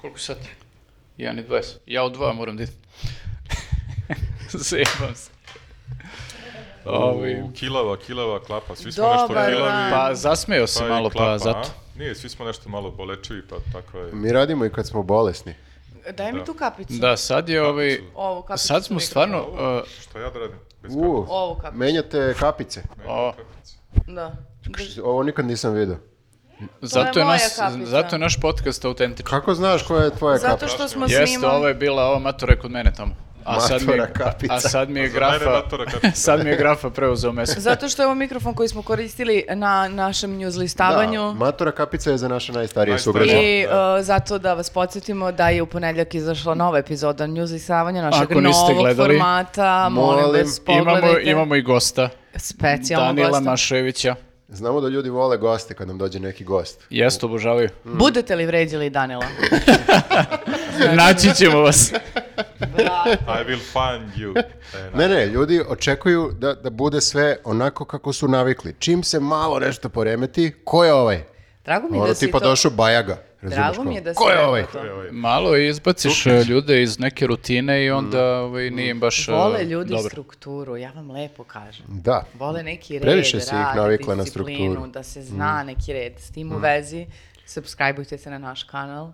koliko sat? 1.20. Ja u 2 moram da idem. Zajebam se. Ovi, U, kilava, kilava, klapa, svi smo Dobar nešto kilavi. dan. pa zasmeo se i malo, klapa, pa zato. a? Nije, svi smo nešto malo bolečivi, pa tako je. Mi radimo i kad smo bolesni. Daj mi tu kapicu. Da, sad je ovaj... Ovu kapicu. Sad smo sam rekla. stvarno... Ovo, uh, Šta ja da radim? Bez U, Ovo kapicu. menjate kapice. o, Da. Drži. Ovo nikad nisam vidio. zato, je moja nas, kapica. zato je naš podcast autentičan. Kako znaš koja je tvoja kapica? Zato što smo Jeste, ovaj- snimali. ovo je bila ova matura kod mene tamo. A sad mi, je- Matura kapica. a sad mi je A za mene grafa, matura kapica. sad mi je grafa preuzeo mesto. Zato što je ovo mikrofon koji smo koristili na našem news listavanju. Da, matura kapica je za naše najstarije Da. Najstarije. sugrađane. I uh, zato da vas podsjetimo da je u ponedjeljak izašla nova epizoda news listavanja našeg Ako niste novog gledali, formata. Molim, molim, vas, Imamo, pogledajte. imamo i gosta, Specijalno Danila gosta. Maševića. Znamo da ljudi vole goste kad nam dođe neki gost. Jeste, obožavaju. Budete li vređali Danila? Naći ćemo vas. I will find you. E, na- Ne, ne, ljudi očekuju da, da bude sve onako kako su navikli. Čim se malo nešto poremeti, ko je ovaj? Drago mi je Ono da si tipa to... došao Bajaga. razumeš Drago mi je kao, da si Ko je rekao ovaj? to. Evo je. Malo izbaciš e, ljude iz neke rutine i Mm. onda ovaj, nije im baš e, Mm. Vole ljudi dobro. strukturu, ja vam lepo kažem. Da. Vole neki red, Previše si ih rad, navikla na disciplinu, strukturu. Mm. da se zna neki red. S tim u vezi, subscribeujte se na naš kanal,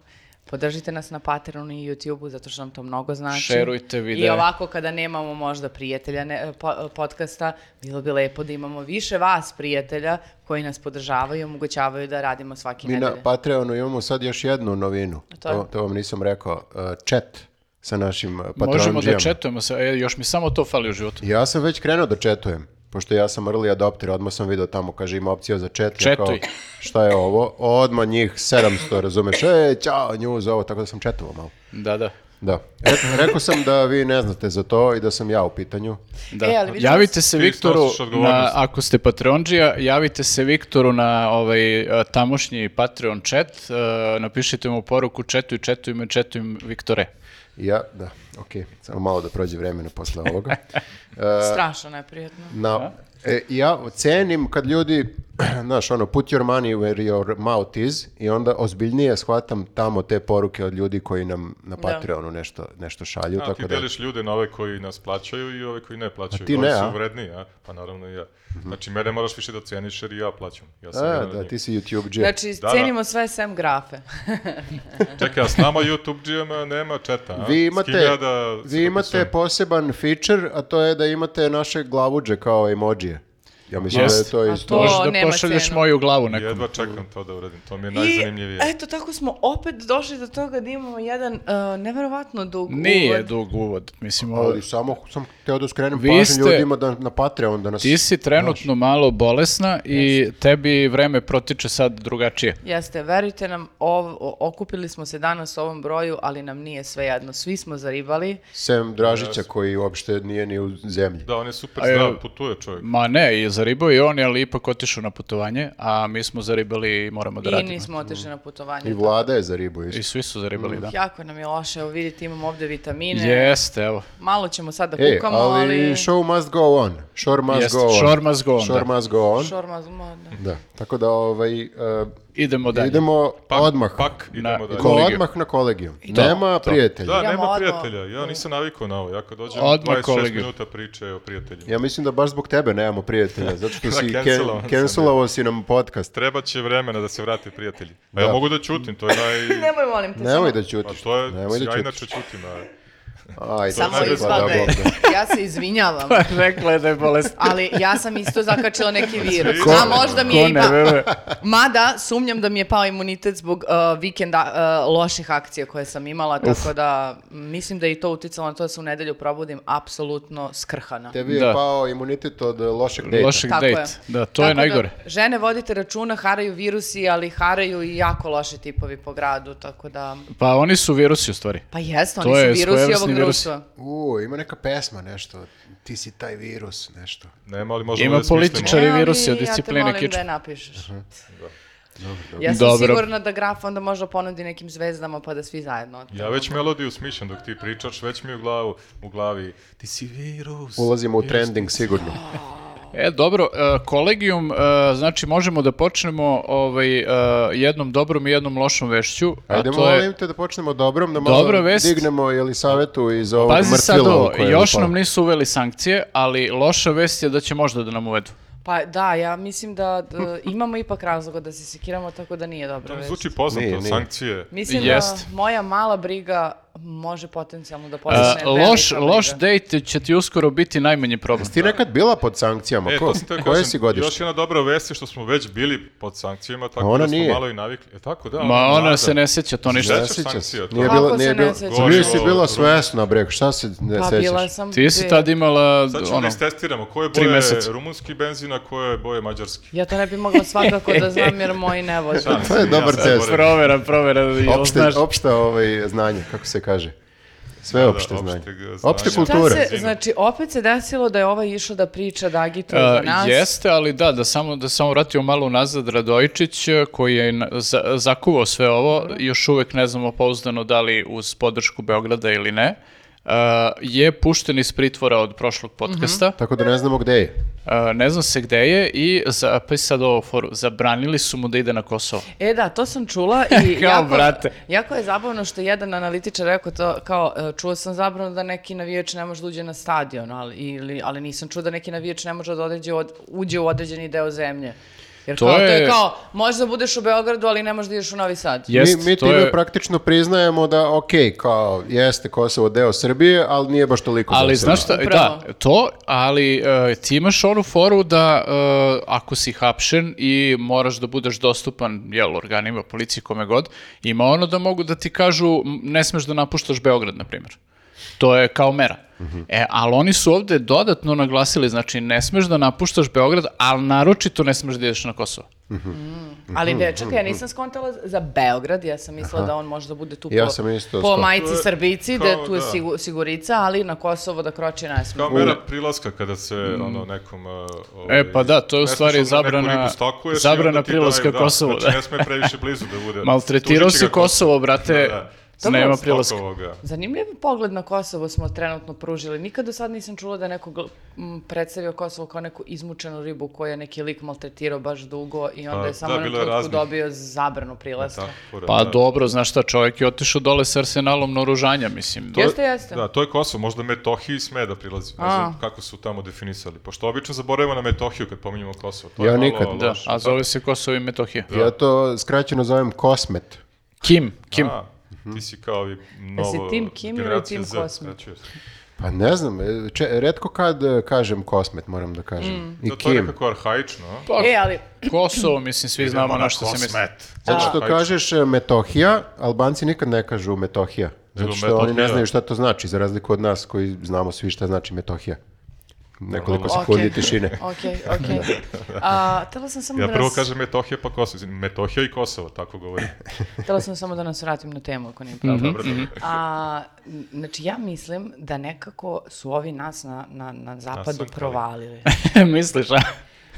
podržite nas na Patreonu i YouTubeu zato što nam to mnogo znači. Šerujte videe. I ovako kada nemamo možda prijatelja ne, po- podcasta, bilo bi lepo da imamo više vas prijatelja koji nas podržavaju i omogućavaju da radimo svaki Mi na nedelje. Patreonu imamo sad još jednu novinu. To je? To, to vam nisam rekao. Čet sa našim uh, Pa Možemo da patronđijama. četujemo se, e, još mi samo to fali u životu. Ja sam već krenuo da četujem, pošto ja sam early adopter, odmah sam video tamo, kaže ima opcija za čet. ja Četuj. kao, šta je ovo? Odmah njih 700, razumeš, e, čao, news, ovo, tako da sam četovao malo. Da, da. Da. Re- rekao sam da vi ne znate za to i da sam ja u pitanju. da. E, ali vidim javite se Ti Viktoru, snosiš na, odgovornost. ako ste Patreonđija, javite se Viktoru na ovaj e, tamošnji Patreon chat, e, napišite mu poruku četuj, četuj me, četuj me, Viktore. I Ja, da, okej, samo malo da prođe vremena posle ovoga. Strašno neprijatno. Na, e, ja cenim kad ljudi, znaš, ono, put your money where your mouth is i onda ozbiljnije shvatam tamo te poruke od ljudi koji nam na Patreonu nešto, nešto šalju. A, tako ti da... deliš ljude na ove koji nas plaćaju i ove koji ne plaćaju. ti Ovi ne, su a? vredniji, a? Pa naravno i ja. Znači, mene moraš više da ceniš jer i ja plaćam. Ja sam A, jedan od da, njih. ti si YouTube džep. Znači, Da, da. cenimo sve sem grafe. Čekaj, a s nama YouTube džijama nema četa, a? vi S kim ja imate, da se vi imate dopisujem? poseban feature, a to je da imate naše glavuđe kao emojije. Ja mislim da je Jest. to A isto. To Možeš da nema pošalješ cenu. moju glavu nekom. Jedva čekam to da uradim, to mi je I najzanimljivije. e- eto, tako smo opet došli do toga da imamo jedan uh, neverovatno dug Nije uvod. dug uvod, mislim ovo... Ali samo sam teo da skrenem Vi pažnju ste- ljudima da, na Patreon da nas... Ti si trenutno malo bolesna i tebi vreme protiče sad drugačije. Jeste, verujte nam, ov- o- okupili smo se danas u ovom broju, ali nam nije svejedno. Svi smo zaribali. Sem Dražića koji uopšte nije ni u zemlji. Da, on je super A, zdrav, evo. putuje čovjek. Ma ne, i zaribao je on, ali ipak otišao na putovanje, a mi smo zaribali i moramo da I radimo. nismo Mm, otišli na putovanje. I vlada je za ribu isto. I svi su zaribali, da. Jako nam je loše, evo vidite imamo ovdje vitamine. Jeste, evo. Malo ćemo sad da E, kukamo, ali, ali... show must go on. Shore must Jest, go on. shore must go on, Shore da. must go on. Šorma zma- da. Da. Tako da ovaj, e, Idemo dalje. idemo odmah. Pak, idemo Na- dalje. Ko Kolegiju. odmah na kolegiju. Nema prijatelja. Da, Idemo nema odmah. prijatelja. Ja nisam navikao na ovo. Ja kad dođem Odmah 26 kolegiju. minuta priče o prijatelju. Ja mislim da baš zbog tebe nemamo prijatelja, zato što Da, si cancelovao ken, sam. da. cancelovao si nam podcast. Treba će vremena da se vrate prijatelji. A ja mogu da ćutim, to je naj... Nemoj, molim te, Nemoj samo- da Pa ćutiš. to je, nemoj da ja ćutiš. inače ćutim, a... Ajde, Samo pa da, ispadaj. Bog da. ja se izvinjavam. Rekla je da je bolesna. Ali ja sam isto zakačila neki virus. Ko- A možda mi je ipak- Mada, sumnjam da mi je pao imunitet zbog uh, vikenda uh, loših akcija koje sam imala, tako da m, mislim da je i to uticalo na to da se u nedelju probudim apsolutno skrhana. Tebi je Da. pao imunitet od lošeg dejta. Lošeg Tako date. je. Da, to je Tako da, najgore. žene, vodite računa, haraju virusi, ali haraju i jako loši tipovi po gradu, tako da... Pa oni su virusi u stvari. Pa jesu, To oni je su virusi ovog svojevrsni virus. društva. U, ima neka pesma, nešto. Ti si taj virus, nešto. Nema, ali možemo Ima da je smislimo. političar. Čari E, ali virusi od Ja discipline te molim kičme. da je napišeš. Ja sam Dobro. sigurna da graf onda možda ponudi nekim zvezdama pa da svi zajedno. otpevamo. Ja već melodiju smišljam dok ti pričaš, već mi je u glavu, u glavi, ti si virus. Ulazimo u trending sigurno. E, dobro, e, kolegijum, e, znači možemo da počnemo ovaj, e, jednom dobrom i jednom lošom vešću. a Ajde, to je- molim te da počnemo dobrom, da malo Dobra vest. dignemo Jelisavetu iz ovog Pazi sad mrtvila u ovo, koje je još upala. nam nisu uveli sankcije, ali loša vest je da će možda da nam uvedu. Pa da, ja mislim da, da imamo ipak razloga da se sekiramo, tako da nije dobro. To mi već. zvuči poznato, Nije, nije. sankcije. Mislim Jest. da moja mala briga može potencijalno da E, postane velika loš, loš briga. date će ti uskoro biti najmanji problem. Ti nekad bila pod sankcijama? E, Ko- to sam teo koje kažem, si godište? Još jedna dobra vest je što smo već bili pod sankcijama, tako Ona da smo nije. malo i navikli. E, tako da. Ma ona mlada. se ne sjeća to ništa. Ne sećaš sjeća se. E, sankcija, to? Nije Kako bilo, se nije ne bilo. sećaš? Zbili si Gorivo, bila rumen. svesna, bre, šta se ne Pa bila sećaš? sam Ti si dve. tad imala Sad ćemo da ono, istestiramo koje tri boje meseca. rumunski benzin, a koje boje mađarski. Ja to ne bi mogla svakako da znam jer moji ne voze. Da, mislim, dobar se test. borim. provera, provera, jel Opšte, znaš? opšta ovaj, znanje, kako se kaže. Sve opšte Da, opšteg znanje. znanja. Opšte Šta Šta kulture. se, znači, opet se desilo da je ova išla da priča, da agituje za E, nas. Jeste, ali da, da samo da samo vratimo malo nazad Radojičić e, koji je na- za, zakuvao sve ovo, još uvek ne znamo pouzdano da li uz podršku Beograda ili ne. e, je pušten iz pritvora od prošlog podcasta. Mhm. Tako da ne znamo gde je. E, ne zna se gde je i za, pa i sad ovo foru, zabranili su mu da ide na Kosovo. E da, to sam čula i Kao, jako, brate. jako je zabavno što je jedan analitičar rekao to kao e, čuo sam zabrano da neki navijač ne može da uđe na stadion, ali, ili, ali nisam čuo da neki navijač ne može da odeđe od, uđe u određeni deo zemlje. Jer To kao, to je- je kao, možeš da budeš u Beogradu, ali ne možeš da ideš u Novi Sad. Jest, mi mi to time je- praktično priznajemo da, ok, kao, jeste Kosovo deo Srbije, ali nije baš Pa toliko Ali za Srbiju. znaš šta, Upravo. da, to, ali e, ti imaš onu foru da e, ako si hapšen i moraš da budeš dostupan, jel, organima, policiji, kome god, ima ono da mogu da ti kažu m, ne smeš da napuštaš Beograd, na primjer. To je kao mera. Mhm. E, ali oni su ovde dodatno naglasili, znači ne smeš da napuštaš Beograd, ali naročito ne smeš da ideš na Kosovo. Mhm, Ali dečak, ja nisam skontala za Beograd, ja sam mislila da on može da bude tu Ja po, sam po isto skontala. To majici je Srbici, kao, da je tu je da. sigu- sigurica, ali na Kosovo da kroči ne sme. Kao mera prilaska kada se ono nekom... uh, ovaj, E, pa da, to je u ne smeš stvari ono neku zabrana- ribu stakuješ i zabrana onda ti prilaska daju, da, Kosovu, da. Znači ne sme previše blizu da bude. Maltretirao Tužit će si ga Kosovo, brate, Da, da. nema Stokovo prilaska. ga. Zanimljiv pogled na Kosovo smo trenutno pružili. Nikad do sad nisam čula da je neko gl- m, predstavio Kosovo kao neku izmučenu ribu koju je neki lik maltretirao baš dugo i onda Pa, je samo da, na bilo je trenutku raznih. dobio zabranu prilaska. Tako, fora, Pa da. dobro, znaš šta, čovjek je otišao dole s arsenalom naoružanja, mislim. To- Jeste, jeste. Da, to je Kosovo, možda Metohiji sme da prilazi. Ne A. znam kako su tamo definisali. Pošto obično zaboravimo na Metohiju kad pominjemo Kosovo. To Ja je malo nikad. loše. Da, a zove se Kosovo i Metohija. Da. Ja to skraćeno zovem kosmet. Kim, Kim. A, ti si kao i novo... Jesi tim Kim ili generacija tim Z, Kosmet? znači, Pa ne znam, e, če, redko kad e, kažem kosmet, moram da kažem. Mm. I Da, to je kim. nekako arhaično. a? Pa, E, ali Kosovo, mislim, svi znamo na što se misli. Kosmet. Zato što Arhaično. kažeš e, Metohija, Albanci nikad ne kažu Metohija. Zato Nego što oni ne Metohija. znaju šta to znači, za razliku od nas koji znamo svi šta znači Metohija. Nekoliko Normalno. sekundi Ok. Pa, tišine. Okej, okej. A, Htela sam samo Da. Ja da prvo nas- kažem Metohija pa Kosovo. Izvini, Metohija i Kosovo, tako govorim. Mhm, htela sam samo da nas vratim na temu, ako nije problem. Dobro, dobro. A, n- znači, ja mislim da nekako su ovi nas na, na, na zapadu Nasunkali. provalili. Misliš, a?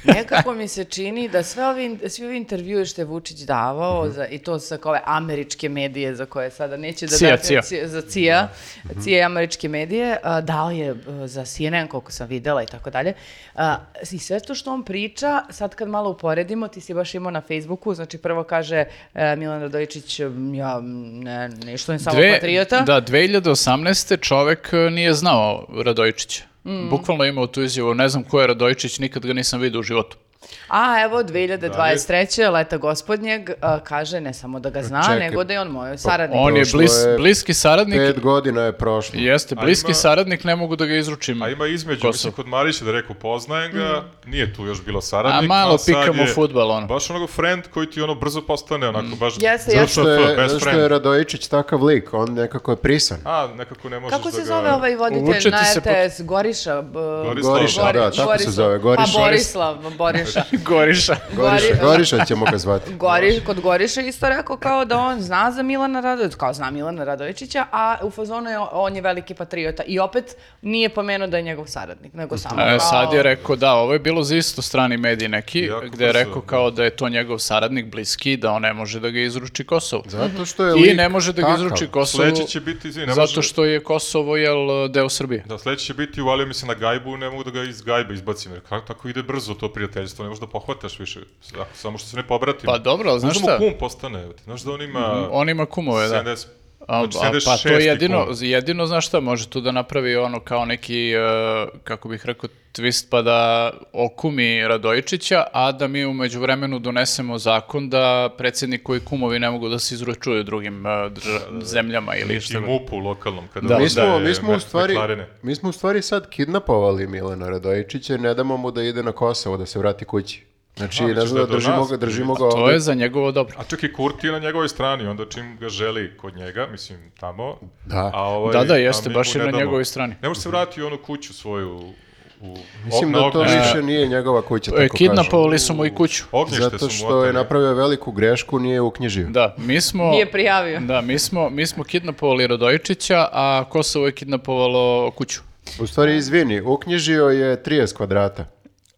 Nekako mi se čini da sve ovi, in- svi ovi intervjue što je Vučić davao, Mhm. za, i to sa kao ove američke medije za koje sada neće da CIA, da, CIA. Da. Mhm. za CIA, CIA i američke medije, a, dao je a, za CNN koliko sam videla i tako dalje. A, I sve to što on priča, sad kad malo uporedimo, ti si baš imao na Facebooku, znači prvo kaže e, Milan Radojičić, m, ja m, ne, nešto je samo patriota. da, 2018. čovek e, nije znao Radojičića. Mm. Bukvalno je imao tu izjavu, ne znam ko je Radojičić, nikad ga nisam vidio u životu. A evo 2023. leta gospodnjeg a, kaže ne samo da ga zna, Čekaj. nego da je on moj saradnik. Pa, On je, Prošlo blis- je bliski saradnik, Pet godina je prošlo. jeste, A bliski ima- saradnik, ne mogu da ga izručim. A ima između, Kosovo. mislim, kod Marića da je rekao poznajem ga, Mhm. nije tu još bilo saradnik. A malo sad pikamo je fudbal, ono. Mhm. Baš onoga friend koji ti ono brzo postane, onako, baš... Jeste, zato jeste. što Što je je, best zašto friend. je Radojičić takav lik, on nekako je prisan. A, nekako ne možeš Kako da se ga- zove ovaj voditelj Uvuče ti na se RTS? Goriša? b- Gorislav. Goriša, Gori- da, tako se Gorislav. zove, Goriša. Pa Borislav, Borislav, Goriša. Goriša. Goriša, Goriša ćemo ga zvati. Gori, kod Goriša isto rekao kao da on zna za Milana Radović, kao zna Milana Radovićića, a u fazonu je on je veliki patriota i opet nije pomenuo da je njegov saradnik, nego samo E, kao... sad je rekao da, ovo je bilo za isto strani mediji neki, Jako gde je brzo, rekao kao da je to njegov saradnik bliski, da on ne može da ga izruči Kosovo. Zato što je I lik ne može da ga takav. izruči Kosovo, Sledeći će biti, izvini, ne zato može- što je Kosovo jel, deo Srbije. Da, sledeći će biti, uvalio mi se na gajbu, ne mogu da ga iz gajbe izbacim, jer kako tako ide brzo to prijateljstvo, ne možeš da pohvataš više, ako- samo što se ne pobratim. Pa dobro, ali znaš Možda mu šta? Mhm, kum postane, evo ti, znaš da on ima On ima kumove, da. 70, A, znači a, pa 76 to jedino, kum. jedino, znaš šta, može tu da napravi ono kao neki, e, kako bih rekao, twist pa da okumi Radojičića, a da mi umeđu vremenu donesemo zakon da predsjednik koji kumovi ne mogu da se izručuju drugim e, dr- zemljama ili Da, I šta. god. Znači, mupu lokalnom, kada Znači, Da, Mi smo, uzme mi, smo u me- stvari, meklarene. mi smo u stvari sad kidnapovali Milana Radojičića i ne damo mu da ide na Kosovo, da se vrati kući. A, Znači, ne misliš da znam, je da do držimo nas? ga, držimo ga To ovdje. je za njegovo dobro. A čak i Kurti je na njegovoj strani, onda čim ga želi kod njega, mislim tamo. Da. a ovaj, Da, da, a jeste, mi baš mu je ne na damo. njegovoj strani. Ne može se vratiti u onu kuću svoju u, Mislim na da to ognjište. više nije njegova kuća, E, tako kažem. Kidnapovali su mu i kuću. Ognjište su Zato mu što oteli. je napravio veliku grešku, nije uknjižio. Da, mi smo... Nije prijavio. Da, mi smo, mi smo kidnapovali Radojičića, a Kosovo je kidnapovalo kuću. U stvari, izvini, uknjižio je 30 kvadrata,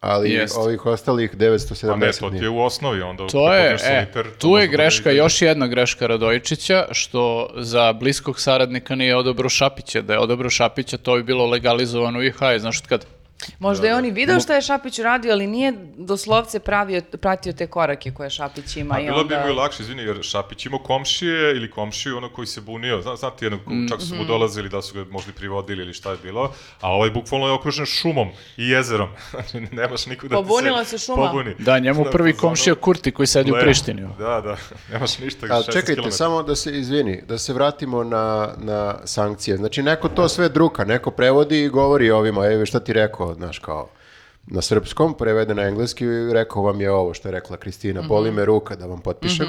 ali Jest. ovih ostalih Pa 970 ne, to ti nije. je u osnovi, onda To kad je, podneš e, soliter, to tu je možda greška, bude i- još jedna greška Radojičića, što za bliskog saradnika nije odobro Šapića. Da je odobro Šapića, to bi bilo legalizovano u IH, znaš od kad? Možda je on i video šta je Šapić radio, ali nije doslovce pravio, pratio te korake koje Šapić ima. A Pa i Pa bilo bi onda- mu i lakše, izvini, jer Šapić imao komšije ili komšiju, ono koji se bunio, Zna, znate jednog, Mm, čak su mu mhm. dolazili da su ga možda i privodili ili šta je bilo, a ovaj bukvalno je okružen šumom i jezerom, znači nemaš nikog da ti Pobunila se šuma. pobuni. Da, njemu Na prvi fazonu, komšija Kurti koji sedi u gle, Prištini. Da, da, nemaš ništa. A 16 čekajte, kilometara. samo da se izvini, da se vratimo na, na sankcije. Znači, neko to sve druka, neko prevodi i govori ovima, evo šta ti rekao, znaš, kao na srpskom, prevede na engleski i rekao vam je ovo što je rekla Kristina, boli me ruka da vam potpišem.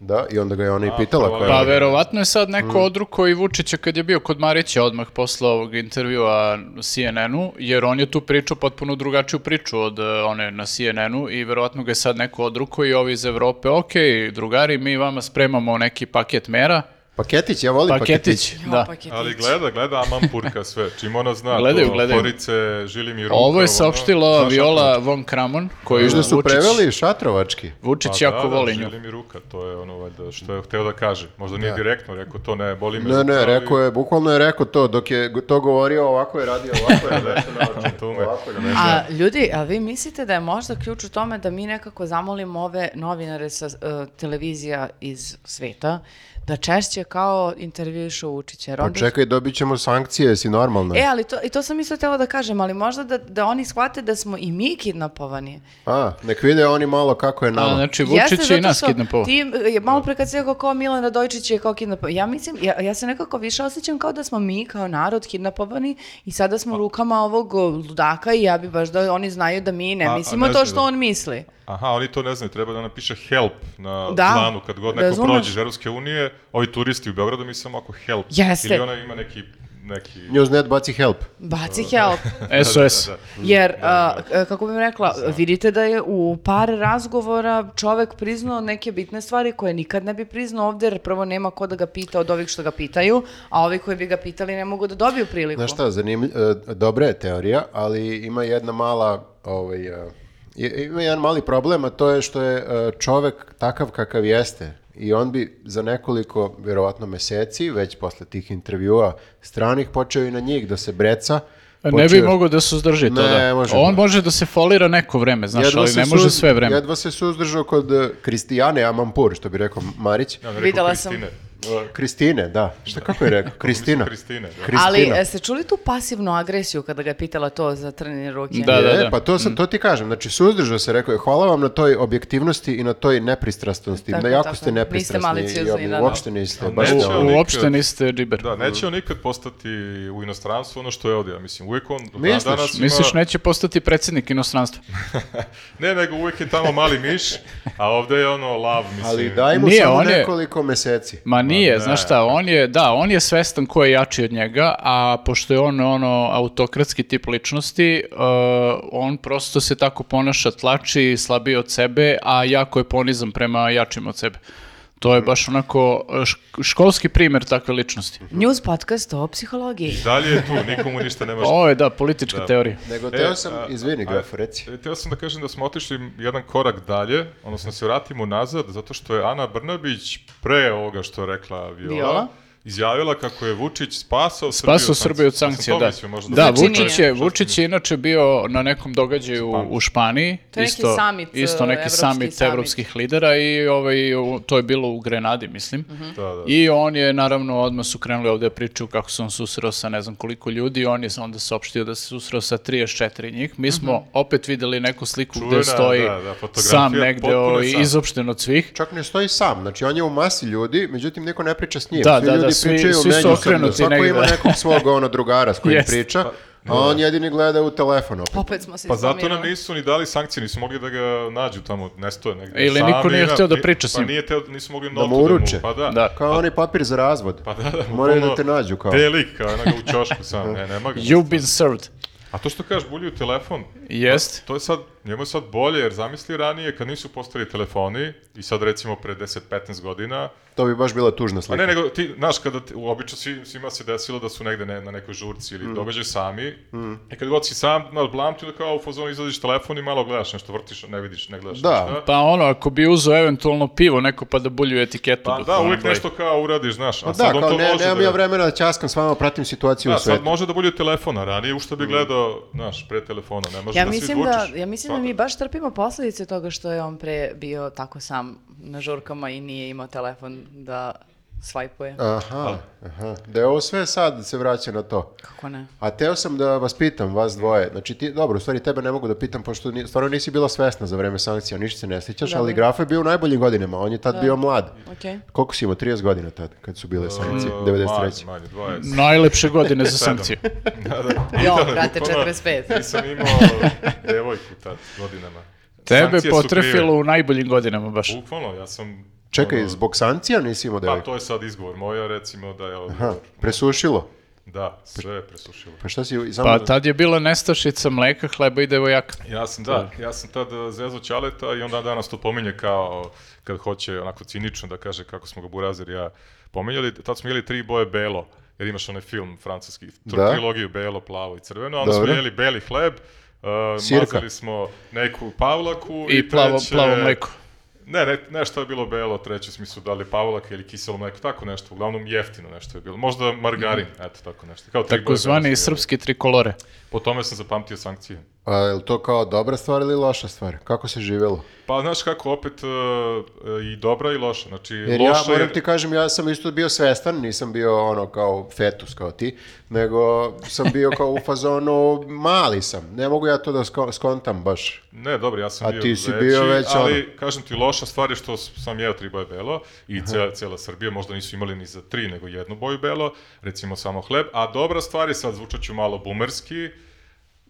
Da, i onda ga je ona i pitala. prvo koja Pa je- verovatno je sad Mm. neko odruko i Vučića kad je bio kod Marića odmah posle ovog intervjua CNN-u, jer on je tu pričao potpuno drugačiju priču od e, one na CNN-u i verovatno ga je sad neko odruko i ovi iz Evrope, ok, drugari, mi vama spremamo neki paket mera, Paketić, ja volim paketić. paketić, Jo, da. paketić. Ali gleda, gleda Amampurka sve, čim ona zna. Gledaju, to, gledaju. Korice, žili mi ruka. Ovo je ono, saopštila da. znaš, Viola von Kramon, koju Viš da su Vučić, preveli šatrovački. Vučić Pa jako da, voli da, nju. žili mi ruka, to je ono valjda što je hteo da kaže. Možda nije direktno rekao to, ne, boli me. Ne, ruka, ne, ali- rekao je, bukvalno je rekao to, dok je to govorio, ovako je radio, ovako je radio, To ume. ovako je radio. A ljudi, a vi mislite da je možda ključ u tome da mi nekako zamolimo ove novinare sa e, televizija iz sveta da češće kao intervjuišu Vučića? jer Pa onda- čekaj, dobit ćemo sankcije, si normalno. E, ali to, i to sam isto htjela da kažem, ali možda da, da oni shvate da smo i mi kidnapovani. A, nek vide oni malo kako je A, nama. znači, Vučić Jeste, je i zato nas što kidnapovao. Ti, e, malo pre kad si rekao kao Milan Radojčić je kao kidnapovan. Ja mislim, ja, ja se nekako više osjećam kao da smo mi kao narod kidnapovani i sada Pa- smo u rukama ovog o, ludaka i ja bi baš da oni znaju da mi ne A- a mislimo ne to znaju što da- on misli. Aha, oni to ne znaju, treba da napiše help na Da, planu kad god neko razumeš? prođe iz Evropske unije, ovi turisti u Beogradu mi samo ako help. Jeste. Ili ona ima neki neki Newsnet baci help. Baci help. SOS. Da, da, Jer, a, k- kako bih rekla, vidite da je u par razgovora čovek priznao neke bitne stvari koje nikad ne bi priznao ovdje, jer prvo nema ko da ga pita od ovih što ga pitaju, a ovi koji bi ga pitali ne mogu da dobiju priliku. Znaš šta, zanimlj... e, dobra je teorija, ali ima jedna mala, ovaj, e, i- ima jedan mali problem, a to je što je e, čovek takav kakav jeste. I on bi za nekoliko, vjerovatno meseci, već posle tih intervjua stranih, počeo i na njih da se breca. Ne bi počeo- mogao da se uzdrži to, Ne, da. može, On da. može da se folira neko vreme, znaš, Jedva ali se ne može suz- sve vreme. Jedva se suzdržao kod e, Kristijane Amampur, što bi rekao Marić. Da. Ja, Videla sam. Kristine, da. Šta kako je rekao? Kristina. Kristine, da. Ali Kristina. e, ste čuli tu pasivnu agresiju kada ga je pitala to za trnje ruke? Da, da, E, da. pa to, sam, to ti kažem, znači suzdržao se, rekao je hvala vam na toj objektivnosti i na toj nepristrastnosti. Tako, Na jako tako. ste nepristrastni Niste i maliciozni, da, da. uopšte niste. A Baš da. neće ste on ono- nikad- Uopšte niste džiber. Da, neće on nikad postati u inostranstvu ono što je ovdje. Ja Mislim, uvijek on do Misliš? danas ima... Misliš neće postati predsjednik inostranstva? Ne, nego uvijek je tamo mali miš, a ovdje je ono lav, mislim. Ali daj mu Nije, samo on je- nekoliko meseci. Ma nije, znaš šta, on je, da, on je svestan ko je jači od njega, a pošto je on ono autokratski tip ličnosti, uh, on prosto se tako ponaša, tlači slabije od sebe, a jako je ponizan prema jačim od sebe. To je baš onako uh, šk- školski primjer takve ličnosti. News podcast o psihologiji. Dalje je tu, nikomu ništa ne može. Ovo je da, politička teorija. Nego E, teo sam, a- izvini a- grafu, reci. E, Teo sam da kažem da smo otišli jedan korak dalje, odnosno da se vratimo nazad, zato što je Ana Brnabić pre ovoga što je rekla Viola, Viola. izjavila kako je Vučić spasao, Spasao Srbiju od Ja sam sankcija, to da. mislio možda Da, Znači Vučić nije. je, Vučić je inače bio na nekom događaju u- u Španiji. To je neki isto, summit, uh, Isto neki evropski summit summit. evropskih lidera i ovaj, u- to je bilo u Grenadi, mislim. Mhm. Da, da. I on je, naravno, odmah su krenuli ovde priču kako se on susreo sa ne znam koliko ljudi, on je onda saopštio da se susreo sa 34 njih. Mi smo Mhm. opet videli neku sliku Čuvena, gde stoji da, da, fotografija, sam negde, potpuno ovaj, sam. izopšten od svih. Čak ne stoji sam, znači on je u masi ljudi, međutim niko ne priča s njim. Da, svi da, da, ljudi svi- pričaju svi su međusobno. okrenuti Svako negde. Pa- ima nekog svog ono drugara s kojim Jeste. priča, a on jedini gleda u telefon opet. Opet smo se Pa zato nam izblamirali. nisu ni dali sankcije, nisu mogli da ga nađu tamo, nestoje negde. Ili niko nije na- hteo da ni- priča s njim. Pa nije teo, nisu mogli mu notu da mu uruče. Pa da, Da. Kao onaj papir za razvod. Pa da, da, Moraju da bukvalno te nađu kao. Te lik, kao ono ga u čošku sam, ne, nema ga. You've been served. A to što kažeš, bulju telefon, Jest. To je sad, njemu je sad bolje, jer zamisli ranije kad nisu postali telefoni i sad recimo pre 10-15 godina, To bi baš bila tužna pa slika. ne nego ti, znaš, kada ti, uobično svi, svima se desilo da su negde ne, na nekoj žurci Mm. ili događaju sami, i kad god si sam, znaš, blam ti da kao u fazonu izlaziš telefon i malo gledaš nešto, vrtiš, ne vidiš, ne gledaš Da. ništa. Pa ono, ako bi uzeo eventualno pivo neko pa da bulju etiketu. Pa dok da, ono uvijek broji. nešto kao uradiš, znaš, a Pa sad da, on kao to ne, može nemam da... ja vremena da ćaskam s vama, pratim situaciju Da, u sad svetu. Mm. može da bolje telefona, ranije u što bi gledao, znaš, pre telefona, ne može Ja da svi mislim da, zvučiš. ja mislim Pa da mi baš trpimo posljedice toga što je on pre bio tako sam na žurkama i nije imao telefon da svajpuje. Aha, aha. Da je ovo sve sad se vraća na to. Kako ne? A teo sam da vas pitam, vas dvoje, znači ti, dobro, u stvari tebe ne mogu da pitam, pošto ni, stvarno nisi bila svesna za vreme sankcija, ništa se ne sjećaš, ali Grafa je bio u najboljim godinama, on je tad bio mlad. Okej. Koliko si imao, 30 godina tad, kad su bile sankcije, E, 93. Manje, manje, 20. Najlepše godine za sankcije. Da, da. Jo, Idealno, brate, bukvalno 45. Nisam imao devojku tad godinama. Tebe Sankcije su potrefilo u najboljim godinama baš. krive. Bukvalno, ja sam... Čekaj, ono, zbog sankcija nisi imao Pa devojku? to je sad izgovor moja, recimo da je odgovor. Aha, presušilo. Da, sve je presušilo. Pa šta si, samo... Pa tad je bila nestašica mleka, hleba i devojaka. Ja sam, da, ja sam tad uh, zezo Ćaleta i onda danas to pominje kao, kad hoće onako cinično da kaže kako smo ga Burazer i ja pominjali, tad smo jeli tri boje belo, jer imaš onaj film francuski, tr- Da. trilogiju belo, plavo i crveno, a onda Dobro. smo jeli beli hleb, uh, Sirka. mazali smo neku pavlaku i, I plavo, treće- plavo mleko. Ne, ne, nešto je bilo belo, treće smo su dali pavlak ili kiselo mleko, tako nešto, uglavnom jeftino nešto je bilo, možda margarin, eto tako nešto. Kao tri boje belo smo Takozvani jeli. srpski trikolore. Po tome sam zapamtio sankcije. A, je li to kao dobra stvar ili loša stvar? Kako se živelo? Pa znaš kako, opet e, e, i dobra i loša. Znači, Jer ja loša moram ti kažem, ja sam isto bio svestan, nisam bio ono kao fetus kao ti, nego sam bio kao u fazonu mali sam. Ne mogu ja to da sko- skontam baš. Ne, dobro, ja sam A bio ti si veći, bio već ali kažem ti, loša stvar je što s- sam jeo tri boje belo i cijela, cijela Srbija, možda nisu imali ni za tri, nego jednu boju belo, recimo samo hleb, a dobra stvar je, sad zvučat ću malo bumerski,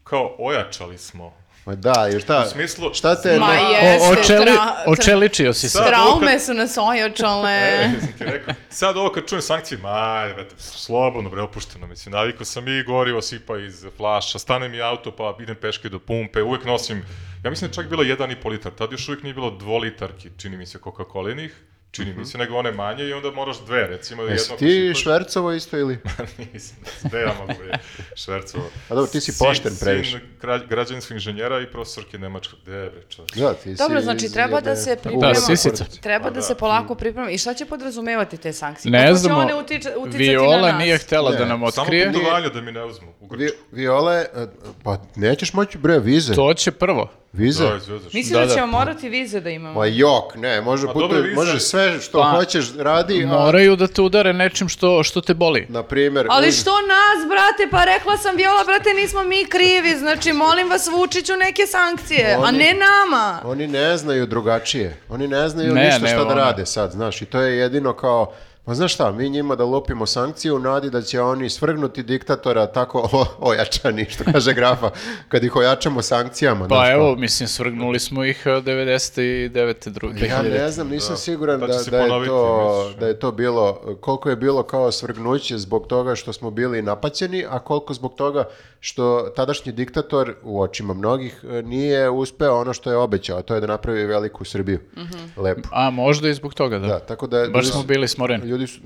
kao ojačali smo. Ma da, jer šta? U smislu- Šta te... Ma ne- je. O, Jeste, očeli, E, tra- očeličio si se. Sad, ovo Traume kad- su nas ojačale. E, sam ti rekao. Sad ovo kad čujem sankcije, ma, brate, slobodno, bre, opušteno, mislim, navikao sam i gorivo sipa iz flaša, stane mi auto, pa idem peške do pumpe, uvek nosim, ja mislim da je čak bilo 1,5 litar, tad još uvek nije bilo dvolitarki, čini mi se, Coca-Colinih, čini mi se, nego one manje i onda moraš dve, recimo, Mhm. Jesi jedno... ti švercovo isto ili? Nisam, gde ja mogu bre, švercovo. A dobro, ti si Sin- pošten previše. Sin gra- građevinskog inženjera i profesorke nemačkog, gde bre, čovječ? Da, ti si Dobro, znači iz treba jedne- da se u- priprema. Da, sisica. Treba Pa da da. se polako priprema. I šta će podrazumevati te sankcije? Ne Kako znamo, će one utiče- uticati na Viola nas? nije htela da Ne, nam Samo otkrije. putovanja da mi ne uzmu u Vi, Grčku. viole, e, pa nećeš moći bre vize. To će prvo. Vize? Da, izvezeš. Mislim Da, da, da. ćemo morati vize da imamo. Ma jok, ne, može, Ma putuje- dobro, viza- može sve što Pa, hoćeš radi, a Moraju da te udare nečim što, što te boli. Da, na primjer... Ali uz- što nas, brate, pa rekla sam Viola, brate, nismo mi krivi, znači molim vas Vučiću neke sankcije, a Oni- ne nama. Oni ne znaju drugačije. Oni ne znaju Ne, ništa ne, šta da ono- rade sad, znaš. I to je jedino kao Pa znaš šta, mi njima da lopimo sankciju u nadi da će oni svrgnuti diktatora tako o, ojačani, što kaže grafa, kad ih ojačamo sankcijama. Pa znaš evo, kao. mislim, svrgnuli smo ih eh, 99. druge. Ja ne znam, nisam siguran Pa da, će se da je ponoviti, to, misliš, da je to bilo, koliko je bilo kao svrgnuće zbog toga što smo bili napaćeni, a koliko zbog toga što tadašnji diktator u očima mnogih eh, nije uspeo ono što je obećao, a to je da napravi veliku Srbiju. Mhm. Lepu. A možda i zbog toga, da. Da, tako da... Baš da- smo bili smoreni. Ljudi su,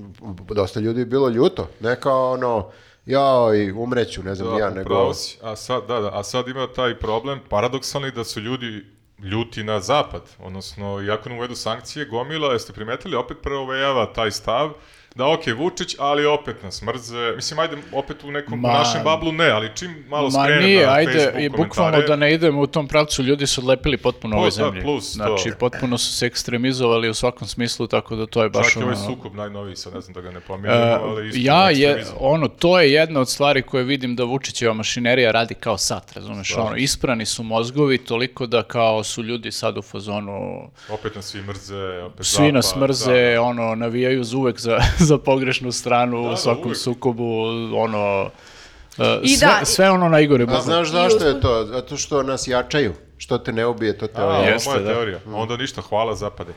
dosta ljudi je bilo ljuto, ne kao ono, joj, umreću, ne znam, ni ja, Da, nego... upravo si. A sad, da, da, a sad ima taj problem paradoksalni da su ljudi ljuti na zapad, odnosno iako nam uvedu sankcije, gomila, jeste primetili, opet preovejava taj stav da ok, Vučić, ali opet nas mrze. Mislim, ajde, opet u nekom Ma- našem bablu ne, ali čim Ma malo skrenem nije, na ajde, Facebook i bukvalno komentare- da ne idemo u tom pravcu, ljudi su odlepili potpuno Plus, ove da, zemlje. plus to. znači, potpuno su se ekstremizovali u svakom smislu, tako da to je baš Čak i ovaj ono- E, sukob najnoviji, sad ne znam da ga ne pominjem, ali isto ja je, ekstremizam. ono, to je jedna od stvari koje vidim da Vučićeva mašinerija radi kao sat, razumeš, ono, isprani su mozgovi toliko da kao su ljudi sad u fazonu, Opet nas svi mrze, opet svi nas zapad, mrze, ono, navijaju za uvek za, za pogrešnu stranu da, u svakom uvek. sukobu, ono, e, I sve, da, i- sve ono najgore. A bukvalno. znaš zašto je to? Zato što nas jačaju. Što te ne ubije, to te Da, da, ojača. ovo je Jeste, moja da. teorija. Mm. Onda ništa, hvala zapade.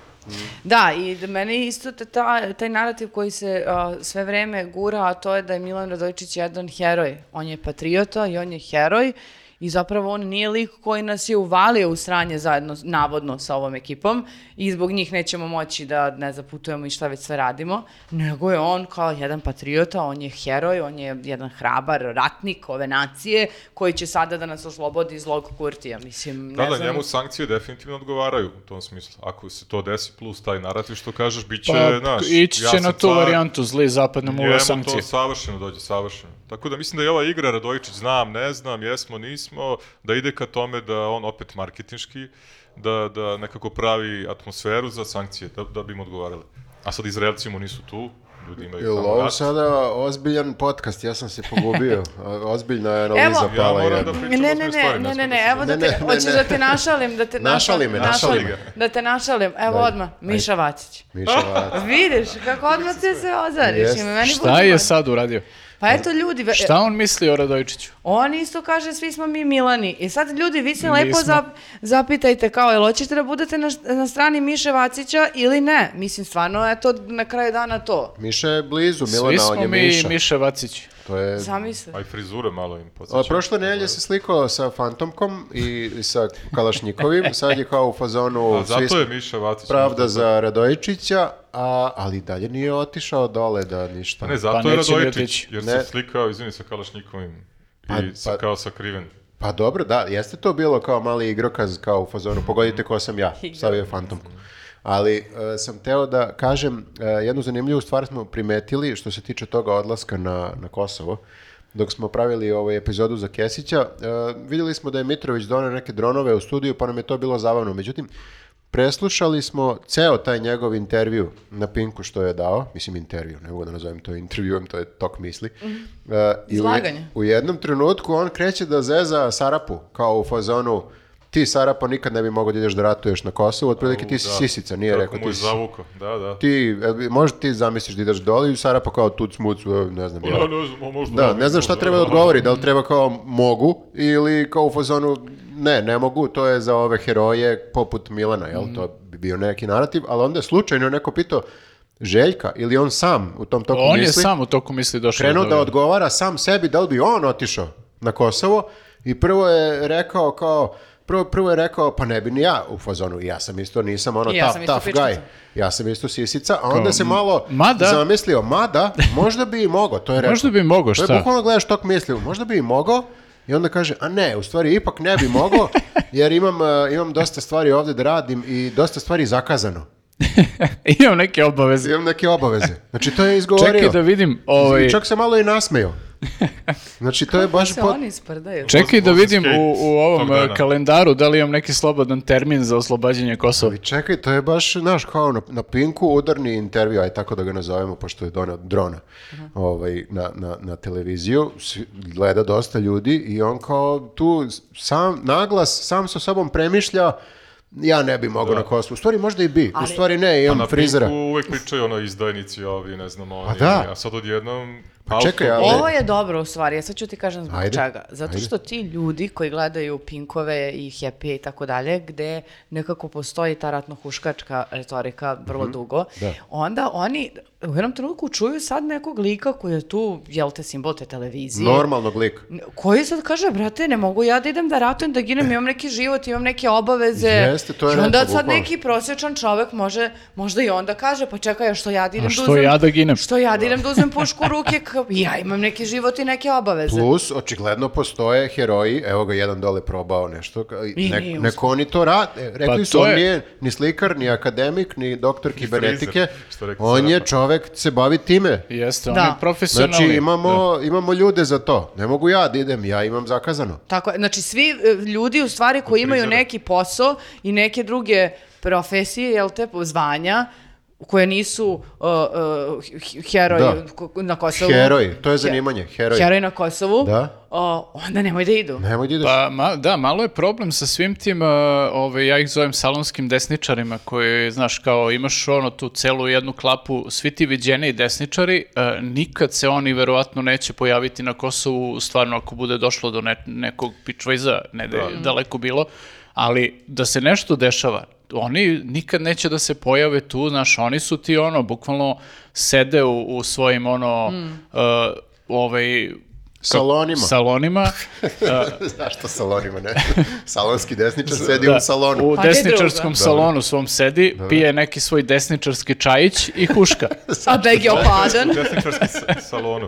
Da, i da meni isto ta- ta, taj narativ koji se a, sve vreme gura, a to je da je Milan Radojičić jedan heroj. On je patriota i on je heroj i zapravo on nije lik koji nas je uvalio u sranje zajedno, s- navodno, sa ovom ekipom i zbog njih nećemo moći da, ne zaputujemo i šta već sve radimo, nego je on kao jedan patriota, on je heroj, on je jedan hrabar ratnik ove nacije koji će sada da nas oslobodi zlog Kurtija, mislim, ne Da, da, znam. njemu sankcije definitivno odgovaraju u tom smislu. Ako se to desi, plus taj narativ što kažeš, bit će, Pa, znaš, ići ja će sam na tu car, varijantu zli zapad nam uveo njemu sankcije. to savršeno dođe, savršeno. Tako da mislim da je ova igra Radojičić, znam, ne znam, jesmo, nismo, da ide ka tome da on opet marketinški, da, da nekako pravi atmosferu za sankcije, da, da bi im odgovarali. A sad Izraelci mu nisu tu, ljudi imaju Jel tamo ovo rat. sada ozbiljan podcast, ja sam se pogubio. A, Ozbiljna je analiza Evo- Ja pala. moram da jedna. pričam Ne, E, ozbiljne ne, ne, stvari, ne, ne, smem ne, se- evo da Ne, te, ne, ne, hoćeš ne. da te našalim, da te Našali našalim, me, našali našalim, ga. da te našalim, evo Daj. odmah, Miša Vacić. Miša Vac. Vidiš, kako odmah se se ozariš, Jest. ima meni Šta buđi je mozak. sad uradio? Pa eto ljudi, ve- Šta on misli o Radojčiću? on isto kaže svi smo mi Milani. I sad ljudi, vi se Nismo. lepo zap- zapitajte kao, jel hoćete da budete na, na strani Miše Vacića ili ne? Mislim, stvarno, eto, na kraju dana to. Miša je blizu, Svi Milana, on smo je mi Miša. Miša Vacić. To je... Zamisli. A i frizure malo im A, podsjeća. prošle nedelje se slikao sa Fantomkom i sa Kalašnjikovim, sad je kao u fazonu A svi zato je smo- Miša Vatić. pravda za Radojičića, a, ali dalje nije otišao dole da ništa. Pa Ne, zato Pa je neće ni Radojičić, otići. jer Ne. se slikao, izvini, sa Kalašnikovim i Pa- sa, pa- kao sakriven. Pa dobro, da, jeste to bilo kao mali igrokaz, kao u fazonu, pogodite ko sam ja, stavio je fantomku. Ali e, sam teo da kažem, e, jednu zanimljivu stvar smo primetili što se tiče toga odlaska na, na Kosovo. Dok smo pravili ovaj epizodu za Kesića, e, vidjeli smo da je Mitrović donio neke dronove u studiju, pa nam je to bilo zabavno. Međutim, preslušali smo ceo taj njegov intervju na Pinku što je dao, mislim intervju, ne mogu da nazovem to intervjuom, to je tok misli. E, i u je- Izlaganje. u jednom trenutku on kreće da zeza Sarapu, kao u fazonu ti Sarapa nikad ne bi mogao da ideš da ratuješ na Kosovu, otprilike ti si sisica, nije Da. Kako rekao mu ti je si. zavuko, da, da. Ti, e, bi- možda ti zamisliš da ideš dole i Sarapa kao tuc muc, e, ne znam. ja. Ja ne znam, mo- možda Da, ne znam šta možda- treba da odgovori, da li treba kao mogu ili kao u fazonu ne, ne mogu, to je za ove heroje poput Milana, jel? To bi bio neki narativ, ali onda je slučajno neko pitao Željka ili on sam u tom toku On je misli sam u toku misli došao. krenuo do da toga. odgovara sam sebi da li bi on otišao na Kosovo i prvo je rekao kao prvo, prvo je rekao pa ne bi ni ja u fazonu ja sam isto nisam ono I ja tough, sam isto tough pičkica. guy ja sam isto sisica a onda se malo mada- zamislio mada možda bi i mogao to je rekao Možda bi mogao, to je šta? bukvalno gledaš tok misli možda bi i mogao I onda kaže, a ne, u stvari ipak ne bi mogao, jer imam, e, imam dosta stvari ovdje da radim i dosta stvari zakazano. Imam neke obaveze. Imam neke obaveze. Znači, to je izgovorio. Čekaj da vidim, ovaj, I čak se malo i nasmeo. Znači, to je baš... se pot- oni sprdaju. čekaj da Možda vidim skate u, u tog ovom dana. eh, kalendaru da li imam neki slobodan termin za oslobađanje Kosova. Ali čekaj, to je baš, znaš, kao na, na Pinku udarni intervju, aj tako da ga nazovemo, pošto je donao drona ovaj, na, na, na televiziju. Svi- Gleda dosta ljudi i on kao tu sam, naglas, sam sa sobom premišlja Ja ne bi mogao na Kosmu. U stvari možda i bi. U stvari ne, imam Da. Pa na frizera. Pinku uvek pričaju ono izdajnici ovi, ne znam oni. da. A sad odjednom... Pa čekaj, Alfa- ali- Ovo je dobro u stvari, ja sad ću ti kažem zbog Ajde, čega. Zato ajde. što ti ljudi koji gledaju Pinkove i Happy i tako dalje, gde nekako postoji ta ratno-huškačka retorika vrlo Mhm. dugo, Da. onda oni u jednom trenutku čuju sad nekog lika koji je tu, jel te, simbol te televizije. Normalnog lika. N- Koji sad kaže, brate, ne mogu ja da idem da ratujem, da ginem, imam neki život, imam neke obaveze. Jeste, to je I onda rekao, sad bukvalno. neki prosječan čovek može, možda i onda kaže, pa čekaj, a što ja da idem A da što uzmem- ja da ginem? Što ja da idem da uzmem pušku u ruke, kao, ja imam neki život i neke obaveze. Plus, očigledno postoje heroji, evo ga jedan dole probao nešto, ka- I nek, nije neko oni to rade. Rekli Pa su, to on je- nije ni slikar, ni akademik, ni doktor kibernetike, što rekao on Sara. je čovek, se bavi time. Jeste, Da. on je profesionalni. da. Znači, imamo, imamo ljude za to. Ne mogu ja da idem, ja imam zakazano. Tako, je, znači svi e, ljudi u stvari koji imaju prizore. neki posao i neke druge profesije, jel te, zvanja, koje nisu uh, uh, h- heroji Da. ko- na Kosovu. Heroj, to je zanimanje, heroj. Heroj na Kosovu, Da. o, onda nemoj da idu. Nemoj da ideš. Pa, ma, da, malo je problem sa svim tim, uh, ove, ja ih zovem salonskim desničarima, koji, znaš, kao imaš ono tu celu jednu klapu, svi ti viđeni desničari, uh, nikad se oni verovatno neće pojaviti na Kosovu, stvarno ako bude došlo do ne- nekog pičveza, ne da je daleko bilo, ali da se nešto dešava, oni nikad neće da se pojave tu, znaš, oni su ti ono, bukvalno sede u, u svojim ono, uh, ovaj, Mm. Salonima. salonima. Pa, Zašto salonima, ne? Salonski desničar sedi u salonu. Da. Da, U Pa gde desničarskom drugo? salonu svom sedi, pije neki svoj desničarski čajić i huška. A beg je opadan. U desničarskom sa- salonu.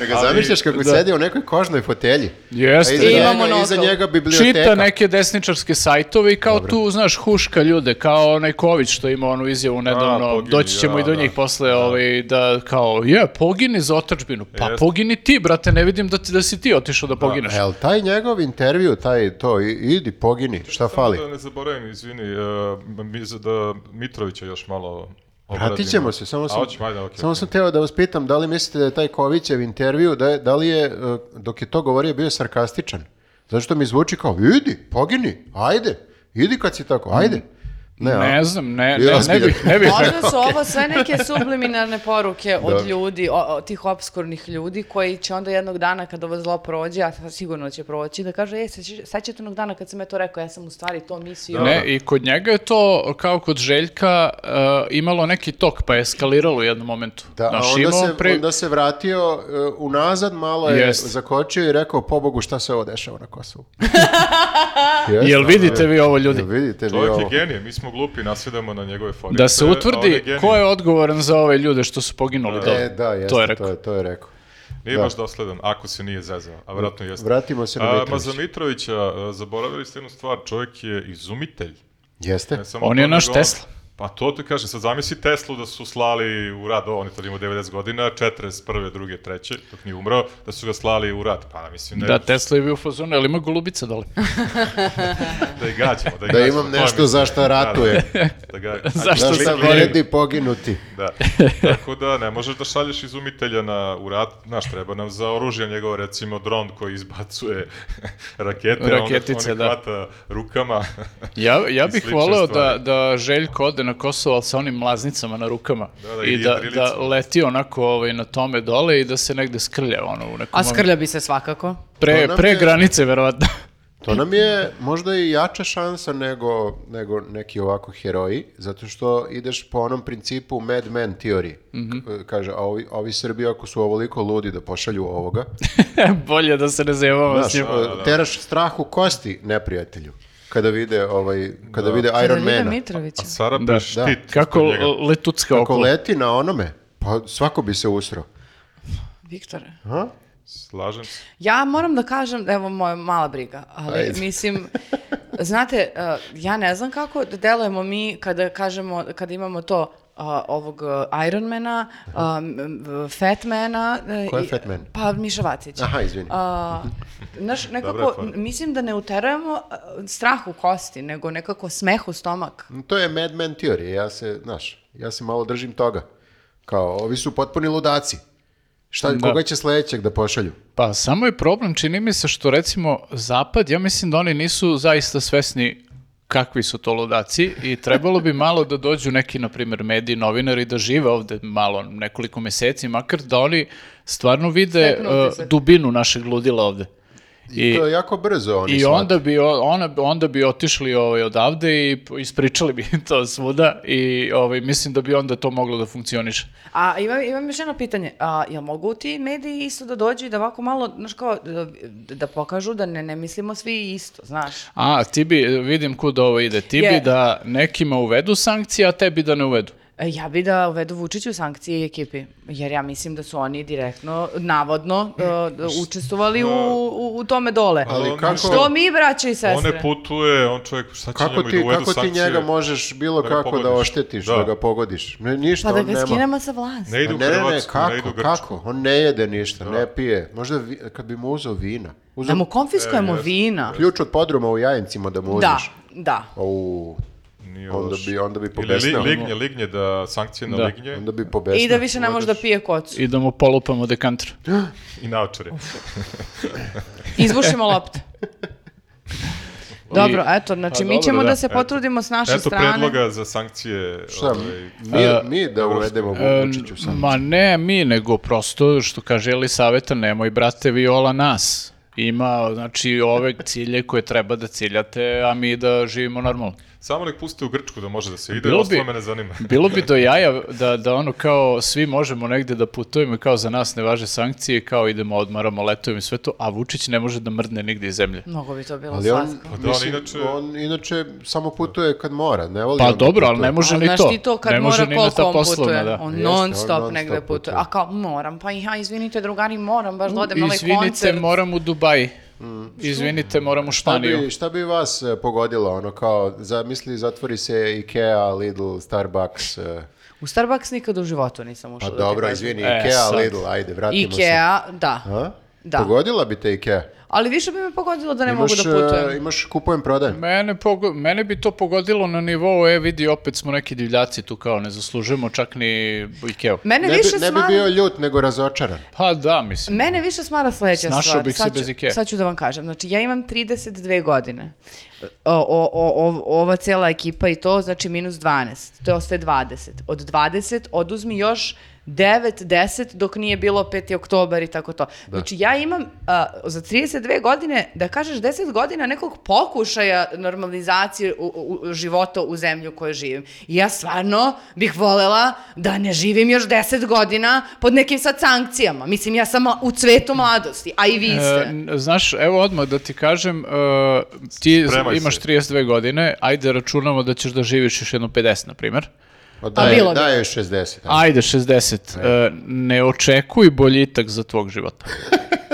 Da ga Ali- zamišljaš kako sedi u nekoj kožnoj fotelji. Jeste, A iza da. njega- Ima Iza monokl. njega biblioteka. Čita neke desničarske sajtove i kao tu, znaš, huška ljude, kao onaj Ković što ima onu izjavu nedavno, pogini, doći ćemo da, i do da. njih posle, ovaj, da kao, je, pogini za otačbinu, pa Jeste. pogini ti, brate, ne vidim da, ti, da si ti otišao da pogineš. Pa, Jel taj njegov intervju, taj to, i- idi, pogini, šta fali? Da ne zaboravim, izvini, uh, mi, za- da Mitrovića još malo obradimo. Vratit ćemo se, samo sam, A, hoćemo, ajde, okej, samo okej. sam teo da vas pitam, da li mislite da je taj Kovićev intervju, da, je- da li je, eh, dok je to govorio, bio sarkastičan? Zato što mi zvuči kao, idi, pogini, ajde, idi kad si tako, ajde. Ne, a? Ne znam, ne, Ja ne, ne zbilja. bih, ne bih rekao. Možda su ovo sve neke subliminarne poruke Da. od ljudi, o- o tih obskurnih ljudi koji će onda jednog dana kad ovo zlo prođe, a sad sigurno će proći, da kaže, e, sad će- sad ćete onog dana kad sam ja to rekao, ja sam u stvari to mislio. Da. Ne, i kod njega je to, kao kod Željka, uh, imalo neki tok, pa je eskaliralo u jednom momentu. Da, a Znaš, onda imao se, pre- onda se vratio eh, unazad, malo je Jest. zakočio i rekao, pobogu, šta se ovo dešava na Kosovu? Jel vidite vi ovo, ljudi? Jel vidite vi Čovjek ovo? je genije, mi smo glupi, nasjedamo na njegove forice. Da se a on je utvrdi genije. ko je odgovoran za ove ljude što su poginuli dole. E, da, jeste, to je to rekao. je, to je rekao. Nije Da. baš dosledan, ako se nije zezao, a vjerojatno jeste. Vratimo se na A, Ma Mitrovića. za Mitrovića, a, zaboravili ste jednu stvar, čovjek je izumitelj. Jeste? Ne samo On to, je naš nego on- Tesla. Pa to ti kažem, sad zamisli Teslu da su slali u rad, on je tad imao 90 godina, 41. 2. 3. dok nije umrao, da su ga slali u rad. Pa mislim ne, Da, Tesla je bio u fazonu, ali ima golubica dole. da i gađamo. Da, i Da gađamo, imam to je nešto mislim. za šta ratuje. Da, da ga, Zašto Da Što sam slikam? vredi poginuti. Da. Tako da ne možeš da šalješ izumitelja na, u rat, znaš, treba nam za oružje njegov, recimo, dron koji izbacuje rakete, Raketice, on, on da. da. hvata rukama. Ja, ja I bih slične voleo da, stvari. da Željko ode na Kosovo, ali sa onim mlaznicama na rukama. Da, da, I i da, da jedrilicama. leti onako ovaj, na tome dole i da se negde skrlja. Ono, u nekom A skrlja bi se svakako. Pre, To nam pre je- granice, verovatno. To nam je možda i jača šansa nego, nego neki ovako heroji, zato što ideš po onom principu Mad Men teoriji. K- Kaže, a ovi, ovi Srbi ako su ovoliko ludi da pošalju ovoga, Bolje da se ne zajebamo znaš, s njim. teraš strah u kosti neprijatelju kada vide, ovaj, kada vide Iron Kada vide Mana. Mitrovića. Sara da, štit. da. ispod Kako njega. l- letucka Ako okolo. leti na onome, pa svako bi se usrao. Viktore. Ha? Slažem se. Ja moram da kažem, evo moja mala briga, ali Ajde. mislim, znate, uh, ja ne znam kako da delujemo mi kada kažemo, kada imamo to uh, ovog uh, Ironmana, um, m, Fatmana. uh, Ko je i- Fatman? Pa Miša Vacić. Aha, izvini. A, znaš, Dobra je nekako, fora. n- mislim da ne uterujemo uh, strah u kosti, nego nekako smeh u stomak. To je Mad Men teorija, ja se, znaš, ja se malo držim toga. Kao, ovi su potpuni ludaci. Šta, koga će sledećeg da pošalju? Pa samo je problem, čini mi se što recimo Zapad, ja mislim da oni nisu zaista svesni kakvi su to ludaci i trebalo bi malo da dođu neki, na primjer, mediji, novinari da žive ovde malo, nekoliko meseci, makar da oni stvarno vide Steknu uh, utisak. dubinu našeg ludila ovde. I, to je jako brzo oni I shvate. onda bi, o- ona, onda bi otišli ovaj, odavde i p- ispričali bi to svuda i ovaj, mislim da bi onda to moglo da funkcioniše. A imam, imam još jedno pitanje. A, jel mogu ti mediji isto da dođu i da ovako malo, znaš kao, da, da pokažu da ne, ne mislimo svi isto, znaš? A, ti bi, vidim kud ovo ide, ti Je. bi da nekima uvedu sankcije, a tebi da ne uvedu. E, Ja bi da uvedu Vučiću sankcije i ekipi, jer ja mislim da su oni direktno, navodno, e, da učestvovali u, u, u tome dole. Ali on kako- ništa- Što mi, braće i On ne sestre? putuje, on čovjek, šta će Kako njemu i da ti, uvedu kako ti sankcije? njega možeš bilo Da ga kako da pogodiš. oštetiš, Da. da, ga pogodiš? Ne, ništa, Pa da on ga nema. skinemo sa vlasti. Ne Pa ide u ne, ne, ne, Hrvatsku, ne ide u kako, Grčku. Da. kako? On ne jede ništa, ne pije. Možda vi, kad bi mu uzeo vina. Da Uzeo mu konfiskujemo E, jes, vina. ključ od podruma u jajincima da mu Da, uzmeš. da. Au, Nije onda loš. bi, onda bi Ili li, pobesnao. lignje, lignje da sankcije na Da. lignje Onda bi pobesnao. I da više ne može da pije kocu. I da mu polupamo dekanter. i naočare. Izbušimo lopte. Dobro, eto, znači Pa mi dobro, ćemo da. da, se potrudimo s naše Eto strane. predloga za sankcije. Šta, ovaj, mi, mi da uvedemo Vučiću sam. Ma ne mi, nego prosto što kaže Eli Saveta, nemoj brate Viola nas. Ima, znači, ove cilje koje treba da ciljate, a mi da živimo normalno. Samo nek puste u Grčku da može da se ide, Bilo ostalo bi- me ne zanima. Bilo bi do jaja da, da ono kao svi možemo negde da putujemo i kao za nas ne važe sankcije, kao idemo odmaramo, letujemo i sve to, a Vučić ne može da mrne nigde iz zemlje. Mnogo bi to bilo Ali on, slatko. Pa da, mislim, on inače- on inače samo putuje kad mora, ne voli Pa on da dobro, ali putuje. ne može Ali ni znaš to. ti to kad ne mora može ni na koliko ta on putuje? poslovna, da. On Jeste, on non stop non-stop negde putuje. putuje. A kao moram, pa ja izvinite drugari moram, baš da odem na ovaj Izvinite, koncert. moram u Dubaj. Mm. Izvinite, moram u Šta da Španiju. bi, šta bi vas e, pogodilo, ono kao, zamisli, zatvori se Ikea, Lidl, Starbucks, e, U Starbucks nikad u životu nisam ušla. pa da ti dobro, kažem. izvini, E, Ikea, sad. Lidl, ajde, vratimo se. Ikea, da. A? Da. Pogodila bi te Ikea. Ali više bi me pogodilo da ne imaš, mogu da putujem. e, imaš kupujem, prodajem. Mene, pogo- mene bi to pogodilo na nivou, e vidi, opet smo neki divljaci tu kao, ne zaslužujemo čak ni Ikeo. Mene Ne više bi, ne bi smara... bio ljut, nego razočaran. Pa da, mislim. Mene više smara sledeća Snašao stvar. bih se Sad ću- bez Ikea. Sad ću da vam kažem. Znači, ja imam 32 godine. O, o, o, o- ova cela ekipa i to, znači minus 12. To je ostaje 20. Od 20 oduzmi još 9, 10 dok nije bilo 5. oktobar i tako to. Znači ja imam a, za 32 godine, da kažeš 10 godina nekog pokušaja normalizacije u, u- u života u zemlju u kojoj živim. I ja stvarno bih volela da ne živim još 10 godina pod nekim sad sankcijama. Mislim, ja sam u cvetu mladosti, a i vi E, ste. n- znaš, evo odmah da ti kažem, e, ti Spremaj imaš se. 32 godine, ajde računamo da ćeš da živiš još jedno 50, na primjer. Pa daj, bilo bi. daj joj 60. Da. ajde. Ajde, 60. E, ne očekuj boljitak za tvog života.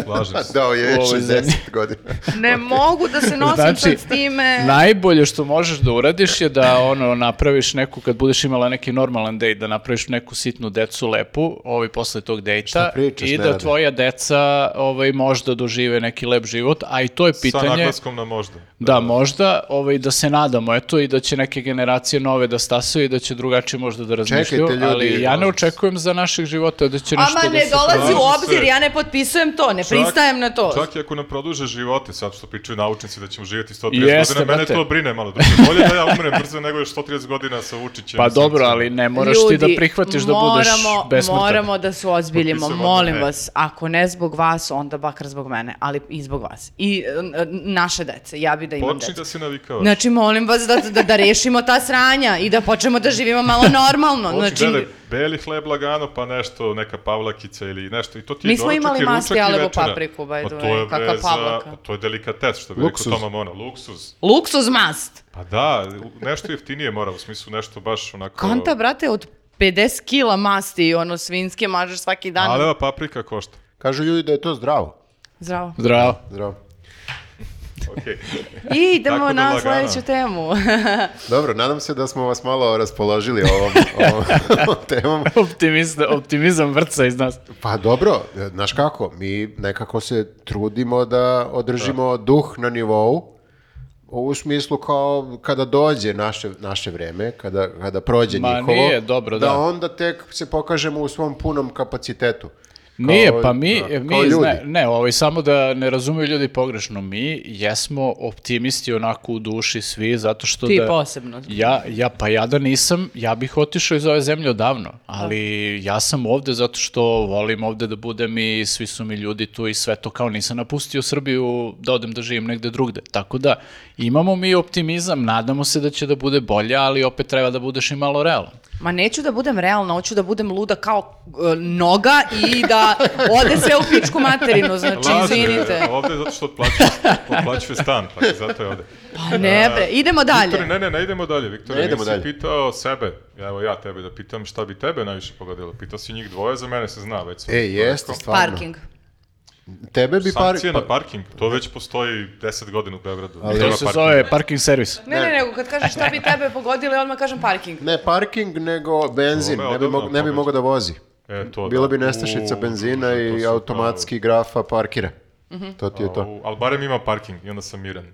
Slažem se. Dao je U ovoj 60 godina. Ne mogu da se nosim Znači, sad s time. najbolje što možeš da uradiš je da ono napraviš neku, kad budeš imala neki normalan dejt, da napraviš neku sitnu decu lepu, ovaj posle tog dejta, Šta pričaš, i da Nenade? tvoja deca ovaj, možda dožive neki lep život, a i to je Sa pitanje... naglaskom na možda. Da, možda, ovaj, da se nadamo, eto, i da će neke generacije nove da stasaju i da će drugačije možda da razmišljaju, ljudi, ali ja ne možda. očekujem za naših života da će ništa Ama da ne se... dolazi u Slažem obzir, se. ja ne potpisujem to, ne Čak- pristajem na to. Čak i ako nam produže živote, sad što pričaju naučnici da ćemo živjeti 130 Jeste, godina, mene brate. to brine malo drugo. Bolje da ja umrem brzo nego još 130 godina sa Vučićem. Pa i sankcijama. dobro, ali ne moraš ti da prihvatiš da budeš moramo, besmrtan. Moramo da se ozbiljimo, Potpisujem molim odmah, e. vas, ako ne zbog vas, onda bakar zbog mene, ali i zbog vas. I e, naše dece, ja bi da imam Počni dece. da se navikavaš. Znači, molim vas da, da, da rešimo ta sranja i da počnemo da živimo malo normalno. Počni znači, gledaj beli hleb lagano, pa nešto, neka pavlakica ili nešto. I to ti je Mi smo doručak i imali ručak masti i alebo večera. papriku, by Pa the to way, je, bre, kakva za- pavlaka. pa to je delikates, što bi rekao Luksuz. Toma Mona. Luksuz. luksuz mast. Pa da, u- nešto jeftinije mora, u smislu nešto baš onako... Konta, brate, od 50 kila masti i ono svinske mažeš svaki dan. Aleva paprika košta. Kažu ljudi da je to zdravo. Zdravo. Zdravo. Zdravo. Okej. I Tako idemo da na lagano. sledeću temu. Dobro, nadam se da smo vas malo raspoložili ovom, ovom, ovom temom. Optimizam, optimizam vrca iz nas. Pa dobro, e, znaš kako, mi nekako se trudimo da održimo duh na nivou, u smislu kao kada dođe naše, naše vreme, kada, kada prođe Ma njihovo, nije, dobro, da. onda tek se pokažemo u svom punom kapacitetu. Nije, pa mi, da, kao mi ljudi. ne, ne, ovaj, samo da ne razumiju ljudi pogrešno, mi jesmo optimisti onako u duši svi, zato što Ti da... posebno. Ja, ja, pa ja da nisam, ja bih otišao iz ove zemlje odavno, ali Da. ja sam ovde zato što volim ovde da budem i svi su mi ljudi tu i sve to, kao nisam napustio Srbiju da odem da živim negde drugde. Tako da imamo mi optimizam, nadamo se da će da bude bolje, ali opet treba da budeš i malo realan. Ma neću da budem realna, hoću da budem luda kao e, noga i da ode sve u pičku materinu, znači Laže, izvinite. Ovde je zato što otplaćuje, otplaćuje stan, pa je zato je ovde. Pa ne bre, idemo Viktore, dalje. ne, ne, ne idemo dalje. Viktore, Ne idemo nisi dalje. pitao sebe. Evo ja tebe da pitam šta bi tebe najviše pogodilo. Pitao si njih dvoje, za mene se zna već. sve. E, jeste, stvarno. Parking. Tebe bi par... Sankcije pa- na parking, to već postoji 10 godina u Beogradu. Ali- Nema To se parkinga. zove parking servis. Ne, ne, nego kad kažeš šta bi tebe pogodilo, ja odmah kažem parking. Ne parking, nego benzin. Ovo je Ne bi, odavno mog, ne bi pobeđeno. mogao da vozi. E, to, Bila da. bi nestašica U, benzina to i su automatski grafa parkira. Mhm. To ti je pravo. to. U, ali barem ima parking i onda sam miran.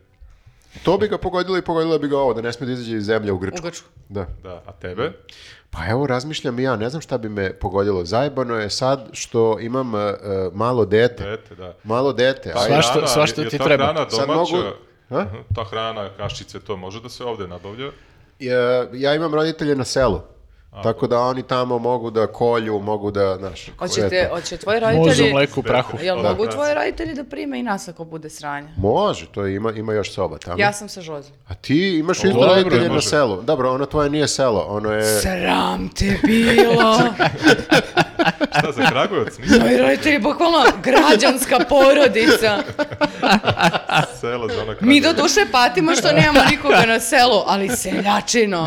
To bi ga pogodilo i pogodilo bi ga ovo, da ne smije da izađe iz zemlje u Grčku. U Grčku. Da. Da, a tebe? Pa evo, razmišljam i ja, ne znam šta bi me pogodilo. Zajebano je sad što imam e, e, malo dete. Dete, da. Malo dete. a Svašta- svašta je ti ta treba. Hrana Sad domaća, mogu- Ha? Aha, ta hrana, kašice, to može da se ovde nabavlja. ja, e, ja imam roditelje na selu. Tako da oni tamo mogu da kolju, mogu da, znaš... Hoćete, eto. hoće tvoji Muzu, roditelji... mleku, prahu. Jel Da. mogu tvoji roditelji da prime i nas ako bude sranja? Može, to ima, ima još soba tamo. Ja sam sa Žozom. A ti imaš isto dobro, roditelje na može. selu. Dobro, ono tvoje nije selo, ono E. je... Sram te bilo! Šta Da, za Kragujevac? Nisam Tvoji roditelji, bukvalno građanska porodica. sela za ona Kragujevac. Mi do duše patimo što nemamo nikoga na selu, ali seljačino.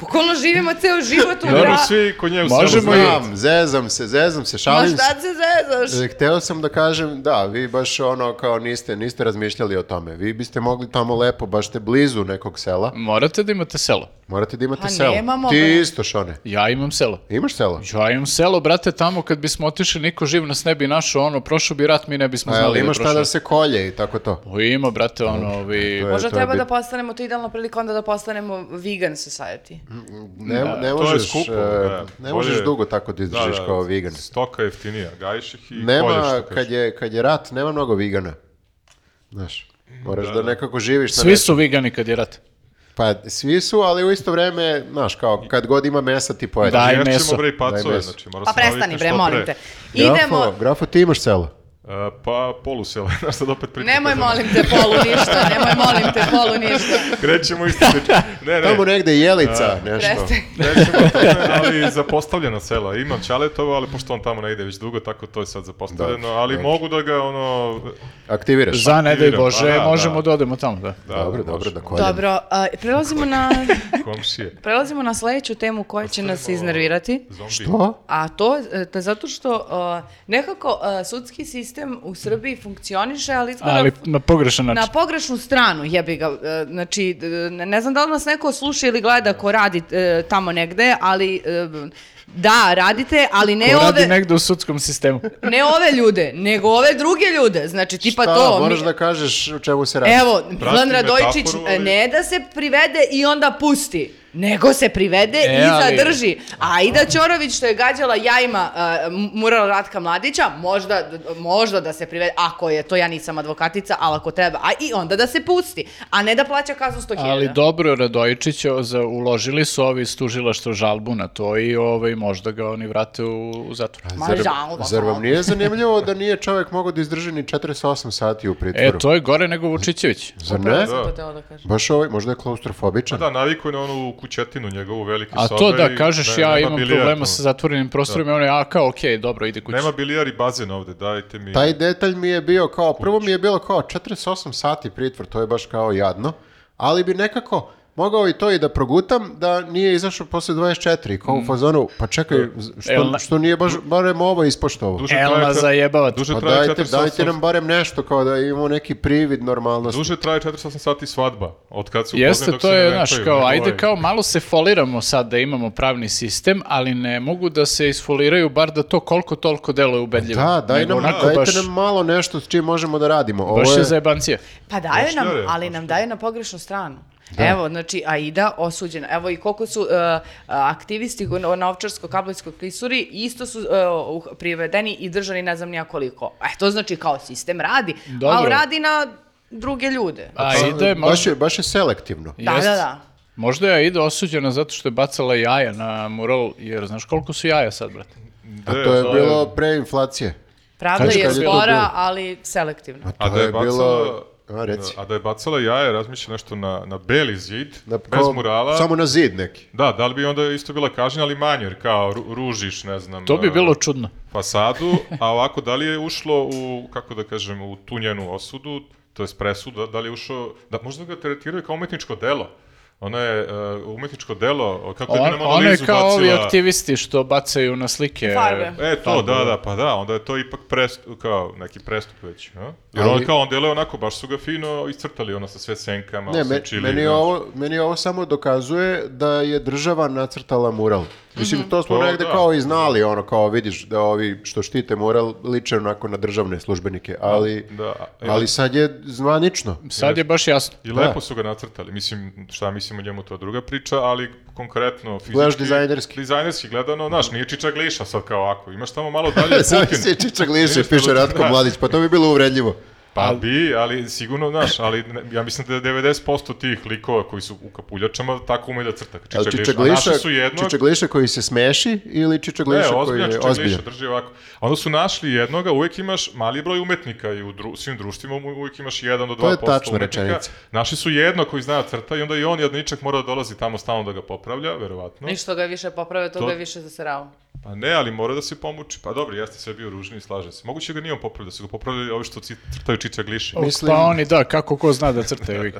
Bukvalno živimo ceo život u Dobro, gradu. svi kod nje u selu Možemo i- znaju. Znam, zezam se, zezam se, Ma šalim se. šta se zezaš? E, Hteo sam da kažem, da, vi baš ono kao niste, niste razmišljali o tome. Vi biste mogli tamo lepo, baš ste blizu nekog sela. Morate da imate selo. Morate da imate Pa selo. nemamo, Ti bre. isto, Šone. Ja imam selo. Imaš selo? Ja imam selo, brate, tamo kad bismo otišli, niko živ nas ne bi našao, ono, prošao bi rat, mi ne bismo A, znali ali imaš da šta prošao. da se kolje i tako to. O, ima, brate, ono, ovi... To je- Možda je treba bit- da postanemo, to je idealna prilika onda da postanemo vegan society. Pa Ne, ne to je možeš, skupo, e, da. ne Bolje- možeš dugo tako da izdržiš kao vegan. Stoka je jeftinija, gajiš ih i kolješ, Nema, što kažeš. kad je, kad je rat, nema mnogo vegana. Znaš, moraš da, nekako živiš na Svi nečem. su vigani kad je rat. Pa svi su, ali u isto vreme, znaš, kao kad god ima mesa ti pojedeš. Da, Daj Ješćemo, meso. bre i pacove, meso. znači mora Pa se navikneš prestani bre, što molim pre. te. Idemo, Grafo, grafo, ti imaš selo. E, pa polusela, znaš sad opet pričam. nemoj Kažem, da. molim te polu ništa, nemoj molim te polu ništa. Krećemo isto priču. Ne, ne. Tamo negde je jelica, Da. nešto. Prestani. Krećemo o tome, ali zapostavljena sela. Imam Ćaletovo, ali pošto on tamo ne ide već dugo, tako to je sad zapostavljeno, Da, ali da. mogu da ga ono... Aktiviraš. Za ne daj aktiviram, Bože, pa da, možemo da. da. odemo tamo, da. Da, dobro, da, dobro, može. da koljemo. Dobro, a, prelazimo na, Komšije. prelazimo na sledeću temu koja će nas iznervirati. Zombi. Što? A to e, da zato što e, nekako e, sudski sistem u Srbiji funkcioniše, ali izgleda Ali pa, znači. f- na pogrešan način. na pogrešnu stranu, jebi ga. E, Znači, d- d- ne znam da li nas neko sluša ili gleda ko radi e, tamo negde, ali e, da, radite, ali ne Ko ove, radi negde u sudskom sistemu. ne ove ljude, nego ove druge ljude. Znači, tipa Šta, to. moraš mi- da kažeš o čemu se radi. Evo, Milan Radojičić metaforu, e, ali- ne da se privede i onda pusti, nego se privede E, i ali- zadrži. A Ida Ćorović što je gađala jajima e, mural Ratka Mladića, možda, d- možda da se privede, ako je to, ja nisam advokatica, ali ako treba, a i onda da se pusti, a ne da plaća kaznu 100.000. Ali dobro, Radojičić, je za, uložili su ovi iz tužilaštva žalbu na to i ovaj, možda ga oni vrate u, u zatvor. Ma Zar, žalba, zar vam pa. nije zanimljivo da nije čovjek mogao da izdrži ni 48 sati u E, pritvoru? to je gore nego Vučićević. Zar Upravo ne? sam to htela da kažem. Baš ovaj, možda je klaustrofobičan. Da, navikuje na onu kućetinu njegovu velike A sobe to da i kažeš, ne- ja nema imam bilijard, problema ono. sa zatvorenim prostorima, i ono je, a kao, okej, dobro, ide kući. Nema bilijar i bazen ovde, dajte mi. Taj detalj mi je bio kao, prvo mi je bilo kao 48 sati pritvor, to je baš kao jadno, ali bi nekako mogao i to i da progutam da nije izašao posle 24 kao Mm. u fazonu, pa čekaj, E, z- Jel što, na- što nije baš, barem ovo ispoštovao. Duže Elna traje čet- zajebava te. Duže Pa traje dajte, 48 dajte nam barem nešto kao da imamo neki privid normalnosti. Duže traje 48 sati svadba, od kad se upoznaju Jeste, dok to se ne je, znaš, venčaju, kao, nego ajde ovaj- kao malo se foliramo sad da imamo pravni sistem, ali ne mogu da se isfoliraju bar da to koliko toliko deluje ubedljivo. Da, daj Nego nam, onako dajte baš, nam malo nešto s čim možemo da radimo. Ovo baš je je, zajebancija. Pa daju nam, Poštljare, ali nam daju na pogrešnu stranu. Da. Evo, znači, Aida osuđena. Evo i koliko su uh, aktivisti na Ovčarsko-Kablinskoj klisuri isto su uh, privedeni i držani ne znam nijakoliko. E, to znači kao sistem radi, Dobro. ali radi na druge ljude. Aida je pa, Baš možda... je, baš je selektivno. Da, Jest. da, da. Možda je Aida osuđena zato što je bacala jaja na mural, jer znaš koliko su jaja sad, brate? Da, A to je bilo pre inflacije. Pravda Znači, je kad je to spora, bilo? ali selektivno. A da je, bacala, bilo... A, reci. A da je bacala jaje, razmišlja nešto na, na beli zid, Na- bez Da, kao- murala. Samo na zid neki. Da, da li bi onda isto bila kažnja, ali manje, jer kao ru- ružiš, ne znam, To bi a, bilo čudno. fasadu, a ovako, da li je ušlo u, kako da kažem, u tu njenu osudu, to je presuda, da li je ušao, da možda ga tretiraju kao umetničko delo. Ona je uh, umetničko delo, kako je On, nam ono je analizu kao ovi bacila- aktivisti što bacaju na slike. Farbe. E, to, da, da, pa da, onda je to ipak prestup, kao neki prestup već, a? Jer Ali- on kao, on deluje onako, baš su ga fino iscrtali, ono, sa sve senkama, Ne, osim me- čili, da. meni, znaš. ovo, meni ovo samo dokazuje da je država nacrtala mural. Mislim, to smo To negde da. kao i znali, ono, kao vidiš da ovi što štite mural liče onako na državne službenike, ali, Da, e, ali sad je zvanično. Sad je baš jasno. Da. I lepo su ga nacrtali, mislim, šta mislim o njemu, to je druga priča, ali konkretno fizički... Gledaš dizajnerski. Dizajnerski gledano, znaš, nije Čiča Gliša sad kao ovako, imaš tamo malo dalje Zavisi Putin. Čiča Gliše, Vidiš piše to da- Ratko da. Mladić, pa to bi bilo uvredljivo. Pa bi, ali sigurno, znaš, ali ne- ja mislim da je 90% tih likova koji su u kapuljačama tako ume da crta. Čiča, Ali Gliša, Čiča a Gliša, naši su jednog, Čiča Gliša koji se smeši ili Čiča Gliša Ne, koji ozbiljan je Čiča ozbiljan? Gliša, drži ovako. A onda su našli jednoga, uvek imaš mali broj umetnika i u dru, svim društvima mu- uvek imaš jedan do To je dva posto tačna umetnika. rečenica. Našli su jedno koji zna da crta i onda i on jedničak mora da dolazi tamo stalno da ga popravlja, verovatno. Ništa ga je više poprave, to, To- ga je više zaserao. Pa ne, ali mora da se pomuči. Pa dobro, jeste sve bio ružni, slažem se. Moguće da nije on popravio, da su ga popravili ovi što ci- crtaju čiča gliše. Mislim- Pa oni, da, kako ko zna da crtaju.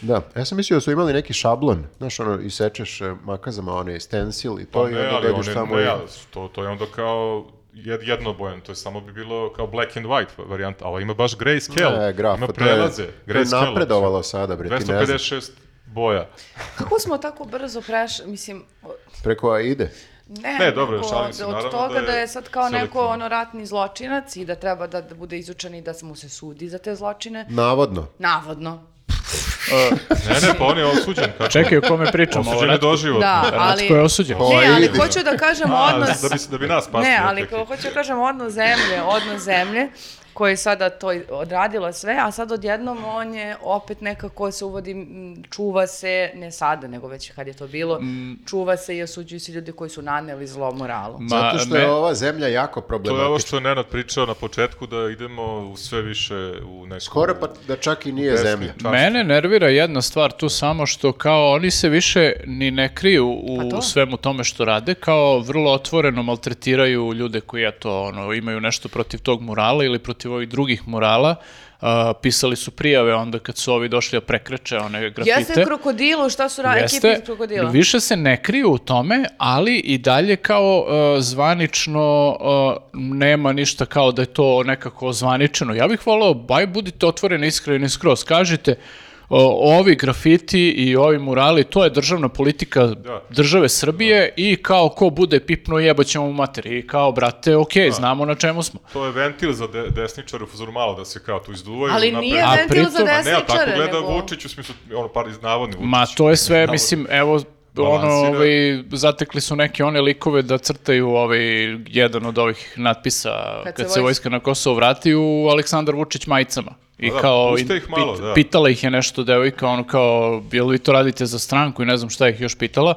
Da, ja sam mislio da su imali neki šablon, znaš, ono, isečeš e, makazama onaj stencil i to Pa i ne, onda ali dođeš one, tamo ne, i... ali su to, to je onda kao jed, jednobojan, to je samo bi bilo kao black and white varijanta, a ovo ima baš grayscale, E, grafo, ima to je- prelaze, to je grayscale. napredovalo sada, bre, ti ne znaš. 256 boja. Kako smo tako brzo prešli, mislim, o- Preko AIDE. ne, Ne, dobro, nego šalim se, od naravno toga da da je je, sad kao neko selektivno. ono ratni zločinac i da treba da, da bude izučen i da mu se sudi za te zločine, Navodno. navodno. Ne, ne, pa on je osuđen. Kako? Čekaj, o kome pričamo? Osuđen je doživotno. Da, ali... Ratko je osuđen. O, Ne, ali idi. hoću da kažem A, odnos... da, bi, se- da bi nas spasili. Ne, od ali takvih. kao hoću da kažem odnos zemlje, odnos zemlje koje je sada to i- odradila sve, a sad odjednom on je opet nekako se uvodi, m, čuva se, ne sada, nego već kad je to bilo, Mm. čuva se i osuđuju se ljudi koji su naneli zlo moralu. Ma, Zato što je ne- ova zemlja jako To je ovo problematična. što je Nenad pričao na početku, da idemo u sve više u neku... Skoro pa da čak i nije Pesmi. zemlja. Čast. Mene nervira jedna stvar tu samo što kao oni se više ni ne kriju Pa u to. svemu tome što rade, kao vrlo otvoreno maltretiraju ljude koji eto, ono, imaju nešto protiv tog murala ili protiv ovih drugih murala. A, pisali su prijave onda kad su ovi došli da prekreče one grafite. Jeste krokodilu, šta su radili, ekipi iz krokodila? više se ne kriju u tome, ali i dalje kao e, zvanično e, nema ništa kao da je to nekako zvaničeno. Ja bih volao, baj budite otvoreni, iskreni skroz, kažite o, ovi grafiti i ovi murali, to je državna politika države Srbije i kao ko bude pipno jebaćemo u materi. I kao, brate, okej, znamo na čemu smo. To je ventil za de, desničare u fazoru malo da se kao tu izduvaju. Ali napred. nije A ventil za pritom- Ma A ne, a tako desničare, gleda nego... Vučić u smislu, ono, par iz navodni Vučić. Ma to je sve, mislim, evo, ono, Balansira. ovaj, zatekli su neke one likove da crtaju ovaj, jedan od ovih natpisa Kad kad, se se, vojska- vojska na Kosovo vrati u Aleksandar Vučić majicama. I Pa da, kao, puste ih malo, da. pitala ih je nešto devojka, ono kao, jel vi to radite za stranku i ne znam šta ih još pitala.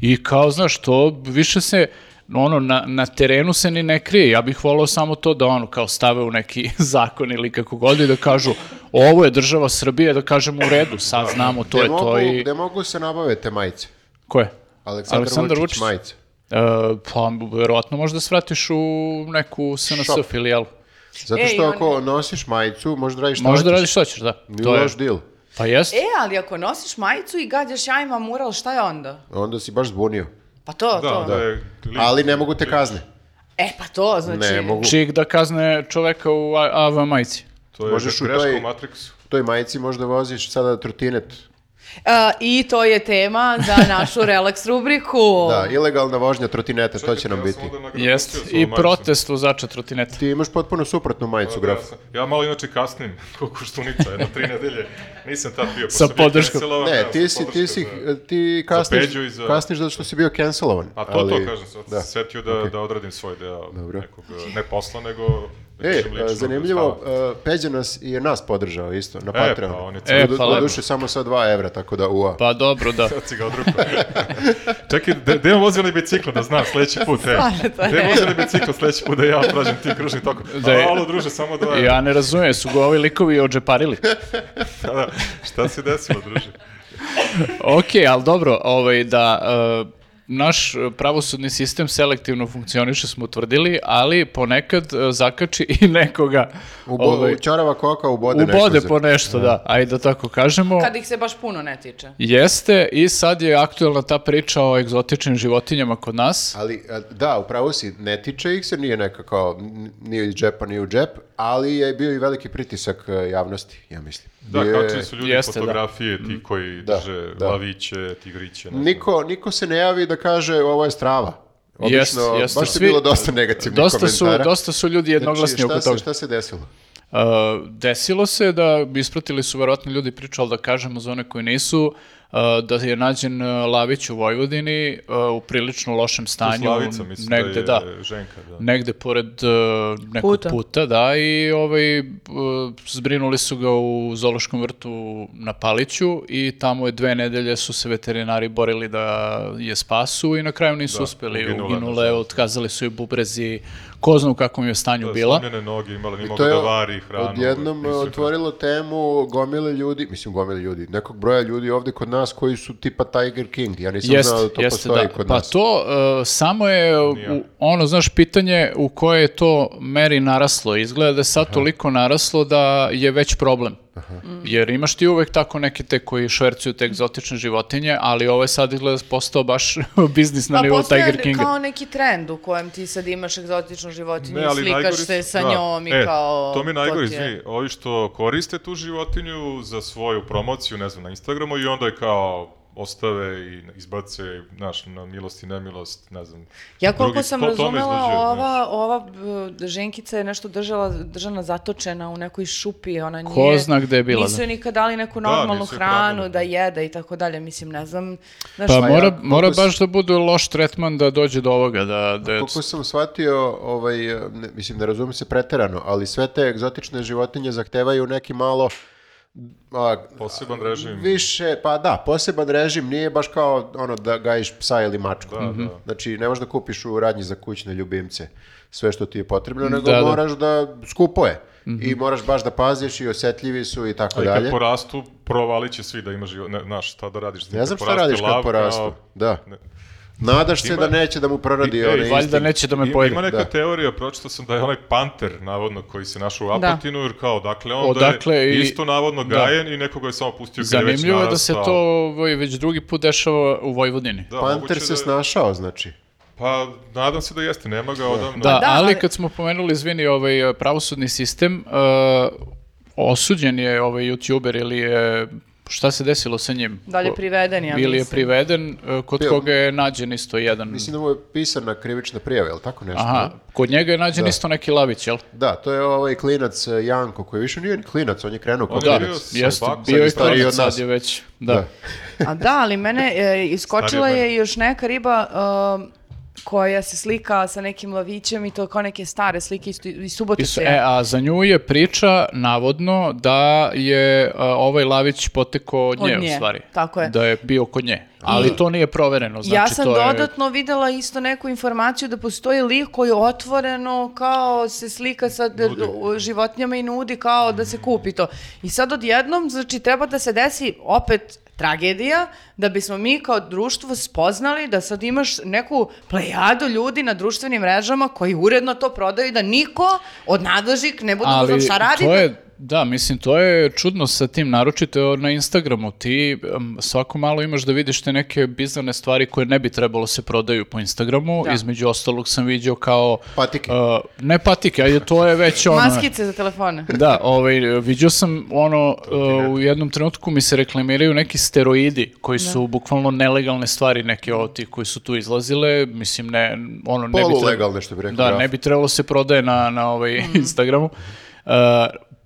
I kao, znaš, to više se, ono, na, na terenu se ni ne krije. Ja bih volao samo to da, ono, kao stave u neki zakon ili kako god i da kažu, ovo je država Srbije, da kažemo u redu, sad znamo, to Gde je to mogu, i... gde mogu se nabave te majice? Ko je? Aleksandar, Aleksandar Vučić, Vučić. majice. E, pa, verovatno možda svratiš u neku SNS Shop. filijalu. Zato E, što i on- ako nosiš majicu, možda radiš šta Možda hoćeš. radiš što ćeš, da. Nije To je, loš deal. pa jest. E, ali ako nosiš majicu i gađaš jajima mural, šta je onda? Onda si baš zbunio. Pa to, Da, to. da je... lik- Ali ne mogu te kazne. E, pa to, znači... Ne mogu. Čik da kazne čoveka u A- AV majici. To je Možeš u greška toj- u Matrixu. U toj majici možda voziš sada trotinet. E, I to je tema za našu relaks rubriku. Da, ilegalna vožnja trotineta, to će nam biti. Jest, i ovaj- protest vozača trotineta. Ti imaš potpuno suprotnu majicu, graf. Ja, ja malo inače kasnim, koliko štunica, jedno tri nedelje. Nisam tad bio. Sa podrškom. Ne, ti si, ti si, e, ti kasniš, Peđu i za- kasniš zato što si bio cancelovan. da. A to, ali- to kažem, sad da. da. setio da, da odradim svoj deo Dobro. nekog, e, ne posla, nego... da E, kažem, a, ličnog zanimljivo, stava. a, Peđa nas je nas podržao isto na E, Patreonu. pa on je E, pa cijel Do- lepo. Doduše samo sa 2 evra, tako da ua. Pa dobro, da. Sad si ga odrukao. Čekaj, da, da imam vozili biciklo, da znam, sledeći put, e. Stvarno to je. Da imam vozili biciklo sledeći put da ja pražem ti kružni tok. Da je- Da, Alo, druže, samo dva. Ja ne razumijem, su ga ovi likovi odžeparili. Da, da. Šta se desilo, druže? Ok, ali dobro, ovaj, da e, naš e, pravosudni sistem selektivno funkcioniše, smo utvrdili, ali ponekad e, zakači i nekoga. U, bo, ovaj, u čarava koka ubode, ubode nešto. po nešto, da, ajde da tako kažemo. Kad ih se baš puno ne tiče. Jeste, i sad je aktuelna ta priča o egzotičnim životinjama kod nas. Ali, a, da, upravo si, ne tiče ih se, nije neka kao, n- nije iz džepa, nije u džep, ali je bio i veliki pritisak e, javnosti, ja mislim. Da, Bio je- kačili su ljudi Jeste, da. fotografije, ti koji Da, drže da. laviće, tigriće, ne znam. Niko, niko se ne javi da kaže ovo je strava. Obično, Jeste, jeste. baš je Svi- bilo dosta negativnih Dosta su, komentara. dosta su ljudi jednoglasni znači, oko šta, se, toga. šta se desilo? E, desilo se da bi ispratili su verovatno ljudi priču, ali da kažemo za one koji nisu, e, da je nađen e, Lavić u Vojvodini e, u prilično lošem stanju. Slavica, mislim negde, da je ženka, da. negde pored e, nekog Puta. puta. da, i ovaj, e, zbrinuli su ga u Zološkom vrtu na Paliću i tamo je dve nedelje su se veterinari borili da je spasu i na kraju nisu uspeli, Da, uginula je, uginule, nažalost. otkazali su i bubrezi, ko zna u kakvom je stanju Da, bila. slomljene noge imala, nije To mogla je da vari hranu. ovaj, odjednom nisu je- otvorilo temu gomile ljudi, mislim gomile ljudi, nekog broja ljudi ovde kod nas koji su tipa Tiger King. Ja nisam Jeste, znao da to jeste, postoji da. kod pa nas. to e, samo je u, ono, znaš, pitanje u koje je to meri naraslo. Izgleda da je sad toliko naraslo da je već problem. Mm. Jer imaš ti uvek tako neke te koji švercuju te egzotične životinje, ali ovo je sad izgleda postao baš biznis na Pa nivou postoje Tiger Kinga. kao neki trend u kojem ti sad imaš egzotičnu životinju i slikaš najgori se su- sa da. njom i E, kao... To mi je najgori, ti je. izvini, ovi što koriste tu životinju za svoju promociju, ne znam, na Instagramu i onda je kao ostave i izbace, znaš, na milost i nemilost, ne znam. Ja koliko Drugi- sam to- to me razumela, izluđuje, znaš. ova, ova b- ženkica je nešto držala, držana zatočena u nekoj šupi, ona nije... Ko zna gde je bila, Nisu da. joj nikad dali neku Da, normalnu nisu joj hranu pravdali. da jede i tako dalje, mislim, ne znam. Znaš, Pa Pa mora, ja, koliko mora s- baš da bude loš tretman da dođe do ovoga. Da, da je- Koliko sam shvatio, ovaj, ne, mislim, ne razumijem se preterano, ali sve te egzotične životinje zahtevaju neki malo a, Poseban režim. više, pa da, poseban režim nije baš kao ono da gajiš psa ili mačku. Da, da. Znači, ne možeš da kupiš u radnji za kućne ljubimce sve što ti je Mm, potrebno, nego Da, da. moraš da skupo je. I moraš baš da paziš i osjetljivi su i Mhm. tako A i kad dalje. porastu, provalit će svi da ima život, ne, znaš, šta da radiš. Ne znam šta radiš kad porastu. Da. Ne. Nadaš se Ima- da neće da mu proradi I- ej, onaj Valjda instinkt. neće da me Ima, pojede. ima neka da. teorija, pročitao sam da je onaj panter, navodno, koji se našao u Da. Apatinu, jer kao, dakle, on da Odakle je i- isto navodno da. gajen i nekoga je samo pustio gde je već Zanimljivo je da se narastao. to ovaj, već drugi put dešava u Vojvodini. Da, moguće Panter da se je- snašao, znači. Pa, nadam se da jeste, nema ga odavno. Da, da, ali ali- kad smo pomenuli, izvini, ovaj, pravosudni sistem, e, osuđen je ovaj youtuber ili je, šta se desilo sa njim? Da li je priveden, ja Ili je mislim. priveden, e, kod Bio- koga je nađen isto jedan... Mislim da mu je pisana krivična prijava, jel tako nešto? Aha, kod njega je nađen Da. isto neki lavić, jel? Da, to je ovaj klinac eh, Janko, koji više nije ni klinac, on je krenuo kao On je Da, bio klinac. sa jeste, bakom, bio je sad je stariji kod od nas. sad je već, da. Da. A da, ali mene e, iskočila Starija je još neka riba um, koja se slika sa nekim lavićem i to kao neke stare slike iz, iz Subotice. Isto, e, a za nju je priča, navodno, da je a, ovaj lavić potekao od Od nje, nje, u stvari. tako je. Da je bio kod nje. Ali to nije provereno, znači ja sam to je... dodatno videla isto neku informaciju da postoji lik koji otvoreno kao se slika sa d- u- životinjama i nudi kao da se kupi to. I sad odjednom, znači treba da se desi opet tragedija, da bismo mi kao društvo spoznali da sad imaš neku plejadu ljudi na društvenim mrežama koji uredno to prodaju i da niko od nadležnih ne bude Ali uzman šta radi. to je Da, mislim, to je čudno sa tim, naročito na Instagramu. Ti um, svako malo imaš da vidiš te neke bizarne stvari koje ne bi trebalo se prodaju po Instagramu. Da. Između ostalog sam vidio kao... Patike. uh, ne patike, ajde, to je već ono... Maskice za telefone. Da, ovaj, vidio sam ono, da. uh, u jednom trenutku mi se reklamiraju neki steroidi Da. koji su bukvalno nelegalne stvari, neke od tih koji su tu izlazile, mislim ne, ono ne bi trebalo... Polulegalne, što bi rekao Da, Rafa. ne bi trebalo se prodaje na, na ovaj Instagramu. Uh,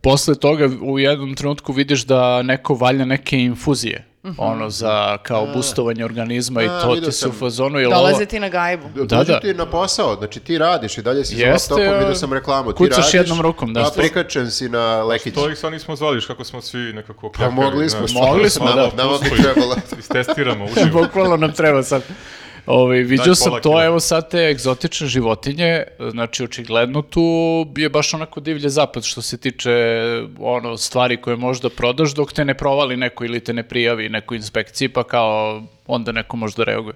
posle toga u jednom trenutku vidiš da neko valja neke infuzije. ono za kao boostovanje organizma i A, to vidio ti su u sam. fazonu jel ovo- Dolaze ti na gajbu. Da, Dođu da. ti na posao, znači ti radiš i dalje si za Jeste, laptopom, vidio a, sam reklamu, ti kucaš radiš, jednom rukom, da. a prikačen si na lekić. To ih sad nismo zvali, još kako smo svi nekako Pa kljakali. mogli smo, znaš. stvarno, Mogli smo, nama- da. Nama bi Postoji. trebalo. Istestiramo uživo. Bukvalno nam treba sad. Ovaj, vidio Daj sam pola to, kila. evo sad te egzotične životinje, znači očigledno tu je baš onako divlje zapad što se tiče ono stvari koje možda prodaš dok te ne provali neko ili te ne prijavi neko inspekciji pa kao onda neko možda reaguje.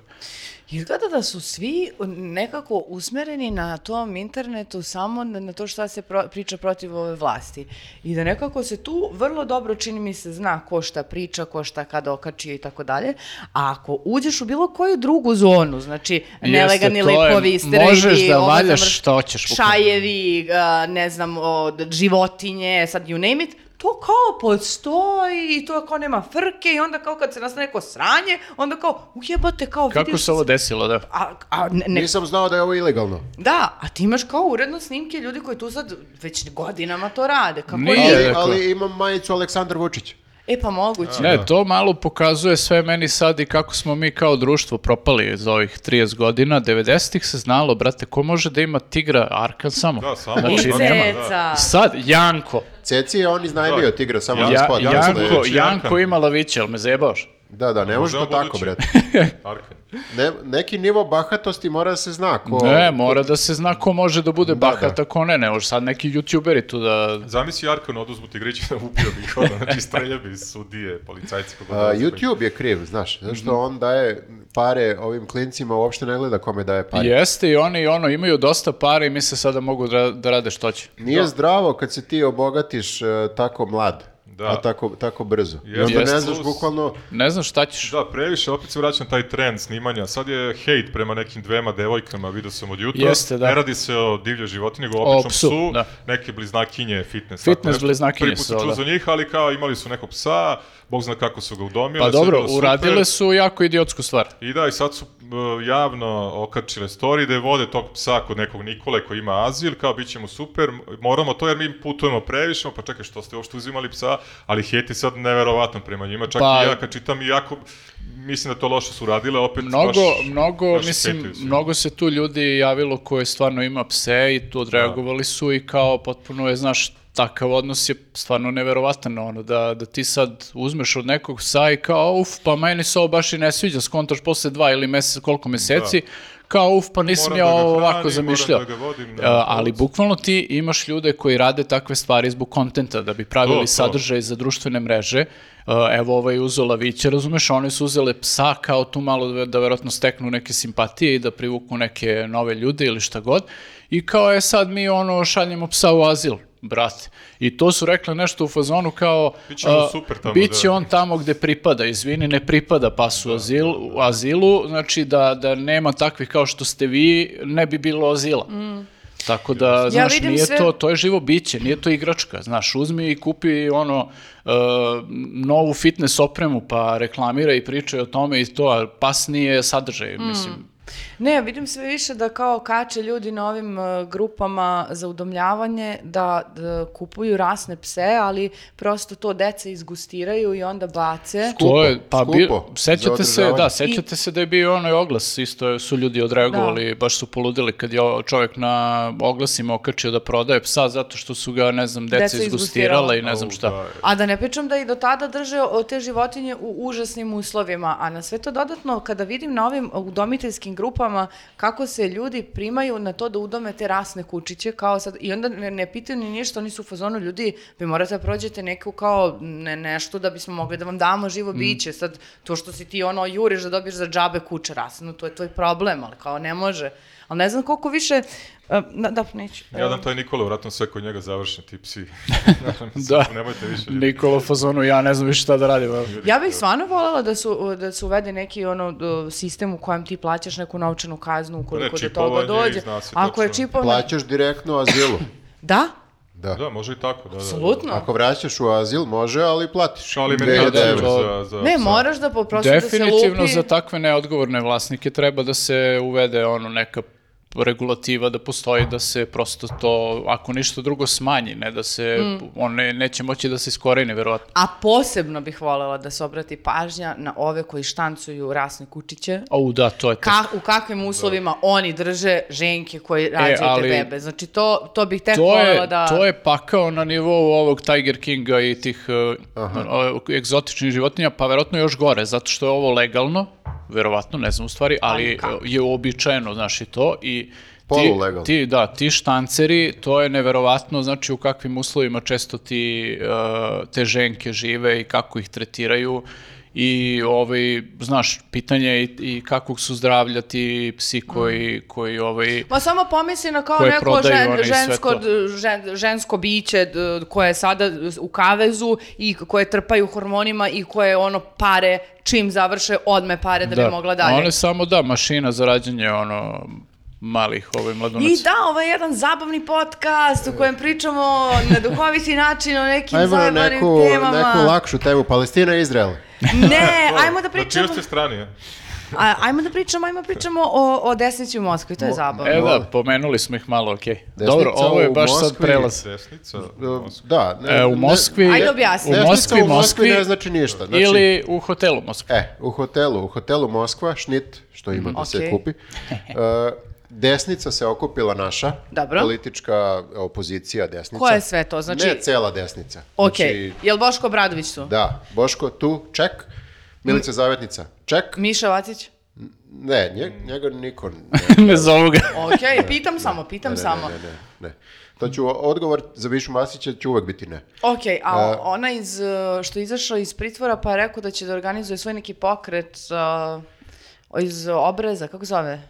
Izgleda da su svi nekako usmereni na tom internetu samo na na to šta se pro- priča protiv ove vlasti. I da nekako se tu vrlo dobro čini mi se zna ko šta priča, ko šta kada okačio i tako dalje. A ako uđeš u bilo koju drugu zonu, znači nelegalni to je, lekovi, steroidi, možeš da ovo sam valjaš vrš- šta hoćeš, bukvalno. Šajevi, a, ne znam, od životinje, sad you name it, to kao postoji i to kao nema frke i onda kao kad se nas neko sranje, onda kao ujebate kao Kako vidiš se ovo desilo, da? a, a ne, ne- Nisam znao da je ovo ilegalno. da, a ti imaš kao uredno snimke ljudi koji tu sad već godinama to rade. Kako Nije. je? Ali, dakle. ali imam majicu Aleksandar Vučić. E pa moguće. Ne, to malo pokazuje sve meni sad i kako smo mi kao društvo propali za ovih 30 godina. 90-ih se znalo, brate, ko može da ima tigra Arkan samo? Da, samo. I Znači, Znači, nema. zeca. Sad, Janko. Ceci je on iznajmio Da. tigra, samo Ja- za Ja, spot. ja mislim da je- Janko, reći Janko Jankan. ima laviće, ali me zajebaoš? Da, da, ne može to Možemo tako, budući. brate. Arkan. Ne, neki nivo bahatosti mora da se zna. Ko, Ne, mora da se zna ko može da bude Da, bahata, da. ko ne, ne, može sad neki youtuberi tu da... Zamisli Arkan, oduzmu ti griće, ubio bi ih ono, znači strelja bi sudije, policajci. kako A, dolaze. YouTube je kriv, znaš, zato Mhm. što on daje pare ovim klincima, uopšte ne gleda kome daje pare. Jeste i oni ono imaju dosta pare i misle sada mogu da, da rade što će. Nije zdravo kad se ti obogatiš e, tako mlad, Da. a tako, tako brzo. I Jeste. onda ne Jeste. znaš Plus- bukvalno, Ne znam šta ćeš. Da, previše, opet se vraćam taj trend snimanja. Sad je hejt prema nekim dvema devojkama, vidio sam od jutra. Jeste, da. Ne radi se o divljoj životinji, nego o običnom psu, psu, da. neke bliznakinje, Fitness fitness. tako nešto. bliznakinje Prvi su put sam ovo, čuo da. za njih, ali kao imali su nekog psa, bog zna kako su ga udomile. Pa sve je dobro, bilo super. uradile su jako idiotsku stvar. I da, i sad su e, javno okačile story da je vode tog psa kod nekog Nikole koji ima azil, kao bit ćemo super, m- moramo to jer mi putujemo previše, pa čekaj što ste uopšte uzimali psa, ali hejt je sad neverovatan prema njima, čak Pa- i ja kad čitam i jako mislim da to loše su radile, opet Mnogo, baš, mnogo, baš mislim, hejtaju svi. mnogo se tu ljudi javilo koje stvarno ima pse Da. i tu odreagovali su i kao potpuno je, znaš, takav odnos je stvarno neverovatan, ono, da, da ti sad uzmeš od nekog psa i kao, uf, pa meni se ovo baš i ne sviđa, skontaš posle dva ili mesec, koliko meseci, kao, uf, pa nisam Da. Moram ja da ga ovo hranim, ovako moram zamišljao. da ga vodim, da, E, ali to- bukvalno ti imaš ljude koji rade takve stvari zbog kontenta, da bi pravili To, to. sadržaj za društvene mreže. E, Evo ovaj uzo laviće, razumeš, one su uzele psa kao tu malo da, da verovatno steknu neke simpatije i da privuku neke nove ljude ili šta god. I kao je sad mi ono šaljemo psa u azil brate. I to su rekle nešto u fazonu kao Biće ono a, super tamo, biće da. on tamo gde pripada, izvini, ne pripada pasu azil, u da. azilu, znači da, da nema takvih kao što ste vi, ne bi bilo azila. Tako da, znaš, vidim nije sve- to, to je živo biće, nije to igračka, znaš, uzmi i kupi ono e, novu fitness opremu pa reklamira i pričaj o tome i to, a pas nije sadržaj, Mm. mislim. Ne, vidim sve više da kao kače ljudi na ovim e, grupama za udomljavanje da, da kupuju rasne pse, ali prosto to deca izgustiraju i onda bace. To je, pa bi, skupo sećate za se, da, održavanje. sećate se da je bio onaj oglas, isto su ljudi odreagovali, Da. baš su poludili kad je o- čovjek na oglasima okačio da prodaje psa zato što su ga, ne znam, deca, Deca izgustirala i ne znam Au, šta. da, A da ne pričam da i do tada drže o, te životinje u užasnim uslovima, a na sve to dodatno kada vidim na ovim udomiteljskim grupama kako se ljudi primaju na to da udome te rasne kučiće kao sad i onda ne, ne pitaju ni ništa, oni su u fazonu ljudi, vi morate da prođete neku kao ne, nešto da bismo mogli da vam damo živo biće, sad to što si ti ono juriš da dobiješ za džabe kuće rasnu, to je tvoj problem, ali kao ne može. Ali ne znam koliko više da, da, neću. Jadan taj Nikola, vratno sve kod njega završni ti psi. Dakle, Da. Nemojte više. Nikola u fazonu, ja ne znam više šta da radim. evo. Ja bih stvarno voljela da su da se uvede neki ono d- sistem u kojem ti plaćaš neku novčanu kaznu ukoliko do toga čipovanje i dođe. Znači, zna se Ako je tačno. čipovanje, Plaćaš direktno azilu. da, Da. Da, može i tako, da, da. apsolutno. Ako vraćaš u azil, može, ali platiš. Ali meni 2000 je da, evra. da. za, za Ne, psa. moraš da poprosto da se Definitivno lupi. za takve neodgovorne vlasnike treba da se uvede ono neka regulativa da postoji da se prosto to, ako ništa drugo, smanji, ne da se, Mm. on ne, neće moći da se iskoreni, verovatno. A posebno bih voljela da se obrati pažnja na ove koji štancuju rasne kučiće. O, da, to je teško. Ka, u kakvim uslovima Da. oni drže ženke koji rađaju te E, ali- bebe. Znači, to, to bih tek To voljela je, da... to je pakao na nivou ovog Tiger Kinga i tih uh, uh, egzotičnih životinja, pa verovatno još gore, zato što je ovo legalno, verovatno, ne znam u stvari, ali uh, je uobičajeno, znaš i to, i ti, Polulegalno. ti, da, ti štanceri, to je neverovatno, znači u kakvim uslovima često ti uh, te ženke žive i kako ih tretiraju, i ovaj, znaš, pitanje je i, i kakvog su zdravlja ti psi koji, koji ovaj, Ma samo pomisli na kao Koje neko prodaju žen, one i sve žensko, to. d- žen- žensko biće d- koje je sada u kavezu i koje trpaju hormonima i koje ono pare čim završe odme pare da, bi mogla dalje. Ona je samo, da, mašina za rađanje, ono, malih ovaj mladunaca. I da, ovo je jedan zabavni podcast u kojem pričamo na duhoviti način o nekim Ajmo na zajebanim neku, temama. neku lakšu temu, Palestina i Izrael. Ne, O, ajmo da Na čijoj pričamo, Znači, ste strani, je? a- ajmo da pričamo, ajmo da pričamo o, o desnici u Moskvi, to je zabavno. E da, pomenuli smo ih malo, okej. Desnica Dobro, ovo je u baš sad Moskvi. prelaz. Desnica? Da, ne, E, u ne- Moskvi, Ajde objasni. u desnica Moskvi, u Moskvi Moskvi, ne znači ništa. Znači, ili u hotelu Moskvi. E, u hotelu, u hotelu Moskva, šnit, što ima da se Okej. kupi. E, desnica se okupila naša, Dobro. politička opozicija desnica. Ko je sve to? Znači, Ne cela desnica. ok, Znači, jel Boško Bradović tu? da, Boško tu, ček. Milica Mm. Zavetnica, ček. Miša Vacić? Ne, Mm. nje- njega niko ne, ne zovu ga. Da. Ok, pitam samo, pitam ne, samo. ne, ne, ne. To ću, odgovor za Višu Masića će uvek biti ne. Ok, a ona iz, uh, što je izašla iz pritvora pa je rekao da će da organizuje svoj neki pokret uh, iz obreza, kako zove?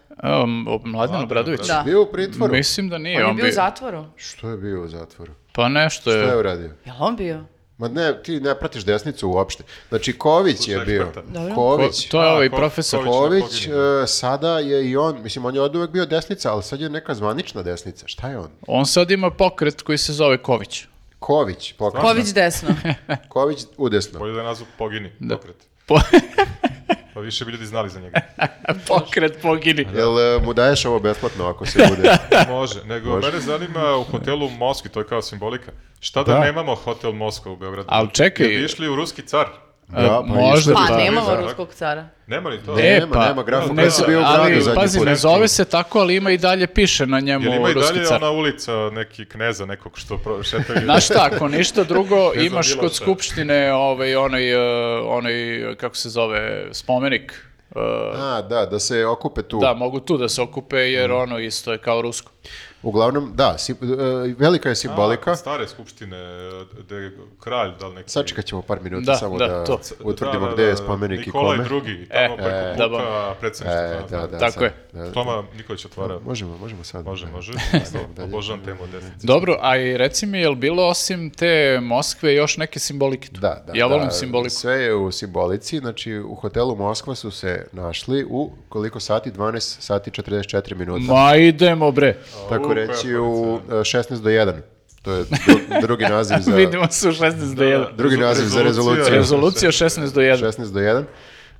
Um, o, Mladen Obradović. Da. Bio u pritvoru. Mislim da nije. On je on bio u bi- zatvoru. Što je bio u zatvoru? Pa nešto Što je je. uradio? Jel on bio? Ma ne, ti ne pratiš desnicu uopšte. Znači, Ković je Slušaj bio. eksperta. Dobro. Ko- Ković. To je A, ovaj ko- profesor. Ković. Ković, Ković je e, sada je i on, mislim, on je od uvek bio desnica, ali sad je neka zvanična desnica. Šta je on? On sad ima pokret koji se zove Ković. Ković, pokret. Ković desno. Ković udesno. Bolje da je nazvu pogini, pokret. Po- Pa više bi ljudi znali za njega. pokret pogini. da. Jel e, mu daješ ovo besplatno ako se bude? Da, Može, nego mene zanima u hotelu Moskvi, to je kao simbolika. Šta da, nemamo hotel Moskva u Beogradu? Al čekaj. Jel bi išli u ruski car? Da, pa možda išli Pa, bi. Pa nemamo Bizarno. ruskog cara. Nema ni to? E, Nema, pa, nema grafa ne znam, koji se bio u ali, gradu zadnji pazi, put. ne zove se tako, ali ima i dalje piše na njemu Jel ima i ruski dalje car. ona ulica neki kneza nekog što pro- šetaju? Znaš šta, ako ništa drugo, znam imaš bilo kod šta. skupštine ovaj, onaj, eh, onaj, eh, kako se zove, spomenik. Eh, A, da, da se okupe tu. Da, mogu tu da se okupe, jer Mhm. ono isto je kao rusko. Uglavnom, da, si- e, velika je simbolika. A, Stare skupštine, gde je kralj, da li neki... Sačekat ćemo par minuta Da, samo da, da, to. utvrdimo Da, da, gde je da, spomenik i Nikolaj kome. drugi, tamo preko da, puka, predsjedništvo. E, da, da, Tako sad, je. da. Toma Nikolić otvara. Možemo, možemo sad. Može, može. Obožavam temu desnice. Dobro, a i reci mi, je li bilo osim te Moskve još neke simbolike tu? Da, da. Ja volim da, simboliku. Sve je u simbolici, znači u hotelu Moskva su se našli u koliko sati? 12 sati 44 minuta. Ma pa idemo bre, Tako koja reći u policija? e, 16 do 1. To je dru- drugi naziv za... Da, vidimo se u 16 do 1. Drugi naziv za rezoluciju. Rezolucija 16 do 1. 16 do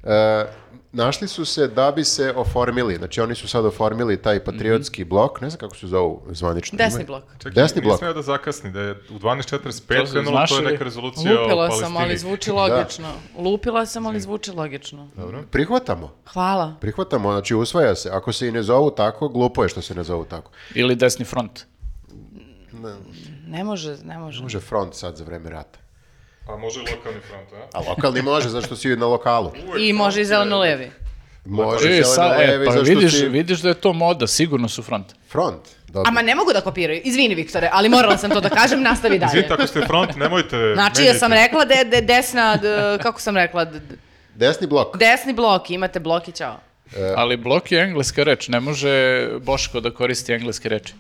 1. E, našli su se da bi se oformili, znači oni su sad oformili taj patriotski Mhm. blok, ne znam kako se zovu zvanično. Desni ime. blok. Čekaj, Desni blok. Nisam ja da zakasni, da je u To 12.45 se krenulo, to je znaš neka li? rezolucija o Lupila Palestini. sam, ali zvuči logično. Lupila sam, ali zvuči logično. Da. Prihvatamo. Hvala. Prihvatamo, znači usvaja se. Ako se i ne zovu tako, glupo je što se ne zovu tako. Ili desni front. Ne može, ne može. Može front sad za vreme rata. A može i lokalni front, Da, a? A lokalni može, zašto si na lokalu. I može i zeleno-levi. Može E, zeleno sa, e, levi, pa da zašto vidiš, si vidiš da je to moda, sigurno su front. front. Dobro. Ama ne mogu da kopiraju. Izvini, Viktore, ali morala sam to da kažem, nastavi dalje. Izvinite, ako ste front, nemojte... Znači, ja menjajte. sam rekla da je da je desna, d- kako sam rekla, d- d- Desni blok. desni blok, imate blok i čao. E. Ali blok je engleska reč, ne može Boško da koristi engleske reči.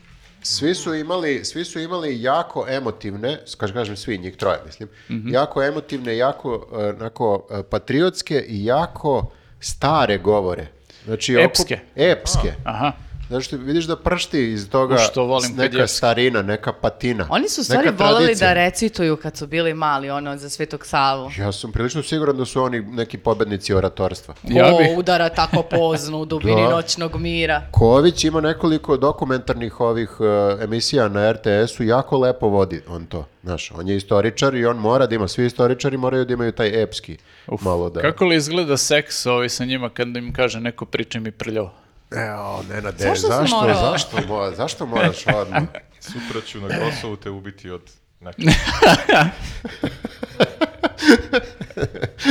Svi su imali, svi su imali jako emotivne, kažem, kažem svi njih troje, mislim, Mhm. jako emotivne, jako e, onako e, patriotske i jako stare govore. Znači, okup- Epske. Epske. Aha. Zato što vidiš da pršti iz toga U, što volim kad neka je epska. starina, neka patina. Oni su u stvari neka voleli tradicija. da recituju kad su bili mali, ono, za Svetog Savu. Ja sam prilično siguran da su oni neki pobednici oratorstva. Ko Ja bih- udara tako pozno u dubini Da. noćnog mira. Ković ima nekoliko dokumentarnih ovih e, emisija na RTS-u, jako lepo vodi on to. Znaš, on je istoričar i on mora da ima, svi istoričari moraju da imaju taj epski malo da... Kako li izgleda seks ovaj sa njima kad im kaže neko priče mi prljavo? Evo, E, Nenade, Zašto si zašto, morao? zašto, mo- zašto moraš odmah? Sutra ću na Kosovu te ubiti od nečeg. Da,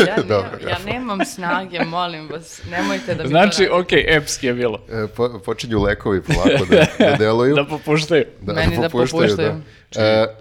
Ja, ne- Dobro. ja nemam snage, molim vas, nemojte da mi Znači, to radite. okej, epski je bilo. E, po- počinju lekovi polako da, da deluju. Da popuštaju. Meni da popuštaju. da. E,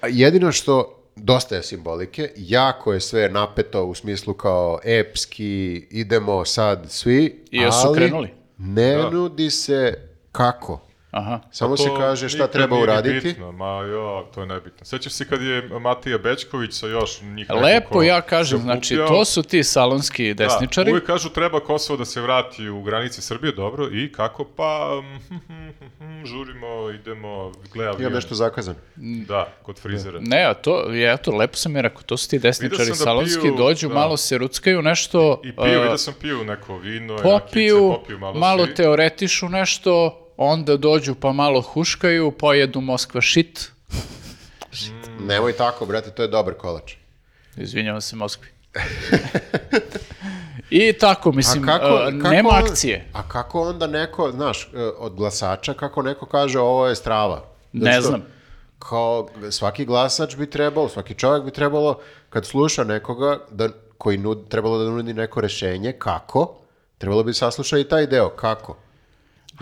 a jedino što dosta je simbolike, jako je sve napeto u smislu kao epski, idemo sad svi, I jesu ali krenuli? ne Da. nudi se kako. Aha. Samo se To kaže šta nikad treba nije ni uraditi. Bitno, ma jo, to je nebitno. Sećaš se kad je Matija Bečković sa još njih Lepo ja kažem, znači to su ti salonski desničari. Da, uvijek kažu treba Kosovo da se vrati u granice Srbije, dobro, i kako pa, mm, žurimo, idemo, gle avion. Imam nešto zakazano. Da, kod frizera. Ne, a to, je, eto, lepo sam je rekao, to su ti desničari Vidio sam da salonski, piju, dođu, da. malo se ruckaju nešto, I piju, a, vidio sam piju neko vino, popiju, rakice, popiju malo, malo, svi. teoretišu nešto, onda dođu pa malo huškaju, pojedu Moskva shit, Mm. Nemoj tako, brate, to je dobar kolač. izvinjavam se Moskvi. I tako, mislim, a, nema on- akcije. A kako onda neko, znaš, e, od glasača, kako neko kaže ovo je strava? Zato Ne Da što znam. Kao svaki glasač bi trebalo, svaki čovjek bi trebalo, kad sluša nekoga da, koji nud, trebalo da nudi neko rešenje, kako, trebalo bi saslušati i taj deo, kako.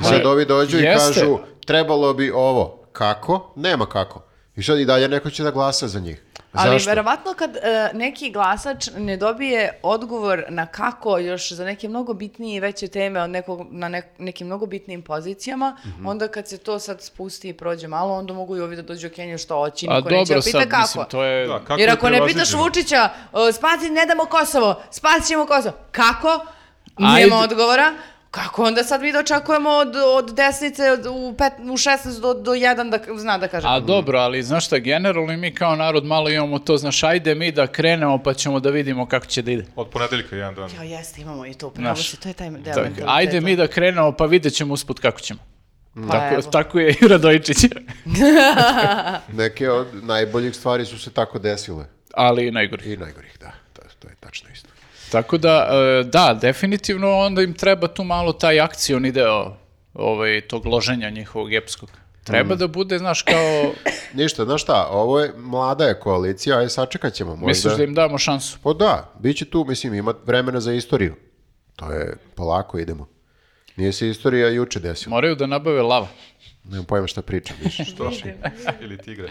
I sad Ali, ovi dođu i jeste. kažu, trebalo bi ovo, kako, nema kako. I sad i dalje neko će da glasa za njih. Ali Zašto? verovatno kad e, neki glasač ne dobije odgovor na kako još za neke mnogo bitnije i veće teme od nekog, na nek- nekim mnogo bitnijim pozicijama, Mhm. onda kad se to sad spusti i prođe malo, onda mogu i ovi da dođu u Kenju što oći, A niko neće da dobro pita sad, kako. mislim, to je... Da, kako Jer je ako ne pitaš prevaziđeno? Vučića, e, spasi, ne damo Kosovo, spasit ćemo Kosovo. Kako? Ajde. Nema odgovora. Kako onda sad mi da očekujemo od, od desnice od, u, pet, u 16 do, do 1 da k- zna da kaže? A dobro, ali znaš šta, generalno i mi kao narod malo imamo to, znaš, ajde mi da krenemo pa ćemo da vidimo kako će da ide. Od ponedeljka jedan dan. Ja, jeste, imamo i to, pravo Znaš, si, to je taj deo Tak, mentaliteta. ajde mi da krenemo pa vidjet ćemo usput kako ćemo. Pa Tako, evo. tako je i Radojičić. Neke od najboljih stvari su se tako desile. Ali i najgori. I najgorih, da. To, to je tačno isto. Tako da, e, da, definitivno onda im treba tu malo taj akcioni deo ovaj, tog loženja njihovog epskog. Treba da bude, znaš, kao, Ništa, znaš šta, ovo je, mlada je koalicija, aj sačekat ćemo možda. misliš da im damo šansu. Pa da, bit će tu, mislim, ima vremena za istoriju. To je, polako idemo. Nije se istorija juče desila. Moraju da nabave lava. Nemam pojma šta pričam više. Što? Ili tigre.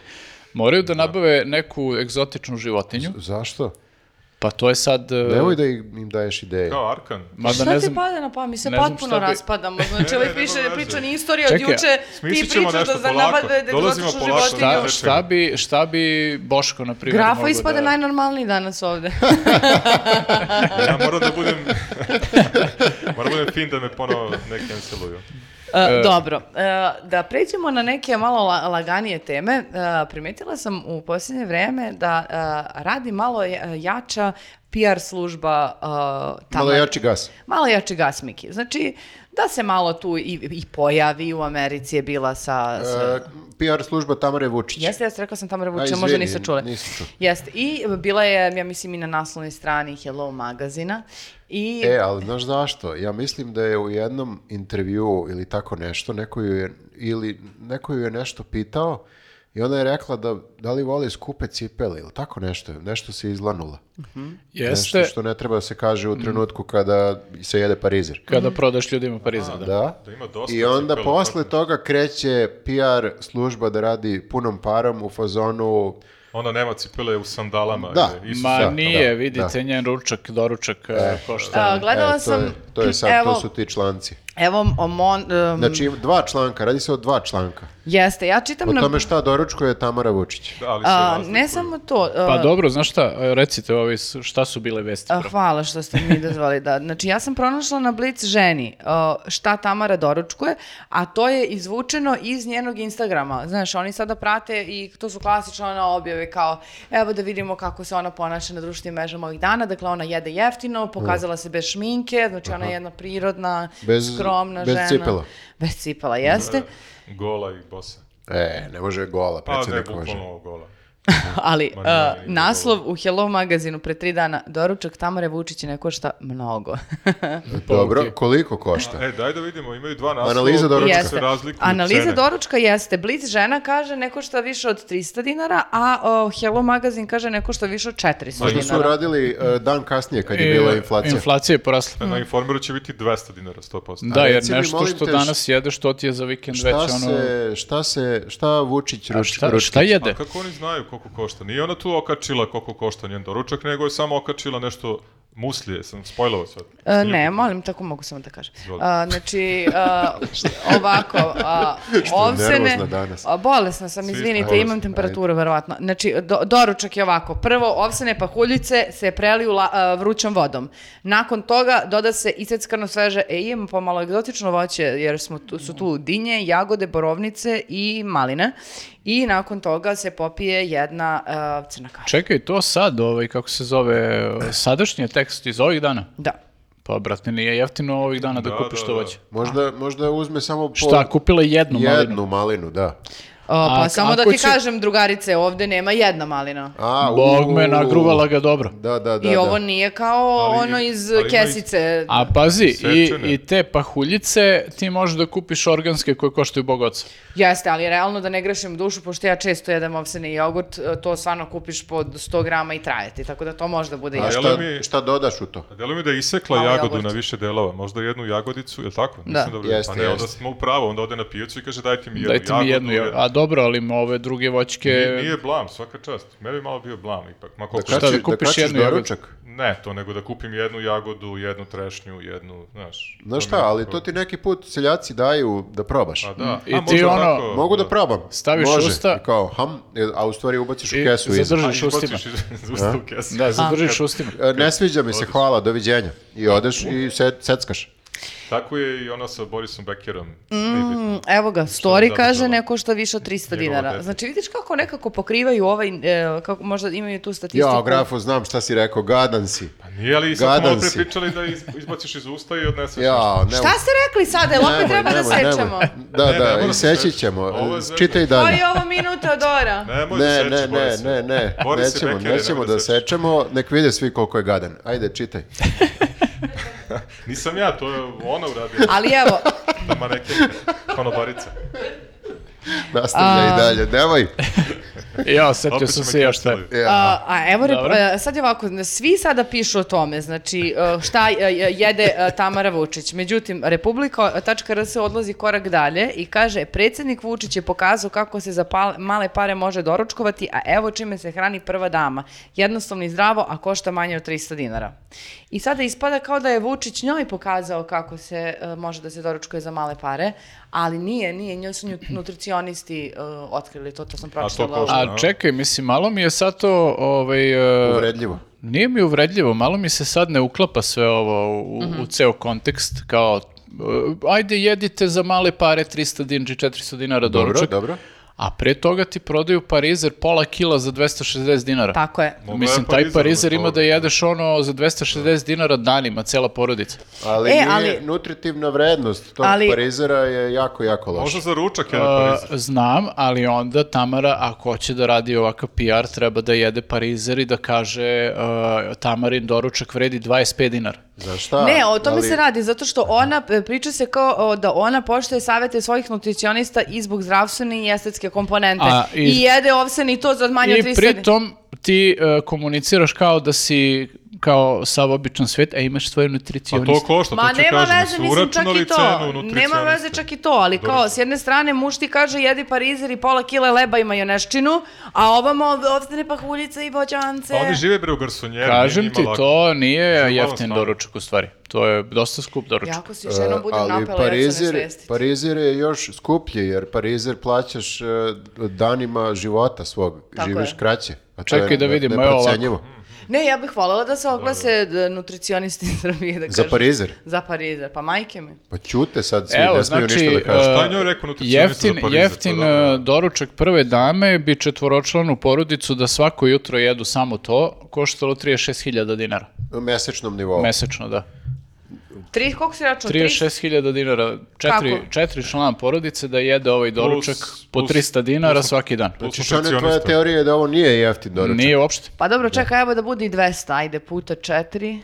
Moraju da nabave neku egzotičnu životinju. Zašto? Pa to je sad... e, Nemoj da im im daješ ideje. Kao Arkan. mada šta ne ti pa- znam- pada na pamet? Mi se ne znam šta potpuno bi- raspadamo. Znači, Ne, ovaj ne, piše, nema veze. priča ni istorija od Čekaj, juče, ti smislit ćemo pričaš da nešto za polako. napade da Dolazimo egzotičnu polako. Šta, Šta- životinju. šta, bi, šta bi Boško, na primjer, Grafa mogao ispade da- najnormalniji danas ovde. Ja moram da budem... moram da budem fin da me ponovo ne canceluju. E, dobro, E, da pređemo na neke malo la- laganije teme. E, primetila sam u posljednje vreme da e, radi malo ja- jača PR služba e, Malo Tamar- jači gas. Malo jači gasmiki. Znači, da se malo tu i, i pojavi, u Americi je bila sa... sa- E, PR služba Tamare Vučić. Jeste, jeste, rekla sam Tamara A, Vučića, izvini, možda niste čule. nisam čuo. Jeste, i bila je, ja mislim, i na naslovnoj strani Hello magazina. I E, ali znaš zašto? Ja mislim da je u jednom intervjuu ili tako nešto, neko ju je, ili neko ju je nešto pitao i ona je rekla da, da li voli skupe cipele ili tako nešto, nešto se izlanula. Nešto Jeste, Mm. što ne treba da se kaže u trenutku kada se jede parizer. kada prodaš ljudima Pariza, da. Da. Da ima dosta I onda cipela, posle tako. toga kreće PR služba da radi punom parom u fazonu Ona nema cipele u sandalama. Da. ili Isus. Ma da, nije, da, vidite, njen ručak, doručak e, košta. A, E, gledala to sam, je- to je sad, evo, to su ti članci. evo o mon, um, Znači, dva članka, radi se o dva članka. jeste, ja čitam O na... tome šta doručkuje Tamara Vučić. Da, ali se a, razlikuju. ne samo to, a, Pa dobro, znaš šta, e, recite ovi s- šta su bile vesti. a, bro. hvala što ste mi dozvali da, znači ja sam pronašla na Blic ženi a, šta Tamara doručkuje, a to je izvučeno iz njenog Instagrama, znaš, oni sada prate i to su klasične ona objave kao, evo da vidimo kako se ona ponaša na društvenim mrežama ovih dana, dakle ona jede jeftino, pokazala se bez šminke, znači ona je jedna prirodna, Bez- skromna bez žena. cipela. Da, Bez cipela, jeste. Gola i bosa. E, ne može gola, Pa ne, predsjednik može. bukvalno gola. Ali Ma ne, uh, nije naslov u Hello magazinu pre tri dana Doručak Tamare Vučića ne košta mnogo. Dobro, koliko košta? E, daj da vidimo, imaju dva naslova. Analiza koji doručka. se Jeste. razlikuju Analiza cene. doručka jeste. Blic žena kaže ne košta više od 300 dinara, a uh, Hello magazin kaže ne košta više od 400 da, Možda su dinara. radili e, dan kasnije kad je I, bila inflacija. E, Inflacija je porasla. Pa Mm. Na informeru će biti 200 dinara, 100%. Da, A jer reci mi, nešto molim što te, danas jedeš, to ti je za vikend već Šta ono... se, šta se, šta Vučić A ruč- Šta, ručki? šta jede? A kako oni znaju koliko košta? Nije ona tu okačila koliko košta njen doručak, nego je samo okačila nešto muslije, sam spojlovao sad. Uh, ne, molim, tako mogu samo da kažem. Uh, Izvoli. znači, uh, ovako, uh, ovsene, nervozna danas. A, bolesna sam, smo izvinite, bolesni, imam temperaturu, verovatno. Znači, do- doručak je ovako. Prvo, ovsene pahuljice se preliju la- a, vrućom vodom. Nakon toga doda se iseckano sveže, e, imamo pomalo egzotično voće, jer smo tu, su tu dinje, jagode, borovnice i maline. I nakon toga se popije jedna a, crna kaša. Čekaj, to sad, ovaj, kako se zove, sadašnji je tekst iz ovih dana? Da. Pa, brate, nije jeftino ovih dana da, Da, kupiš da, to da. voće. Možda, možda uzme samo po Šta, kupila je jednu malinu? jednu malinu, da. O, pa A- samo da ako ti će- kažem, drugarice, ovde nema jedna malina. A, Bog me u- nagruvala ga dobro. Da, da, da. I da. ovo nije kao Ali- ono iz ali ima i- kesice. A pazi, i, Sečene. i te pahuljice ti možeš da kupiš organske koje koštaju bog oca. Jeste, ali realno da ne grešim dušu, pošto ja često jedem ovseni jogurt, e, to stvarno kupiš po 100 grama i traje ti, tako da to možda bude A još. jel šta, mi- šta dodaš u to? A delo mi da je isekla Malo jagodu jogurt. na više delova, možda jednu jagodicu, je li tako? Da. Dobro, Jeste, pa ne, onda jeste. smo u pravo, onda ode na pijacu i kaže dajte mi jednu Dajte mi jednu, jagodu. jel? a dobro, ali ima ove druge voćke... Nije, nije blam, svaka čast. Meni je malo bio blam ipak. Ma koliko Šta, da Kači- kupiš kačiš jednu jagodu? doručak? Ne, to nego da kupim jednu jagodu, jednu trešnju, jednu, znaš. Znaš mi šta, je ali tako- to ti neki put seljaci daju da probaš. A da. Mm. I A, ti možda ono- onako, Mogu da probam. Staviš Može. usta- I kao ham, e, a u stvari ubaciš u I kesu. iza. zadržiš A, ustima. izbaciš iz- iz usta u kesu. Da, zadržiš ustima. E, Ne sviđa mi se, hvala, doviđenja. I odeš i se, seckaš. Tako je i ona sa Borisom Bekerom. Mm, Evo ga, je story zadržalo? kaže ne košta više od 300 Njegovo dinara. dete. Znači vidiš kako nekako pokrivaju ovaj, e, kako možda imaju tu statistiku. Ja, grafo, znam šta si rekao, gadan si. Pa nije, ali sad smo Gadan malo si. prepričali da iz- izbaciš iz usta i odneseš nešto. Ja, ne Šta ste rekli sada? Jel opet treba da sečemo? Da, Ne, ne da, mora i se seći seći. ćemo. Ovo je zemlja. Čitaj Pa i dalje. ovo minuta Dora. Nemoj da Ne, seći, ne, ne, Borise. ne, ne, Borise nećemo, Bekere, nećemo nemoj da seći. sečemo, nek vide svi koliko je gadan. Ajde, čitaj. Nisam ja, to je ona uradila, Ali evo, ta manekenka, konobarica. Nastavlja i dalje, nemoj. E, Ja, setio Opet sam su me se ja šta. cancelali. Ja. A, a evo, rep- Dobro. e, sad je ovako, svi sada pišu o tome, znači e, šta e, jede e, Tamara Vučić. Međutim, republika.rs odlazi korak dalje i kaže, predsjednik Vučić je pokazao kako se za pal- male pare može doručkovati, a evo čime se hrani prva dama. Jednostavno i zdravo, a košta manje od 300 dinara. I sada ispada kao da je Vučić njoj pokazao kako se e, može da se doručkuje za male pare, ali nije, nije, njoj su nju- nutricionisti e, otkrili to, to sam pročitala. košta. A čekaj, mislim, malo mi je sad to, ovaj, e, Uvredljivo. nije mi uvredljivo, malo mi se sad ne uklapa sve ovo u, u ceo kontekst, kao, e, ajde jedite za male pare 300 dinđi, 400 dinara Dobro, doručak, dobro. a pre toga ti prodaju parizer pola kila za 260 dinara. Tako je. Mogla je Mislim, taj parizer parizer umesto ima da ovoga. jedeš ono za 260 dinara danima, cela porodica. Ali, E, nije- ali- nutritivna vrednost tog Ali- parizera je jako, jako loša. Možda za ručak jedan parizer. Uh, znam, ali onda Tamara, ako hoće da radi ovakav PR, treba da jede parizer i da kaže uh, Tamarin doručak vredi 25 dinara. Za Da, šta? Ne, o tome Ali- se radi, zato što ona, e, priča se kao o, da ona poštuje savete svojih nutricionista i zbog zdravstvene i estetske komponente. A, i... i- jede ovsen i to za manje od I 300 pritom ti uh, komuniciraš kao da si kao sav običan svet, a imaš svoje Pa nutricioniste. to košta, Ma to ću nema kažem, veze, su mislim čak uračunali i to. cenu nutricionista. Nema veze čak i to, ali Dobro. kao s jedne strane muž ti kaže jedi parizer i pola kile leba i majoneščinu, a ovamo ostane pahuljice i bođance. Pa oni žive bre u garsonjeri. Kažem nije ti, njima lako. to nije Živalo jeftin stvarno. doručak u stvari. To je dosta skup doručak. Jako si još E, jednom budem e, ali napela, ja ću Parizer, nesvestiti. pa- Parizer je još skuplji, jer Parizer plaćaš e, danima života svog, Tako živiš je. kraće. A to Čekaj je da ne- vidimo, evo ovako. neprocenjivo. Ne, ja bih voljela da se oglase d- nutricionisti iz Srbije, da Za kažem. Parizer. Za Parizer, pa majke mi. Pa ćute sad svi, Evo, ne smiju znači, ništa da kažu. Šta e, je njoj rekao nutricionista Jeftin, za Parizer? jeftin Pa da. e, doručak prve dame bi četvoročlanu porodicu da svako jutro jedu samo to, koštalo 36.000 dinara. U mesečnom nivou. Mesečno, da. Tri, koliko si račun? 36.000 dinara, četiri, Kako? četiri člana porodice da jede ovaj doručak po plus- 300 dinara svaki dan. plus- Znači, šta ne tvoja nutricionista. teorija je da ovo nije jeftin doručak? Nije uopšte. Pa dobro, čekaj, evo da bude i 200, ajde, puta 4.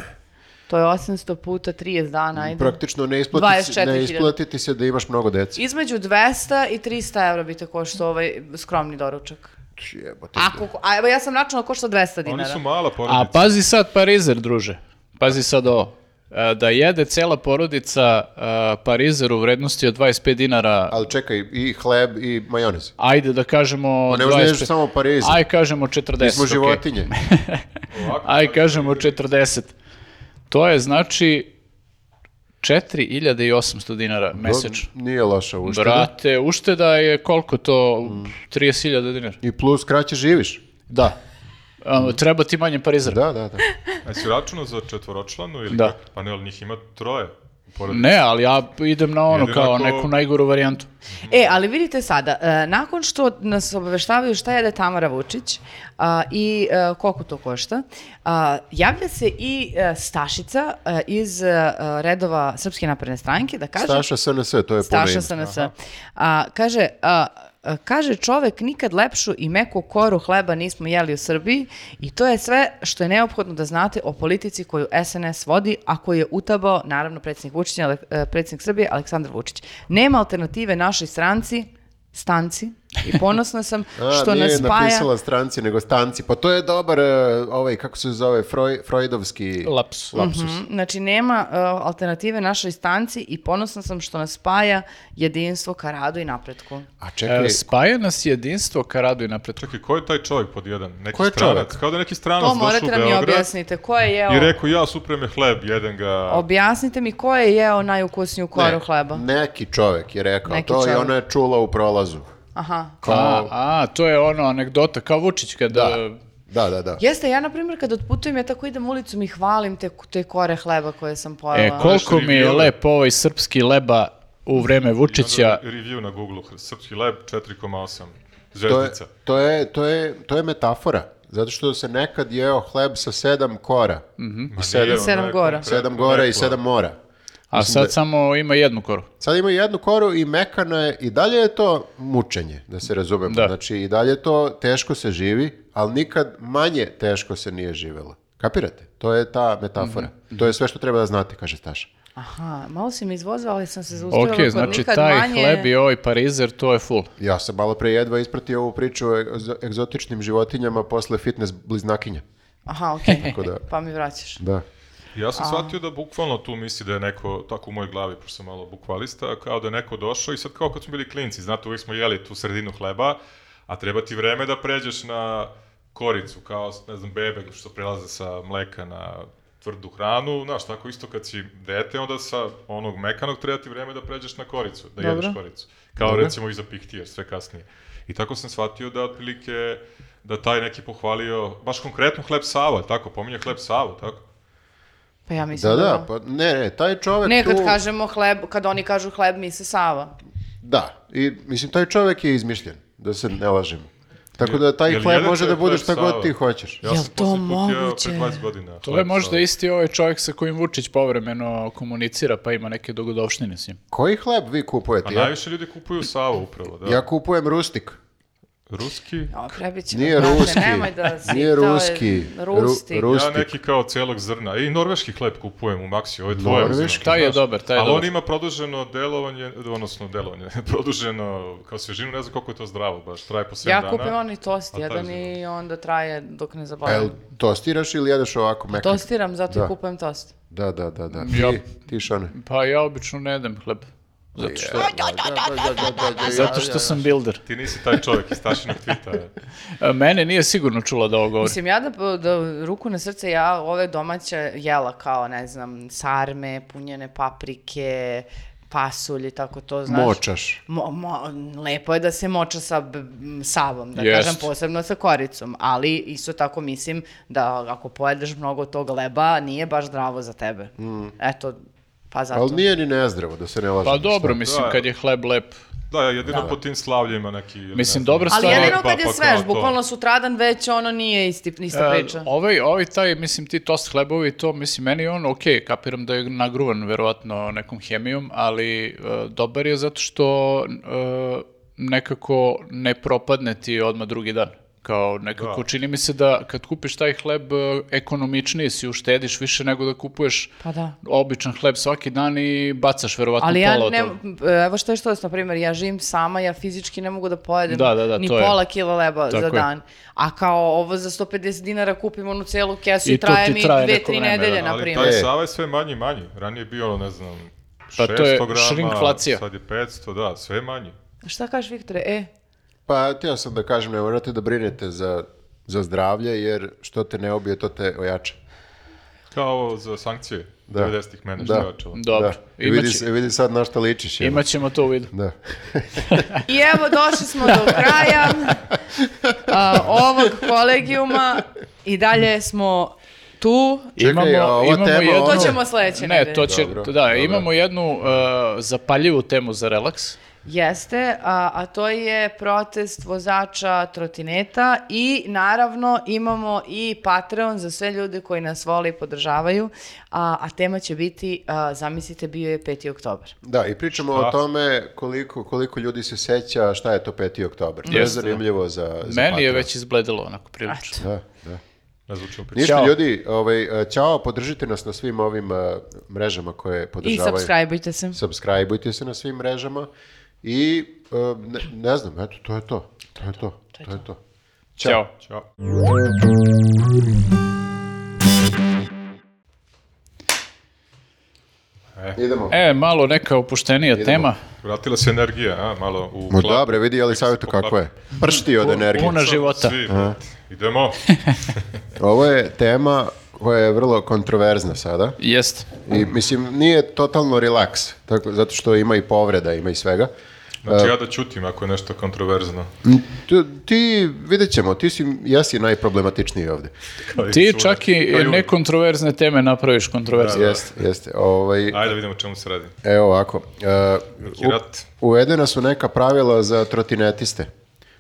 To je 800 puta 30 dana, ajde. Praktično ne isplati, se- 24.000. ne isplati ti se da imaš mnogo dece. Između 200 i 300 evra bi te koštao ovaj skromni doručak. Jebote. Ako, a evo ja sam računala košta 200 Oni dinara. su mala A pa- porodica. pazi sad parizer, druže. Pazi sad ovo. E, Da jede cela porodica e, parizer u vrednosti od 25 dinara, Ali čekaj, i hleb i majonez. ajde da kažemo... Pa ne možeš da jedeš 25 samo parizer. Aj kažemo 40. Mi smo okej. životinje. Ovako, Aj sad- kažemo 40. To je znači 4800 dinara mesečno. To Nije loša ušteda. Brate, ušteda je koliko to? 30.000 dinara. I plus kraće živiš. Da. A, treba ti manje parizera. Da, da, da. A si računao za četvoročlanu ili Da. Mm. kako? Pa ne, ali njih ima troje. u porodici. Ne, ali ja idem na ono Jedino kao ako- neku najgoru varijantu. E, ali vidite sada, e, nakon što nas obaveštavaju šta jede Tamara Vučić a, i e, koliko to košta, a, javlja se i e, Stašica e, iz e, redova Srpske napredne stranke da kaže... Staša SNS, to je puno Staša ime. SNS. A, kaže, a, a, kaže čovek nikad lepšu i meku koru hleba nismo jeli u Srbiji i to je sve što je neophodno da znate o politici koju SNS vodi, a koju je utabao, naravno, predsjednik, Vučića, Ale- e, predsjednik Srbije Aleksandar Vučić. Nema alternative našoj stranci, stanci, i ponosna sam A, što nije nas spaja... napisala stranci, nego stanci. Pa to je dobar, e, ovaj, kako se zove, Froj, Freudovski... Laps. Mhm, Znači, nema e, alternative našoj stanci i ponosna sam što nas spaja jedinstvo ka radu i napretku. A čekaj, E, spaja nas jedinstvo ka radu i napretku. Čekaj, ko je taj čovjek pod jedan? Neki Ko je stranac. čovjek? Kao da je neki stranac To došao u morate da mi Beograd objasnite. Ko je jeo? i rekao ja suprem je hleb, jedem ga. Pa. Objasnite mi ko je jeo najukusniju koru ne, hleba. neki čovjek je rekao Neki to i čovek. ona je čula u prolazu. Aha. A, a, to je ono anegdota, kao Vučić kada... Da. Da, da, da. Jeste, ja na primjer kad otputujem, ja tako idem ulicom i hvalim te, te kore hleba koje sam pojela. E, koliko mi je Šriviole. lep ovaj srpski leba u vreme I onda Vučića. Review na Google, srpski leb 4,8 To je, zvezdica. to, je, to, je, to je metafora. Zato što se nekad jeo hleb sa sedam kora. Ma sedam- nije, ona Sedam je gora. konkretno Sedam gora i rekla. sedam mora. A sad samo ima jednu koru. Sad ima jednu koru i mekana je, i dalje je to mučenje, da se razumemo. Da. Znači, i dalje je to teško se živi, ali nikad manje teško se nije živelo. Kapirate? To je ta metafora. To je sve što treba da znate, kaže Staša. Aha, malo si mi izvozao, ali sam se zaustavila. Ok, kod znači nikad taj manje- hleb i ovaj parizer, to je full. Ja sam malo pre jedva ispratio ovu priču o egzo- egzotičnim životinjama posle fitness bliznakinja. Aha, okej. Tako da- Pa mi vraćaš. Da. Ja sam shvatio da bukvalno tu misli da je neko, tako u mojoj glavi, pošto sam malo bukvalista, kao da je neko došao i sad kao kad smo bili klinci, znate, uvijek smo jeli tu sredinu hleba, a treba ti vreme da pređeš na koricu, kao, ne znam, bebe što prelaze sa mleka na tvrdu hranu, znaš, tako isto kad si dete, onda sa onog mekanog treba ti vreme da pređeš na koricu, da jedeš Dobro. koricu. Kao recimo i za piktijer, sve kasnije. I tako sam shvatio da otprilike, da taj neki pohvalio, baš konkretno hleb Sava, jel tako, pominje hleb Sava, tako. Pa ja mislim Da, da... da, pa ne, ne, taj čovek Ne, kad tu... kažemo hleb, kad oni kažu hleb, mi se Sava. Da, i mislim, taj čovek je izmišljen, da se ne lažemo. Tako da taj Jel hleb jedan može da čovjek bude hleb šta Sava? god ti hoćeš. Ja Jel sam to posljednji put jeo moguće? pre 20 godina. To je možda isti ovaj čovjek sa kojim Vučić povremeno komunicira pa ima neke dogodovštine s njim. Koji hleb vi kupujete? Pa Ja, najviše ljudi kupuju Savo upravo, da. ja kupujem rustik. Ruski? O, prebit ćemo. Nije brate, ruski. Nemoj da si, Nije to je ruski. Ru- Rusti. ru- Ja Pustik. neki kao celog zrna. I norveški hleb kupujem u Maxi, ovo je tvoje. Norveški? uzimam. Taj je dobar, taj je Ali dobar. on ima produženo delovanje, odnosno delovanje, produženo kao svježinu, ne znam koliko je to zdravo baš, traje po 7 ja dana. kupim onaj tost A taj jedan zima. i onda traje dok ne El, zabavim. tostiraš ili jedeš ovako Pa mekano? Tostiram, zato Da. i kupujem tost. Da, da, da, da. Ja- Ti, ti Šone. Pa ja obično ne jedem hleb. Zato što, zato što sam builder. Ti nisi taj čovjek iz tašinog tvita. E, Mene nije sigurno čula da ovo govori. Mislim, ja da, da ruku na srce, ja ove domaće jela kao, ne znam, sarme, punjene paprike, pasulj i tako to, znaš. Močaš. Mo, mo, lepo je da se moča sa b- m, savom, da Jest. kažem posebno sa koricom, ali isto tako mislim da ako pojedeš mnogo tog leba, nije baš zdravo za tebe. Eto, pa Da, zato. Ali nije ni nezdravo, da se ne lažemo. Pa dobro, mislim, Da. kad je hleb lep. Da, ja jedino po tim slavljima neki... Mislim, dobra Ali stvar- jedino Pa, kad je pa svež, kao to. bukvalno sutradan već ono nije isti, ista E, priča. ovaj, ovaj taj, mislim, ti tost hlebovi, to, mislim, meni je on, ok, kapiram da je nagruvan, verovatno, nekom hemijom, ali e, dobar je zato što e, nekako ne propadne ti odmah drugi dan. Kao nekako, Da. čini mi se da kad kupiš taj hleb, e, ekonomičniji si, uštediš više nego da kupuješ Pa da. običan hleb svaki dan i bacaš verovatno Ali pola ja od ne, e, toga. evo što je što, na primjer, ja živim sama, ja fizički ne mogu da pojedem Da, da, da, ni to je. pola kila leba Tako za je. dan. A kao ovo za 150 dinara kupim onu celu kesu i, I to traje ti mi traje dve, neko tri vreme, nedelje, da. na Ali primjer. taj E. sava je sve manji i manji. Ranije je bio, ne znam, Pa 600 to je grama, šrinkflacija. sad je 500, da, sve je manji. Šta kažeš, Viktore? E, Pa, htio sam da kažem, ne morate da brinete za, za zdravlje, jer što te ne obije, to te ojača. Kao za sankcije. Da. 90-ih mene Da. što je očelo. Dobro. Da. I vidi, Imaće- se- vidi sad na šta ličiš. jel? Imaćemo to u vidu. Da. I evo, došli smo do kraja a, ovog kolegijuma i dalje smo tu. Čekaj, a ova tema, jednu- ono- To ćemo sledeće Ne, nedelje. to će, Dobro, da, dobro. imamo jednu uh, zapaljivu temu za relaks. Jeste, a, a to je protest vozača trotineta i naravno imamo i Patreon za sve ljude koji nas vole i podržavaju, a, a tema će biti, a, zamislite, bio je 5. oktober. Da, i pričamo o tome koliko, koliko ljudi se seća šta je to 5. oktober. To je Jeste. da. zanimljivo za, za Meni je Patreon. već izbledelo onako prilično. Da, da. Ne zvučimo priču. Ništa Ćao. ljudi, ovaj, e, ćao, podržite nas na svim ovim e, mrežama koje I podržavaju. subscribeujte se. Subscribeujte se na svim mrežama i e, ne, ne znam, eto, to je to. To je to. To je to. Ćao. Ćao. Idemo. E, malo neka opuštenija tema. Vratila se energija, a, malo u Mo klap. dobre, vidi je li savjeto kako je. Pršti od energije. Puna života. Svi, brate. Idemo. Ovo je tema koja je vrlo kontroverzna sada. Jest. I mislim, nije totalno relaks, tako, zato što ima i povreda, ima i svega. Znači ja da ćutim ako je nešto kontroverzno. Ti, ti vidjet ćemo, ti si, jesi najproblematičniji ovdje. Kao i Ti Šule. čak i Kao uvijek. nekontroverzne teme napraviš kontroverzne. Jeste, jeste. Ovaj, Ajde da vidimo o čemu se radi. evo ovako, e, u- rat. uvedena su neka pravila za trotinetiste.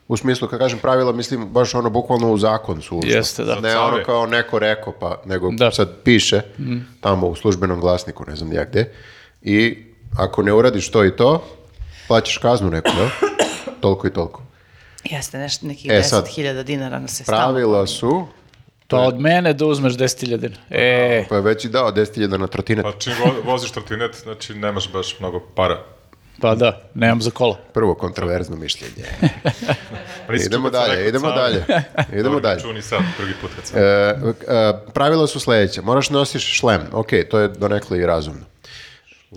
U smislu, kad kažem pravila, mislim baš ono bukvalno u zakon su ušla. Jeste, da. Ne Za ono care. kao neko rekao, pa, nego Da. sad piše Mm. tamo u službenom glasniku, ne znam ni ja gde. I ako ne uradiš to i to, plaćaš kaznu neku, jel? toliko i toliko. Jeste, nešto, nekih E, sad. 10.000 dinara nas se stalno. Pravila su, Pa od mene da uzmeš 10.000 dinara. E, pa je već i dao 10.000 na trotinet. Pa čim vo- voziš trotinet, znači nemaš baš mnogo para. pa da, nemam za kola. Prvo kontroverzno mišljenje. Pa nisi Idemo čuo kad sam dalje, rekao idemo sam. dalje. Idemo Dobro, dalje. Čuo ni sad, drugi put kad sam. E, e, pravila su sledeća. Moraš nosiš šlem. Ok, to je donekle i razumno.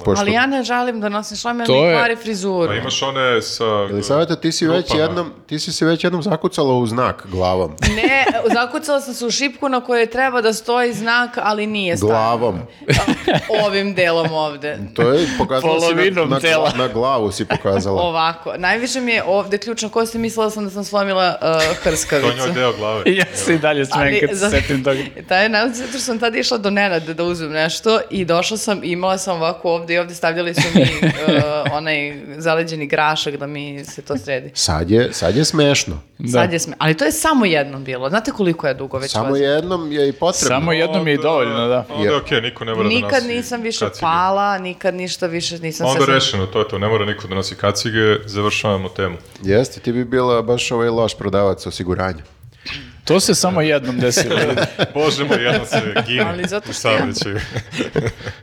Pošto, Ali ja ne žalim da nosim šlam, jer mi To je- kvari frizuru. Pa imaš one sa... Elisaveta, ti si, već Grupama. jednom, ti si se već jednom zakucala u znak glavom. Ne, zakucala sam se u šipku na kojoj treba da stoji znak, ali nije stavio. Glavom. Ovim delom ovde. To je pokazala si na, Polovinom na, tela. na glavu si pokazala. Ovako, najviše mi je ovde ključna kost i mislila sam da sam slomila uh, To je njoj hrskavicu. deo glave. Ja se i dalje smijem Ali kad se za- setim toga. Taj je najbolji zato što sam tada išla do Nenada da uzmem nešto i došla sam i imala sam ovako ovde i ovde stavljali su mi uh, onaj zaleđeni grašak da mi se to sredi. Sad je, sad je smešno. Da. Sad je sme... Ali to je samo jednom bilo. Znate koliko je dugo već Samo vozim? jednom je i potrebno. Samo jednom je i dovoljno, da. Onda je okej, niko ne mora da Nikad nosi nisam više kacige. pala, nikad ništa više nisam Onda se... je rešeno, to je to, ne mora niko da nosi kacige, završavamo temu. Jeste, ti bi bila baš ovaj loš prodavac osiguranja. To se samo jednom desilo. Bože moj, jedno se gine Ali zato u što ja- saobraćaju.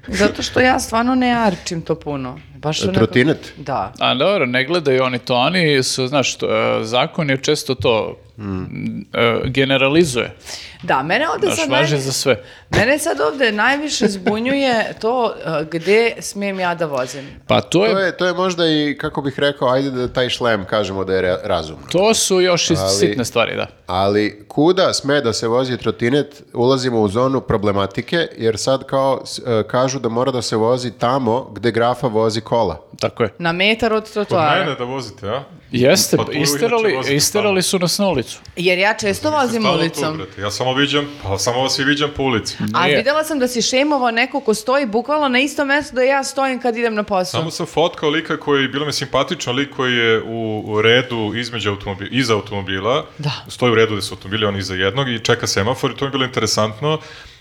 Zato što ja stvarno ne arčim to puno. Baš onako- Trotinet? Da. A dobro, ne gledaju oni to, oni su, znaš, to, e, zakon je često to Hmm. e, generalizuje. Da, mene ovde Znaš, sad... važe naj- za sve. Mene sad ovde najviše zbunjuje to uh, gde smijem ja da vozim. Pa to To je, je, to je možda i, kako bih rekao, ajde da taj šlem kažemo da je re- razumno. to su još i Ali- sitne stvari, da. Ali kuda sme da se vozi trotinet, ulazimo u zonu problematike, jer sad kao s- e, kažu da mora da se vozi tamo gde grafa vozi kola. Tako je. Na metar od Kod Pa- trotoara. mene da vozite, a? Jeste, Pa tu inače isterali, vozite isterali su nas na ulicu. Jer ja često Da vozim Stalno tu, ulicom. brate, Ja samo viđam, pa samo vas i viđam po ulici. A Nije. videla sam da si šemovao neko ko stoji bukvalno na istom mestu da ja stojim kad idem na posao. Samo sam fotkao lika koji je, bilo mi simpatično, lik koji je u, u redu između automobila, iza automobila, Da. stoji u redu gde su automobili, on iza jednog i čeka semafor i to mi je bilo interesantno.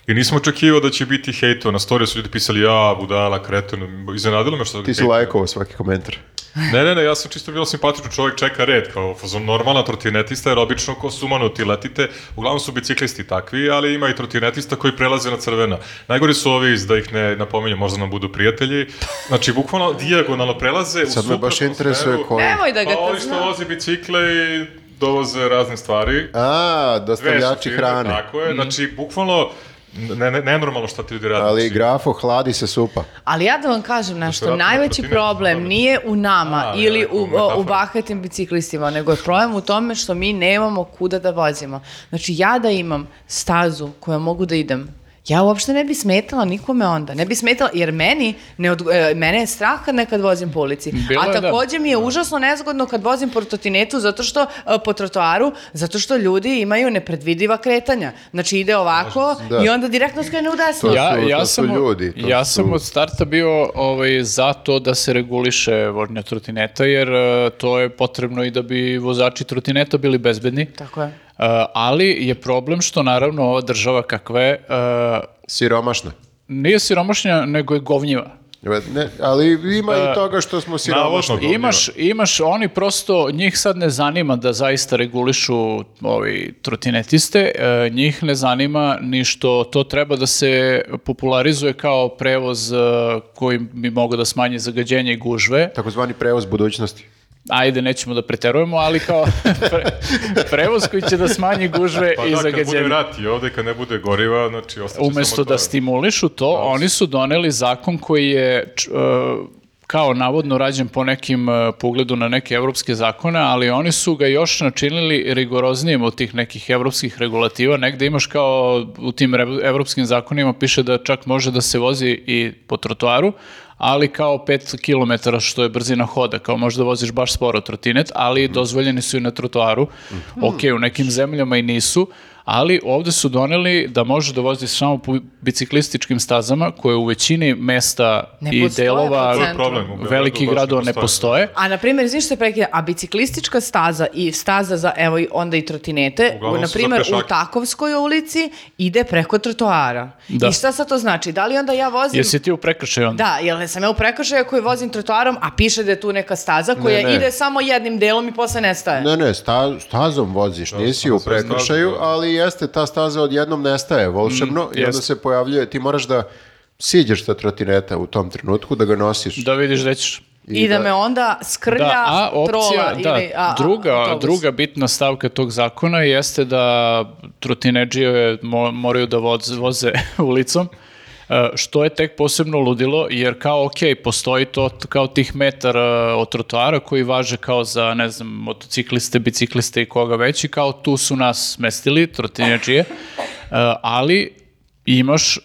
I nisam očekivao da će biti hejtova. Na storiju su ljudi pisali, ja, budala, kreten, iznenadilo me što... Ti si hejtuju. lajkovao svaki komentar. Ne, ne, ne, ja sam čisto bio simpatičan čovjek, čeka red, kao fazon normalna trotinetista, jer obično ko sumanuti letite, uglavnom su biciklisti takvi, ali ima i trotinetista koji prelaze na crvena. Najgori su ovi, iz- da ih ne napominjem, možda nam budu prijatelji, znači bukvalno dijagonalno prelaze u Sad me baš suprotnom interesuje smeru, koji. Nemoj da ga Pa to oni što znam. vozi bicikle i dovoze razne stvari. A, Vežu dostavljači firme, hrane. Tako Mhm. je, znači bukvalno ne, ne, nenormalno šta ti ljudi radi. Ali Znači, grafo hladi se supa. Ali ja da vam kažem nešto, vratimo na najveći trotinet, problem dobro. nije u nama A, ili ja, u, metafora. u bahatim biciklistima, nego je problem u tome što mi nemamo kuda da vozimo. Znači ja da imam stazu koja mogu da idem, ja uopšte ne bi smetala nikome onda. Ne bi smetala, jer meni, ne odgo- e, mene je strah kad nekad vozim po ulici. Bilo A je, da. takođe mi je užasno nezgodno kad vozim po trotinetu zato što, e, po trotoaru, zato što ljudi imaju nepredvidiva kretanja. Znači ide ovako Da. i onda direktno skrene u desno. To su- to su sam, ljudi, to ja su- sam od starta bio ovaj, za to da se reguliše vožnja trotineta, jer e, to je potrebno i da bi vozači trotineta bili bezbedni. Tako je. E, ali je problem što naravno ova država kakva je, e, Siromašna. nije siromašnja, nego je govnjiva. Ne, ali ima i toga što smo siromašni. navodno. Imaš, imaš, oni prosto, njih sad ne zanima da zaista regulišu ovi trotinetiste, e, njih ne zanima ni što to treba da se popularizuje kao prevoz e, koji bi mogao da smanji zagađenje i gužve. Takozvani prevoz budućnosti. Ajde, nećemo da preterujemo, ali kao pre- prevoz koji će da smanji gužve Pa i da, kad bude zagađenje. vrati ovde, kad ne bude goriva, znači ostaće Umesto samo to. da stimulišu to, oni su doneli zakon koji je č- e, kao navodno rađen po nekim e, pogledu na neke evropske zakone, ali oni su ga još načinili rigoroznijim od tih nekih evropskih regulativa. Negde imaš kao u tim re- evropskim zakonima piše da čak može da se vozi i po trotoaru, ali kao 5 km što je brzina hoda, kao možda voziš baš sporo trotinet, Mhm. ali dozvoljeni su i na trotoaru. Ok, u nekim zemljama i nisu, ali ovde su doneli da može da vozi samo po biciklističkim stazama koje u većini mesta Ne i postoje delova To procenti. je problem. u Beogradu velikih baš gradova ne postoje. A na primjer, znaš što je prekida, a biciklistička staza i staza za, evo i onda i trotinete, u, Uglavnom na su za primjer u pešake. Takovskoj ulici ide preko trotoara. Da. I šta sad to znači? Da li onda ja vozim... Jesi ti u prekršaju onda? Da, jel sam ja u prekršaju koji vozim trotoarom, a piše da je tu neka staza koja ne. ide samo jednim delom i posle nestaje. Ne, ne, sta, stazom voziš, nisi u staza je prekršaju, staza, da. ali jeste, ta staza odjednom nestaje volšebno i onda jeste. se pojavljuje, ti moraš da siđeš sa trotineta u tom trenutku, da ga nosiš. Da vidiš gde ćeš. I, da, me onda skrlja Da, a opcija, trola da, ili a, a, druga, autobus. druga bitna stavka tog zakona jeste da trotineđije mo- moraju da voz- voze ulicom, e, što je tek posebno ludilo, jer kao, ok, postoji to t- kao tih metar e, od trotoara koji važe kao za, ne znam, motocikliste, bicikliste i koga već i kao tu su nas smestili, trotineđije, e, ali imaš e,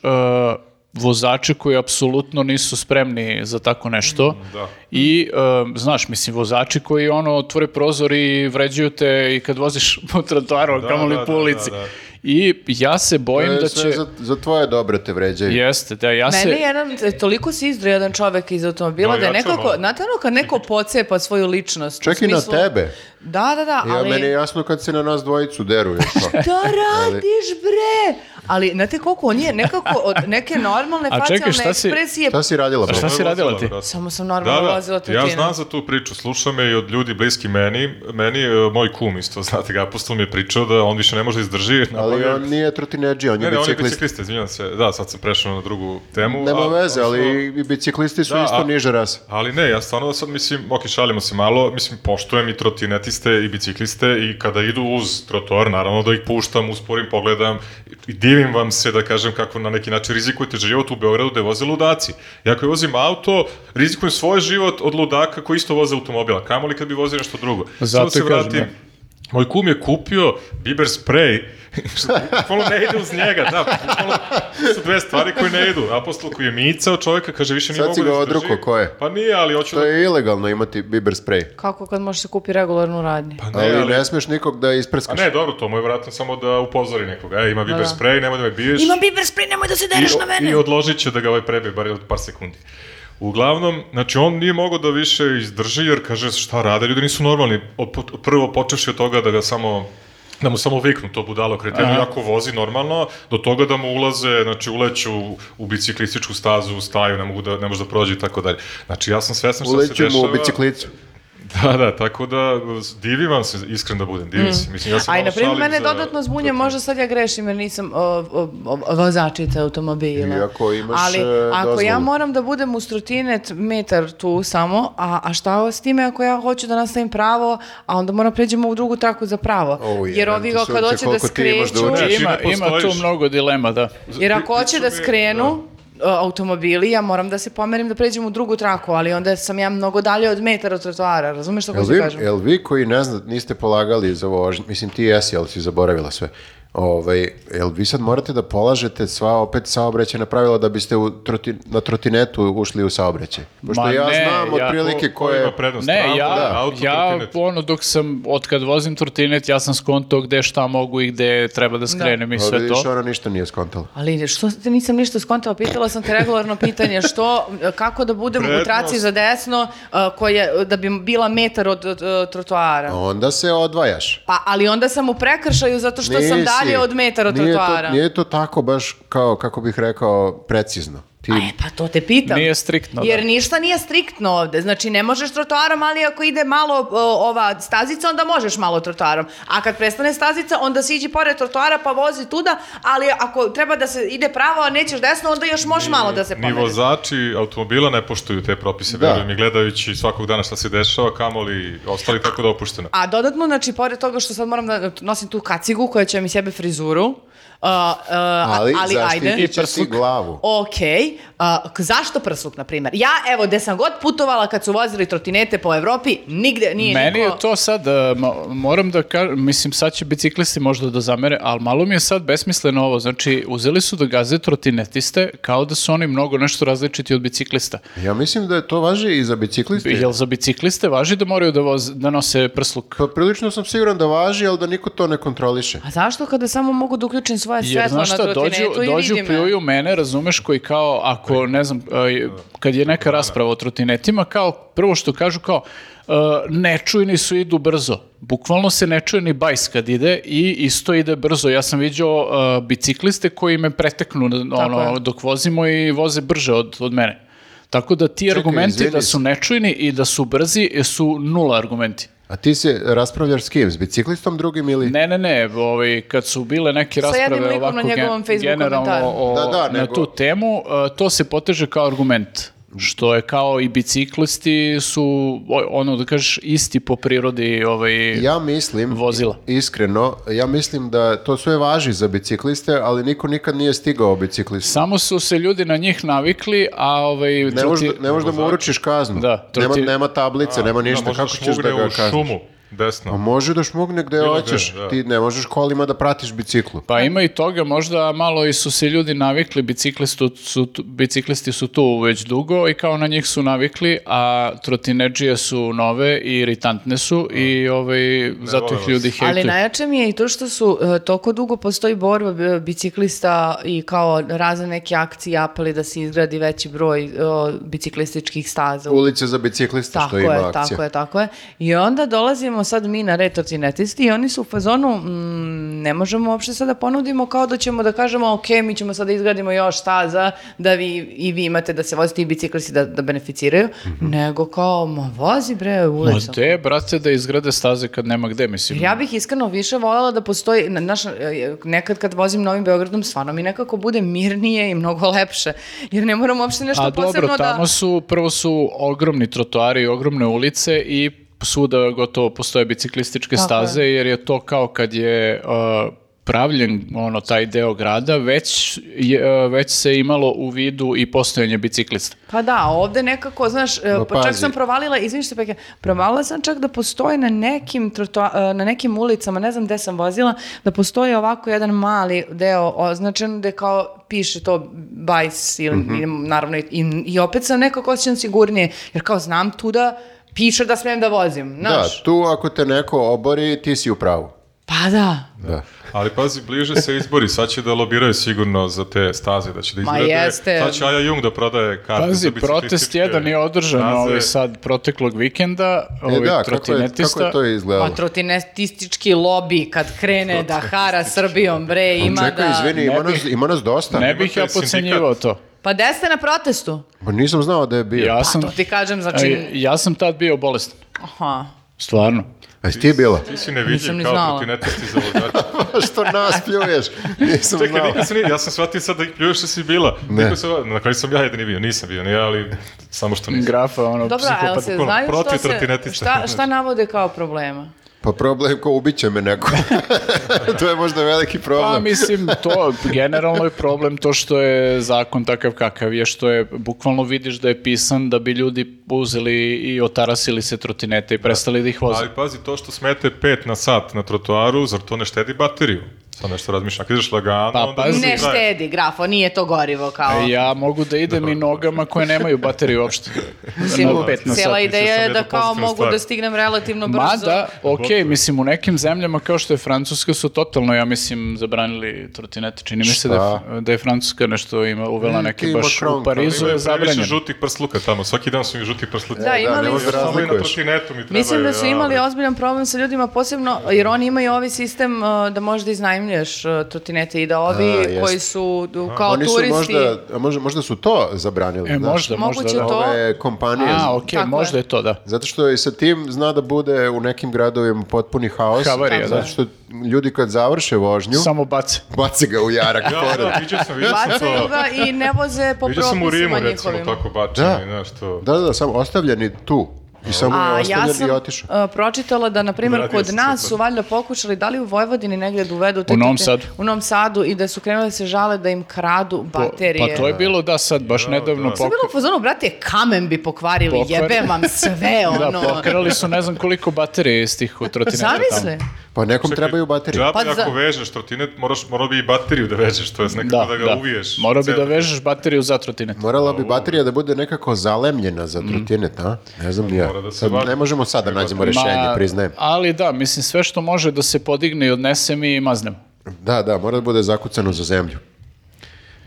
vozače koji apsolutno nisu spremni za tako nešto da. i, um, znaš, mislim, vozači koji ono otvore prozor i vređuju te i kad voziš po trotoaru, da, Da, kamoli da, po da, ulici. da, da. I ja se bojim To je da sve će... za, za tvoje dobro te vređaju. Jeste, da ja se... Mene jedan, toliko si izdro jedan čovek iz automobila No, da je ja ću nekako, malo. znate ono kad neko pocepa svoju ličnost. u Čak i na smislu- tebe. Da, da, da, Ja, ali... meni je jasno kad se na nas dvojicu deruješ. pa. Šta Da radiš bre? Ali znate koliko on je nekako od neke normalne A čekaj, facijalne šta si- ekspresije Šta si radila? A šta Pavle? si radila ti? Samo sam Da, normalno da, ulazila tu ja tinu. znam za tu priču, slušam je i od ljudi bliski meni, meni je e, moj kum isto, znate ga, apostol mi je pričao da on više ne može da izdrži. Ali nabavio- on nije trotineđija, on je Ne, ne, on je biciklist. biciklista, izvinjam se, da, sad sam prešao na drugu temu. Nema a- veze, odnosno- ali i biciklisti su Da, isto a- niže rase. Ali ne, ja stvarno sad mislim, ok, šalimo se malo, mislim, poštujem i trotinetiste i bicikliste i kada idu uz trotor, naravno da ih puštam, usporim, pogledam i divim vam se da kažem kako na neki način rizikujete život u Beogradu da je voze ludaci. Ja koji vozim auto, rizikujem svoj život od ludaka koji isto voze automobila, kamoli kad bi vozio nešto drugo. Zato Samo da se i kažem, vratim, da. Moj kum je kupio biber sprej, bukvalno ne ide uz njega, da, bukvalno su dve stvari koje ne idu. Apostol koji je micao čovjeka, kaže više nije Sad mogu si da ga izdrži. odrukao, ko je? Pa nije, ali hoću To da... je ilegalno imati biber sprej. Kako kad može se kupi regularnu radnju? Pa ne, Ali ali... ne smeš nikog da A isprskaš. ne, dobro, to mu je vratno samo da upozori nekoga. E, ima biber da. sprej, nemoj da me biješ. Imam biber spray, nemoj da se dereš na I, mene. I odložit će da ga ovaj prebije, bar od par sekundi. Uglavnom, znači on nije mogao da više izdrži jer kaže šta rade, ljudi nisu normalni. Od, po- prvo počeš od toga da ga samo da mu samo viknu to budalo kretenu jako vozi normalno, do toga da mu ulaze, znači uleću u, u biciklističku stazu, u staju, ne mogu da, ne može da prođe i tako dalje. Znači ja sam svestan šta se Uleću dešava. mu u biciklicu. Da, da, tako da divim vam se, iskren da budem, divim se. Mislim, ja se da Aj, malo na primjer, šalim mene za- dodatno zbunje, možda sad ja grešim jer nisam o, o, o, vozačica automobila. I ako imaš, Ali e, ako ja dozvolu. moram da budem u stotinet metar tu samo, a, a šta s time ako ja hoću da nastavim pravo, a onda moram pređemo u drugu traku za pravo. O, jer jebem ovi ti ga kad sunce, hoće da koliko ti imaš da skreću... učeš. Znači, Ima, ne ima tu postojiš. mnogo dilema, da. Jer ako hoće Pričao da mi je- skrenu e, automobili, ja moram da se pomerim da pređem u drugu traku, ali onda sam ja mnogo dalje od metara od trotoara, razumeš što Jel hoću da kažem? vi, jel vi koji ne zna, niste polagali za vožnju, mislim ti jesi, ali si zaboravila sve. Ovaj, jel vi sad morate da polažete sva opet saobraćena pravila da biste u troti, na trotinetu ušli u saobraćaj? Pošto Ma ja ne, znam ja- otprilike Ko- ko ko je... ima prednost? Ne, Auto, ja, da, auto, ja trotinet. ono dok sam, od kad vozim trotinet, ja sam skonto gde šta mogu i gde treba da skrenem i Pa sve vidiš, to. ona ništa nije skontala. Ali što te nisam ništa skontala, pitala sam te regularno pitanje što, kako da budem u Prednost. traci za desno, a, koja, da bi bila metar od, od, e, trotoara. Onda se odvajaš. Pa, ali onda sam u prekršaju zato što sam Nisi. dalje od metara od nije trotoara. To, nije to tako baš kao, kako bih rekao, precizno. Ti, E, pa to te pitam. Nije striktno, da. Jer ništa nije striktno ovde. Znači, ne možeš trotoarom, ali ako ide malo o, ova stazica, onda možeš malo trotoarom. A kad prestane stazica, onda siđi pored trotoara pa vozi tuda, ali ako treba da se ide pravo, a nećeš desno, onda još možeš malo da se Ni pomeriš. vozači automobila ne poštuju te propise, Da. da. verujem i gledajući svakog dana šta se dešava, kamoli ostali tako da opušteno. A dodatno, znači, pored toga što sad moram da nosim tu kacigu koja će mi sebe frizuru, uh, uh, ali, ali, ali ajde. zaštitit će si glavu. Ok, a, k- zašto prsluk, na primjer? Ja, evo, gde sam god putovala kad su vozili trotinete po Evropi, nigde nije Meni je niko... to sad, e, mo- moram da kažem, mislim sad će biciklisti možda da zamere, ali malo mi je sad besmisleno ovo, znači uzeli su da gaze trotinetiste kao da su oni mnogo nešto različiti od biciklista. Ja mislim da je to važi i za bicikliste. Jel za bicikliste važi da moraju da, voz, da nose prsluk? Pa prilično sam siguran da važi, ali da niko to ne kontroliše. A zašto kada samo mogu da uključim svoje Jer svetlo znaš na šta, dođu, trotinetu i dođu vidim pljuju mene, razumeš, koji kao, ako, ne znam, e, kad je neka rasprava o trotinetima, kao, prvo što kažu kao, e, nečujni su idu brzo. Bukvalno se ne čuje ni bajs kad ide i isto ide brzo. Ja sam viđao e, bicikliste koji me preteknu ono, je. dok vozimo i voze brže od, od mene. Tako da ti argumenti izvini. da su nečujni i da su brzi su nula argumenti. A ti se raspravljaš s kim? S biciklistom drugim ili... Ne, ne, ne, ovaj, kad su bile neke Sa jednim rasprave likom na ovako gen- njegovom Facebook generalno komentaru. o, Da, da, na nego- tu temu, e, to se poteže kao argument. Što je kao i biciklisti su, o- ono da kažeš, isti po prirodi ovaj, Ja mislim, vozila. iskreno, ja mislim da to sve važi za bicikliste, ali niko nikad nije stigao biciklista. Samo su se ljudi na njih navikli, a ovaj... Ne to možeš ti- da- ne možeš da mu uručiš kaznu. Da, to nema, ti- nema tablice, nema ništa. možda Kako ćeš da šmugne ga u kazniš? šumu. desno. A može da šmugne gde Bilo gde, hoćeš. da. Ti ne možeš kolima da pratiš biciklu. Pa ima i toga, možda malo i su se ljudi navikli, biciklisti su, tu- biciklisti su tu već dugo i kao na njih su navikli, a trotineđije su nove i iritantne su i ovaj, zato vole ih ljudi vas. hejtuju. Ali najjače mi je i to što su, e, toliko dugo postoji borba bi- biciklista i kao razne neke akcije apeli da se izgradi veći broj e, biciklističkih staza. u Ulica za biciklista Tako što ima je, akcija. tako je, tako je. I onda dolazimo sad mi na red trotinetisti i oni su u fazonu, mm, ne možemo uopšte sad da ponudimo kao da ćemo da kažemo, ok, mi ćemo sad da izgradimo još staza da vi i vi imate da se vozite i biciklisti da, da beneficiraju, nego kao, ma vozi bre Mhm. Ma ulicom. gde, brate, da izgrade staze kad nema gde, mislim. Jer Ja bih iskreno više voljela da postoji, na- znaš, e, nekad kad vozim Novim Beogradom, stvarno mi nekako bude mirnije i mnogo lepše, jer ne moram uopšte nešto A posebno Pa dobro, da... tamo su, prvo su ogromni trotoari, ogromne ulice i svuda gotovo postoje biciklističke Tako je. staze, jer je to kao kad je uh, pravljen ono taj deo grada, već, je, uh, već se imalo u vidu i postojanje biciklista. Pa da, ovde nekako, znaš, e, Ma, pa čak pazi. sam provalila, izvini što peke, provalila sam čak da postoji na nekim, trotoa- e, na nekim ulicama, ne znam gde sam vozila, da postoji ovako jedan mali deo označen gde kao piše to bajs ili Mhm. ili naravno i, i, i opet sam nekako osjećam sigurnije, jer kao znam tu da piše da smem da vozim, Da, znaš. tu ako te neko obori, ti si u pravu. Pa da. Da. Ali pazi, bliže se izbori, sad će da lobiraju sigurno za te staze, da će da Ma izgrade, jeste. sad će Aja Jung da prodaje karte Pazi, za protest biciklističke jedan je održan staze. ovaj sad proteklog vikenda, E ovaj da, kako je, trotinetista. kako je to izgledalo? Pa trotinetistički lobi kad krene da hara Srbijom, bre, ima Pa Čekaj, da... izvini, ima nas, ima nas dosta. Ne bih Imate ja pocenjivao to. Pa gde ste na protestu? Pa nisam znao da je bio. Ja sam, Pa, To ti kažem, znači... ja sam tad bio bolestan, Aha. stvarno. A jesi ti bila? Ti si Nisam ni nevidljiv kao znala. protinetisti za vozača. što nas pljuješ? Nisam Čekaj, znao. nikad se nije, ja sam shvatio sad da ih pljuješ da si bila. Ne. Niko se, na kraju sam ja jedini bio, nisam bio, nije, ali samo što nisam. Grafa, ono, Dobro, a jel psihopat. se ono, znaju što protiv se, trotinetista. šta, šta navode kao problema? Pa problem ko ubiće me neko. to je možda veliki Pa problem. mislim, to generalno je problem to što je zakon takav kakav je, što je, bukvalno vidiš da je pisan da bi ljudi uzeli i otarasili se trotinete i prestali da ih voze. Ali pazi, to što smete 5 na sat na trotoaru, zar to ne štedi bateriju? Sad nešto razmišljam, ako ideš lagano, Pa, onda pazi. brzi Ne Ne drive. štedi, grafo, nije to gorivo kao... Ja mogu da idem i nogama koje nemaju bateriju uopšte. Mislim, Na pet na cijela sat. ideja je Mislio sam da jednu kao pozitivnu mogu stvar. da stignem relativno brzo. Mada, ok, Gotovo. mislim u nekim zemljama kao što je Francuska su totalno, ja mislim, zabranili trotinete. Čini mi se da je, da je Francuska nešto ima, uvela neke ti baš Macron, u kao Parizu Imaju je previše zabranjeno. žutih prsluka tamo, svaki dan su mi žuti prsluci. Da, ne imali možeš su... Samo i na razlikuješ. trotinetu mi trebaju. Mislim da su ja, imali bre. ozbiljan problem sa ljudima, posebno jer oni imaju ovi sistem uh, da možda iznajmljuješ uh, trotinete i da ovi A, jeste. koji su uh, kao Oni su turisti... možda, a možda, možda su to zabranili. E, znaš? možda, možda, Moguće da. to. Ove kompanije. A, ok, Tako je. možda je to, da. Zato što i sa tim zna da bude u nekim gradovima potpuni haos. Havarija, zato da. što ljudi kad završe vožnju, Samo bace. baci ga u jarak Ja, pored. da, vidio sam, vidio sam Bacaju to. ga i ne voze po Vidio sam u Rimu, propisima recimo, njihovim. tako Da. bačeni, znaš to. Da, da, samo ostavljeni tu. I samo je A ostavljen ja sam i otišao. uh, pročitala da, na primjer, Vratio kod se nas sad. su valjda pokušali, da li u Vojvodini negdje da uvedu te... U Novom te- Sadu. U Novom Sadu i da su krenuli da se žale da im kradu Po- baterije. Pa to je bilo, da, sad, baš nedavno da. pok- To je bilo u fazonu, brate, kamen bi pokvarili, Pokvar- jebem vam sve, ono. Da, pokrali su ne znam koliko baterije iz tih trotineta tamo. Zamisli. Pa nekom Čekaj, trebaju baterije. Džabe, Pa za- ako vežeš trotinet, moraš, morao bi i bateriju da vežeš, to je Da, nekako da, ga da. uviješ. Morao bi Cel- da vežeš bateriju za trotinet. Morala bi baterija da bude nekako zalemljena za trotinet, a? Ne znam ni ja. Mm. Mora da se Sad vadi. ne možemo sada da nađemo rešenje, Ma, priznajem. Ali da, mislim, sve što može da se podigne i odnese mi maznemo. Da, da, mora da bude zakucano za zemlju.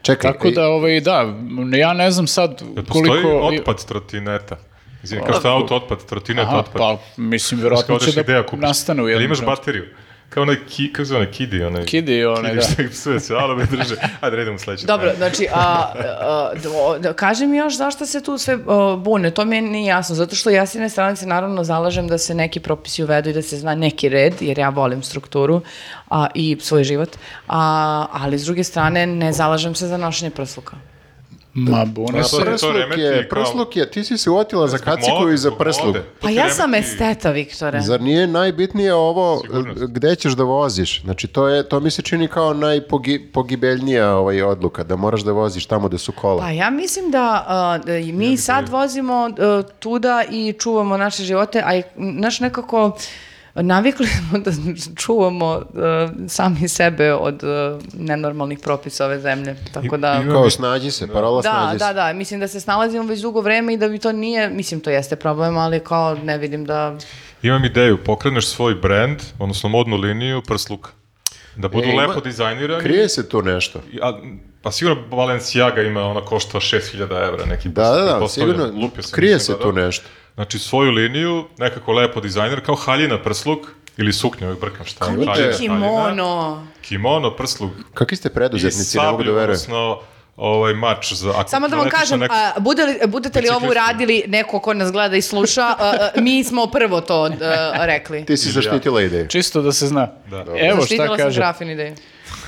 Čekaj, Tako da, ovaj, da, ja ne znam sad Jel Da postoji koliko... Pa- otpad trotineta? Izvini, kao što je auto otpad, trotinet Aha, otpad. pa, mislim, Znaš, kao vjerojatno odeš će ideja da kupiš. nastane u Jel jednom imaš trenutku. bateriju? Kao onaj, ki, kako se zove onaj, kidi, onaj... Kidi, onaj, Kidi, da. šta ih psuje se, ali me drže. Ajde, redimo sledeće. Dobro, znači, a, a, do- da, kaži mi još zašto se tu sve a, bune, to mi nije jasno, zato što ja s jedne strane se naravno zalažem da se neki propisi uvedu i da se zna neki red, jer ja volim strukturu a, i svoj život, a, ali s druge strane ne zalažem se za nošenje prsluka. Ma, bune Pa, se. i to prsluk remeti je, kao- prsluk je, ti si se uotila za kaciku i za prsluk. Pa ja sam esteta, Viktore. Zar nije najbitnije ovo Sigurnost. e, gde ćeš da voziš? Znači, to, je, to mi se čini kao najpogibeljnija ovaj odluka, da moraš da voziš tamo gde su kola. Pa ja mislim da, a, da i mi e, sad vozimo a, tuda i čuvamo naše živote, a i, m, naš nekako navikli smo da čuvamo uh, sami sebe od uh, nenormalnih propisa ove zemlje. Tako da... Kao snađi se, parola Da, snađi se. da, da, mislim da se snalazimo već dugo vreme i da bi to nije, mislim to jeste problem, ali kao ne vidim da... Imam ideju, pokreneš svoj brand, odnosno modnu liniju prsluka. Da budu E, ima- lepo dizajnirani. Krije se tu nešto. I- A, pa sigurno Balenciaga ima, ona košta 6000 evra neki. Da, da, da, pretpostavljam. sigurno, Lupio sam, krije nisam se tu gledao. nešto. Znači svoju liniju, nekako lepo dizajner, kao haljina prsluk, ili suknja, uvijek brkam šta. Pa je, da. Imate- haljina, haljina, Kimono! Kimono, prsluk Kakvi ste i preduzetnici, ne mogu da sablju, verujem. odnosno ovaj mač za... Ako Samo da vam naletiš na kažem, neku- a, bude li, budete li ovo Biciklistu. uradili neko ko nas gleda i sluša, a, a, mi smo prvo to a, rekli. Ti si zaštitila ideju. Čisto da se zna. Da. Evo šta Zaštitila sam kaže. Grafin ideju.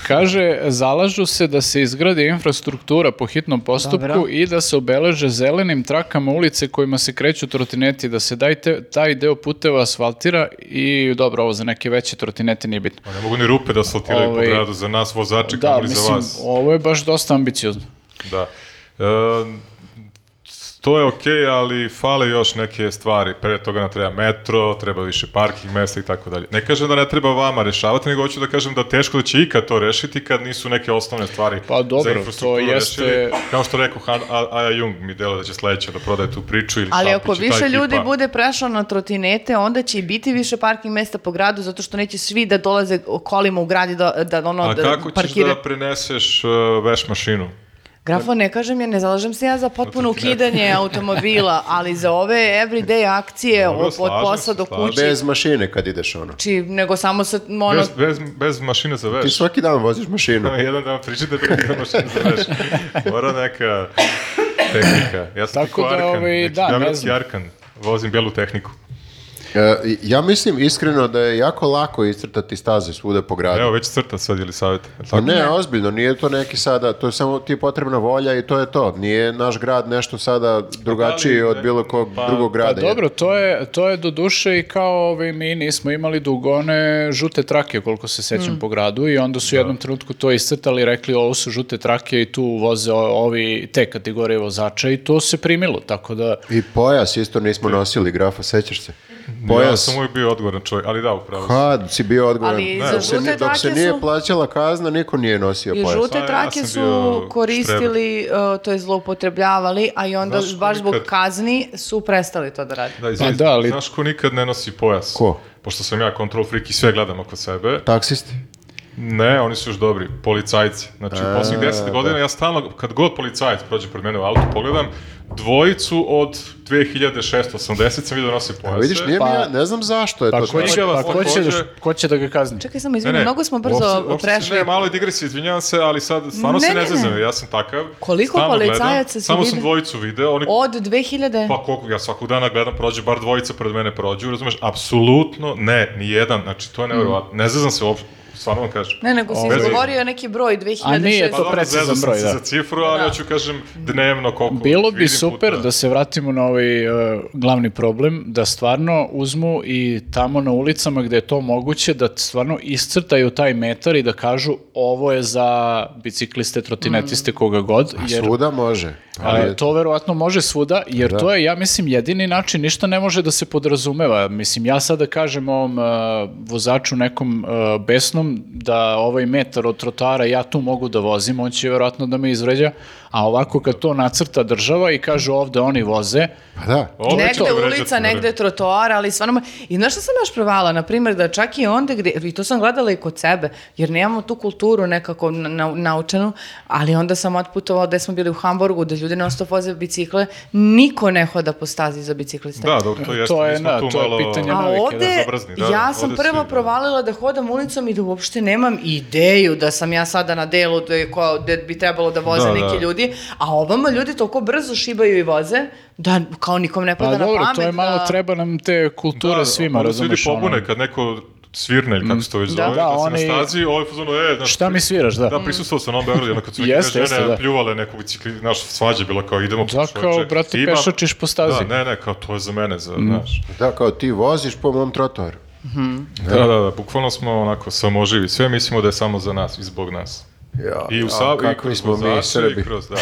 Kaže, zalažu se da se izgradi infrastruktura po hitnom postupku Dobro. i da se obeleže zelenim trakama ulice kojima se kreću trotineti, da se dajte, taj deo puteva asfaltira i dobro, ovo za neke veće trotinete nije bitno. Ma Ne mogu ni rupe da asfaltiraju po Ovaj, gradu za nas vozače, da, Da, kamoli za mislim, vas. ovo je baš dosta ambiciozno. Da. E, to je okej, ali fale još neke stvari. Pre toga nam treba metro, treba više parking mesta i tako dalje. Ne kažem da ne treba vama rešavati, nego hoću da kažem da teško da će ikad to rešiti kad nisu neke osnovne stvari Pa dobro, za to infrastrukturu jeste- rešili. Kao što rekao Han, A- Aja Jung mi dela da će sledeća da prodaje tu priču ili Ali Šapić ako i ta više ljudi ekipa. bude prešlo na trotinete, onda će i biti više parking mesta po gradu, zato što neće svi da dolaze kolima u gradi da, da ono, A da kako ćeš parkire. da preneseš e, veš mašinu? Grafo, ne kažem ja, ne zalažem se ja za potpuno Trotinete. ukidanje automobila, ali za ove everyday akcije Dobro, od, od slažem posla se, do slažem kuće, Bez mašine kad ideš ono. či- nego samo se ono, Bez, bez, bez mašine za veš. Ti svaki dan voziš mašinu. Jedan dan pričate da je mašina za veš. Mora neka tehnika. Ja sam Tako Tako da, da, ovaj, da, ne znam. Arkan. Vozim belu tehniku. E, ja mislim iskreno da je jako lako iscrtati staze svuda po gradu. Evo, već crta sad, ili savjeta. Pa ne, ozbiljno, nije to neki sada, to je samo ti je potrebna volja i to je to. Nije naš grad nešto sada drugačiji ali, od bilo kog drugog Pa grada. dobro, to je, to je do duše i kao ovaj, mi nismo imali dugo one žute trake, koliko se sećam po gradu i onda su u jednom trenutku to iscrtali i rekli ovo su žute trake i tu voze o- ovi te kategorije vozača i to se primilo, tako da I pojas isto nismo nosili, grafa, sećaš se? Ja Pojas. sam uvijek bio odgovoran čovjek, ali da, upravo. si. Kad si bio odgovoran? Ali za dok se, žute ni- dok se trake nije su- plaćala kazna, niko nije nosio I pojas. A, žute pa ja trake sam su bio koristili, uh, to je zloupotrebljavali, a i onda Znaš, baš zbog nikad- kazni su prestali to da rade. Da, Pa izvini, da, ali- Znaš ko nikad ne nosi pojas? Ko? Pošto sam ja kontrol freak i sve gledam oko sebe. Taksisti? Ne, oni su još dobri, policajci. Znači, u E, posljednjih da. deset godina ja stalno, kad god policajac prođe pred mene u autu, pogledam, dvojicu od 2680 sam vidio da nose pojase. Vidiš, nije Pa- mi ja, ne znam zašto je Pa to ko, tako. će- pa vas ko će, da, takođe- ko će da ga kazni? Čekaj samo, izvini, mnogo smo brzo uopšte- uopšte se prešli. Ne, malo je digresija, izvinjavam se, ali sad stvarno Ne, se ne, ne ne. zezam, ja sam takav. Koliko stalno gledam, policajaca si Samo sam vidio? dvojicu video, oni Od 2000... Pa koliko, ja svakog dana gledam, prođe bar dvojica pred mene prođu, razumeš? Apsolutno ne, ni jedan, znači to je nevjerovatno. Ne zezam se uopšte, stvarno vam kažem. Mm. Ne, nego si Ovaj- izgovorio neki broj, 2006. A nije to dobro, precizan zezao sam broj, se da. za cifru, ali Da. hoću kažem dnevno koliko Bilo bi vidim super puta. da se vratimo na ovaj e, glavni problem, da stvarno uzmu i tamo na ulicama gde je to moguće, da stvarno iscrtaju taj metar i da kažu ovo je za bicikliste, trotinetiste, koga god. Jer, Svuda može. a, to verovatno može svuda, jer Da. to je, ja mislim, jedini način, ništa ne može da se podrazumeva. Mislim, ja sada kažem ovom e, vozaču nekom e, besnom da ovaj metar od trotara ja tu mogu da vozim, on će verovatno da me izvređa, a ovako kad to nacrta država i kaže ovde oni voze, Pa da. Ovo je negde to. ulica, negde trotoar, ali stvarno... I znaš što sam još provala? Na primjer, da čak i onda gde... I to sam gledala i kod sebe, jer nemamo tu kulturu nekako na, na- naučenu, ali onda sam otputovala gde smo bili u Hamburgu, da ljudi non stop voze bicikle, niko ne hoda po stazi za bicikliste. Da, dobro, to jeste, To je, mi smo da, tu to je malo- pitanje. A navike, da, ovde, zabrzni, da, ja da, sam ovde prvo svi, da. provalila da hodam ulicom i da uopšte nemam ideju da sam ja sada na delu gde, ko- gde bi trebalo da voze Da, neki da. ljudi, a ovamo ljudi toliko brzo šibaju i voze da kao nikom ne pa pada na dobro, pamet. to je malo, da... treba nam te kulture svima, Da, onda se razumeš? Ljudi ono. pobune kad neko svirne ili kako se to već zove, da, da, se oni- na stazi, ovo je fuzonu, e, znaš, Šta mi sviraš, da? Da, prisustuo sam na ovom Beogradu, onda kad su neke Jeste, jeste, žene jeste, da. pljuvale neku bicikli, znaš, svađa je bila kao idemo Da, kao, čoveče, brate, pešačiš po stazi. Mm. Da, ne, ne, kao to je za mene, za, znaš. Da, kao ti voziš po mom trotoru. Da, da, da, bukvalno smo onako samoživi, sve mislimo da je samo za nas i zbog nas. Ja, I u ja, Savu, i kakvi kroz Pa smo mi vozače, Srbi. i kroz, da.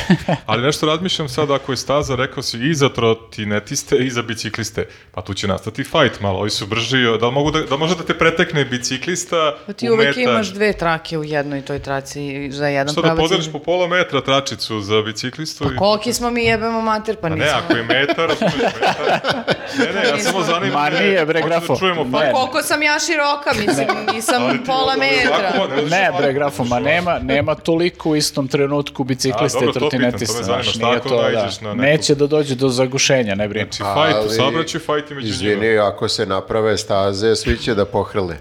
Ali nešto razmišljam sad, ako je staza, rekao si i za trotinetiste, i za bicikliste. Pa tu će nastati fight malo, ovi su brži, da li, mogu da, da može da te pretekne biciklista Pa ti u uvek metar? imaš dve trake u jednoj toj traci za jedan Što da pravac. podeliš po pola metra tračicu za biciklistu? Pa i- Koliki smo mi jebemo mater, pa Pa ne, nismo. ako je metar, ako je metar. Ne, ne, ja samo zanimam. Ma me, nije, bre, hoću grafo. Da čujemo Ne. fight. Koliko sam ja široka, mislim, nisam pola metra. Ne, bre, grafo, ma nema, nema toliko u istom trenutku biciklista A, dobro, i to pitam, to me trotinetista. zanima, znaš, šta nije ako to, naiđeš na da. neku- Neće da dođe do zagušenja, ne brini. Znači, fajt, u Ali- sabraću fajt i među njima. Izvini, ako se naprave staze, svi će da pohrle.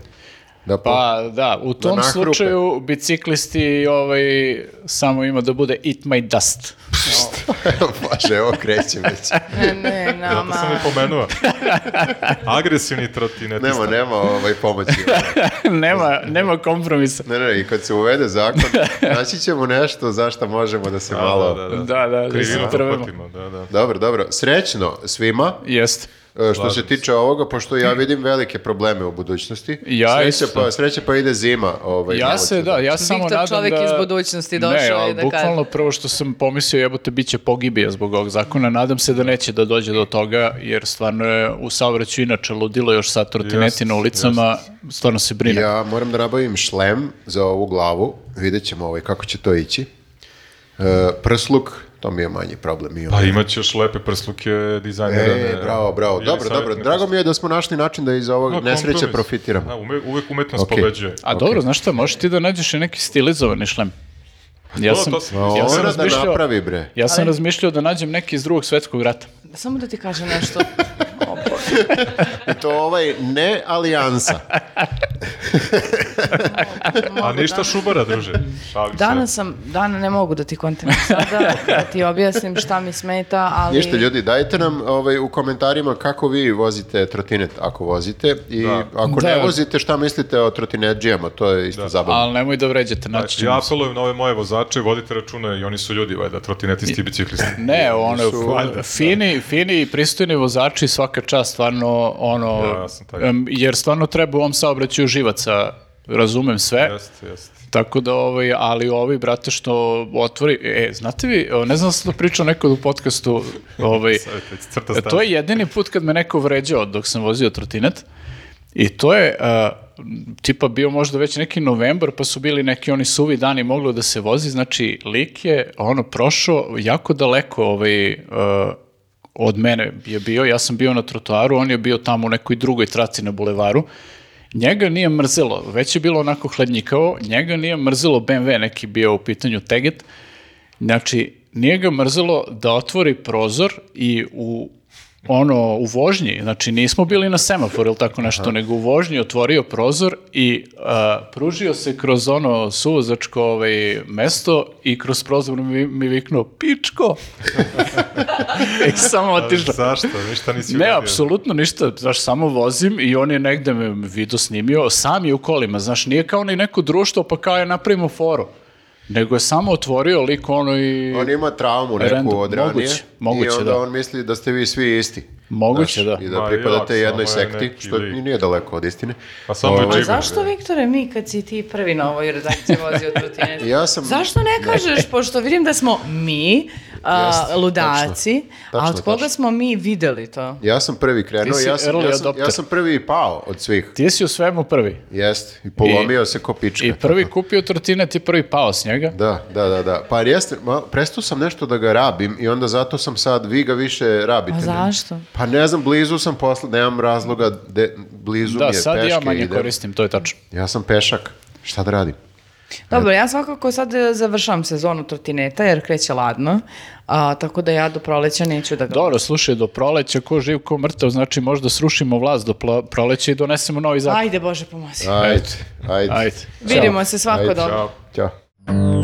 Da po... Pa da, u tom nahrupe. slučaju biciklisti ovaj, samo ima da bude eat my dust. Bože, evo kreće već. Ne, ne, Zato nama. sam i pomenuo. Agresivni trotinetista. Nema, nema ovaj pomoći. nema, nema kompromisa. Ne, ne, i kad se uvede zakon, naći ćemo nešto zašto možemo da se Da, malo... da, da, da. Da, da, da se Krivinu trvemo. pohvatimo, da, da. Dobro, dobro. Srećno svima. Jeste. E, Što Slažem se tiče ovoga, pošto ja vidim velike probleme u budućnosti. Ja sreće, isto. pa, sreće pa ide zima. Ovaj, Ja malo će se, da- da, ja samo Viktor, nadam čovek da... iz budućnosti došao ne, i da ali kaže. bukvalno prvo što sam pomislio, jebote, bit će pogibija zbog ovog zakona. Nadam se da neće da dođe do toga, jer stvarno je u saobraćaju inače ludilo još sad trotineti Jeste, na ulicama. Stvarno se brine. Ja moram da nabavim šlem za ovu glavu. Vidjet ćemo ovaj, kako će to ići. E, prsluk, to mi je manji problem. I Pa ovaj- imat ćeš lepe prsluke dizajnera. E, ne- bravo, bravo. ili Dobro, dobro. savjetne Drago mi je da smo našli način da iz ovog prsluke. nesreće Kompromis. profitiramo. Da, ume, uvek umetnost Okej. pobeđuje. A dobro, znaš šta, možeš ti da nađeš i neki stilizovani šlem. Ja To- sam, to sam- A ja sam ona da razmišljao, napravi, bre. ja sam razmišljao da nađem neki iz drugog svetskog rata. Samo da ti kažem nešto. O, Bože. I to ovaj ne alijansa. A ništa šubara, druže. Šalim se. Danas sam, dana ne mogu da ti kontinuam sada, da ti objasnim šta mi smeta, ali... Ništa ljudi, dajte nam ovaj, u komentarima kako vi vozite trotinet ako vozite i Da. ako ne Da. vozite šta mislite o trotinetđijama, to je isto zabavno. Ali nemoj da vređate, naći ćemo Ja se. apelujem na ove moje vozače, vodite računa i oni su ljudi, valjda, trotinetisti i biciklisti. Ne, ono, su- da. valjda, fini, fini i pristojni vozači svaka čast, stvarno, ono, Da, Ja, ja sam taj. em, jer stvarno treba u ovom saobraćaju živaca, razumem sve, Jeste, jeste. tako da, ovaj, ali ovi, brate, što otvori, e, znate vi, o, ne znam da sam to pričao nekod u podcastu, ovaj, Savjetnici, crta E, To je jedini put kad me neko vređao dok sam vozio trotinet. I to je, a, tipa bio možda već neki novembar, pa su bili neki oni suvi dani moglo da se vozi, znači lik je ono prošao jako daleko ovaj, a, od mene je bio, ja sam bio na trotoaru, on je bio tamo u nekoj drugoj traci na bulevaru, njega nije mrzelo, već je bilo onako hladnjikavo, njega nije mrzelo BMW, neki bio u pitanju Teget, Znači, nije ga mrzelo da otvori prozor i u ono u vožnji, znači nismo bili na semaforu ili tako nešto, nego u vožnji otvorio prozor i a, pružio se kroz ono suvozačko ovaj, mesto i kroz prozor mi, mi viknuo pičko i samo otišao. Zašto? Ništa nisi Ne, uradio. apsolutno ništa, znaš, samo vozim i on je negde me video snimio, sam je u kolima, znaš, nije kao ni neko društvo, pa kao je napravimo foru, nego je samo otvorio lik ono i... On ima traumu neku Random, od ranije moguće, moguće, i onda da. on misli da ste vi svi isti. Moguće, da. I da Ma, pripadate jok, jednoj samo je sekti, neki što lik. i nije daleko od istine. Pa samo je Ovaj, džigo. A zašto, Viktore, mi kad si ti prvi na ovoj redakciji vozio trotinet? Ja sam- Zašto ne kažeš, pošto vidim da smo mi, a, Jeste, ludaci, tačno. a Tačno, Pa od koga tačno. smo mi videli to? Ja sam prvi krenuo, Ti si ja sam, early ja, sam, ja adopter. sam prvi i pao od svih. Ti si u svemu prvi. Jeste, i polomio se ko pička. I prvi kupio trotinet i prvi pao s njega. Da, da, da, da. Pa jeste, ma, prestao sam nešto da ga rabim i onda zato sam sad, vi ga više rabite. A ne? zašto? Pa ne znam, blizu sam posle, nemam razloga, de, blizu Da, mi je sad peške. ja manje idem. koristim, to je tačno. Ja sam pešak, šta da radim? Dobro, ja svakako sad e, završavam sezonu trotineta jer kreće ladno, a, tako da ja do proleća neću da ga... Dobro, slušaj, do proleća, ko živ, ko mrtav, znači možda srušimo vlast do pla- proleća i donesemo da. novi zakon. Ajde Bože pomozi. Ajde, ajde. Ajde. Vidimo se svako Ajde, dobro. Ćao. Ćao.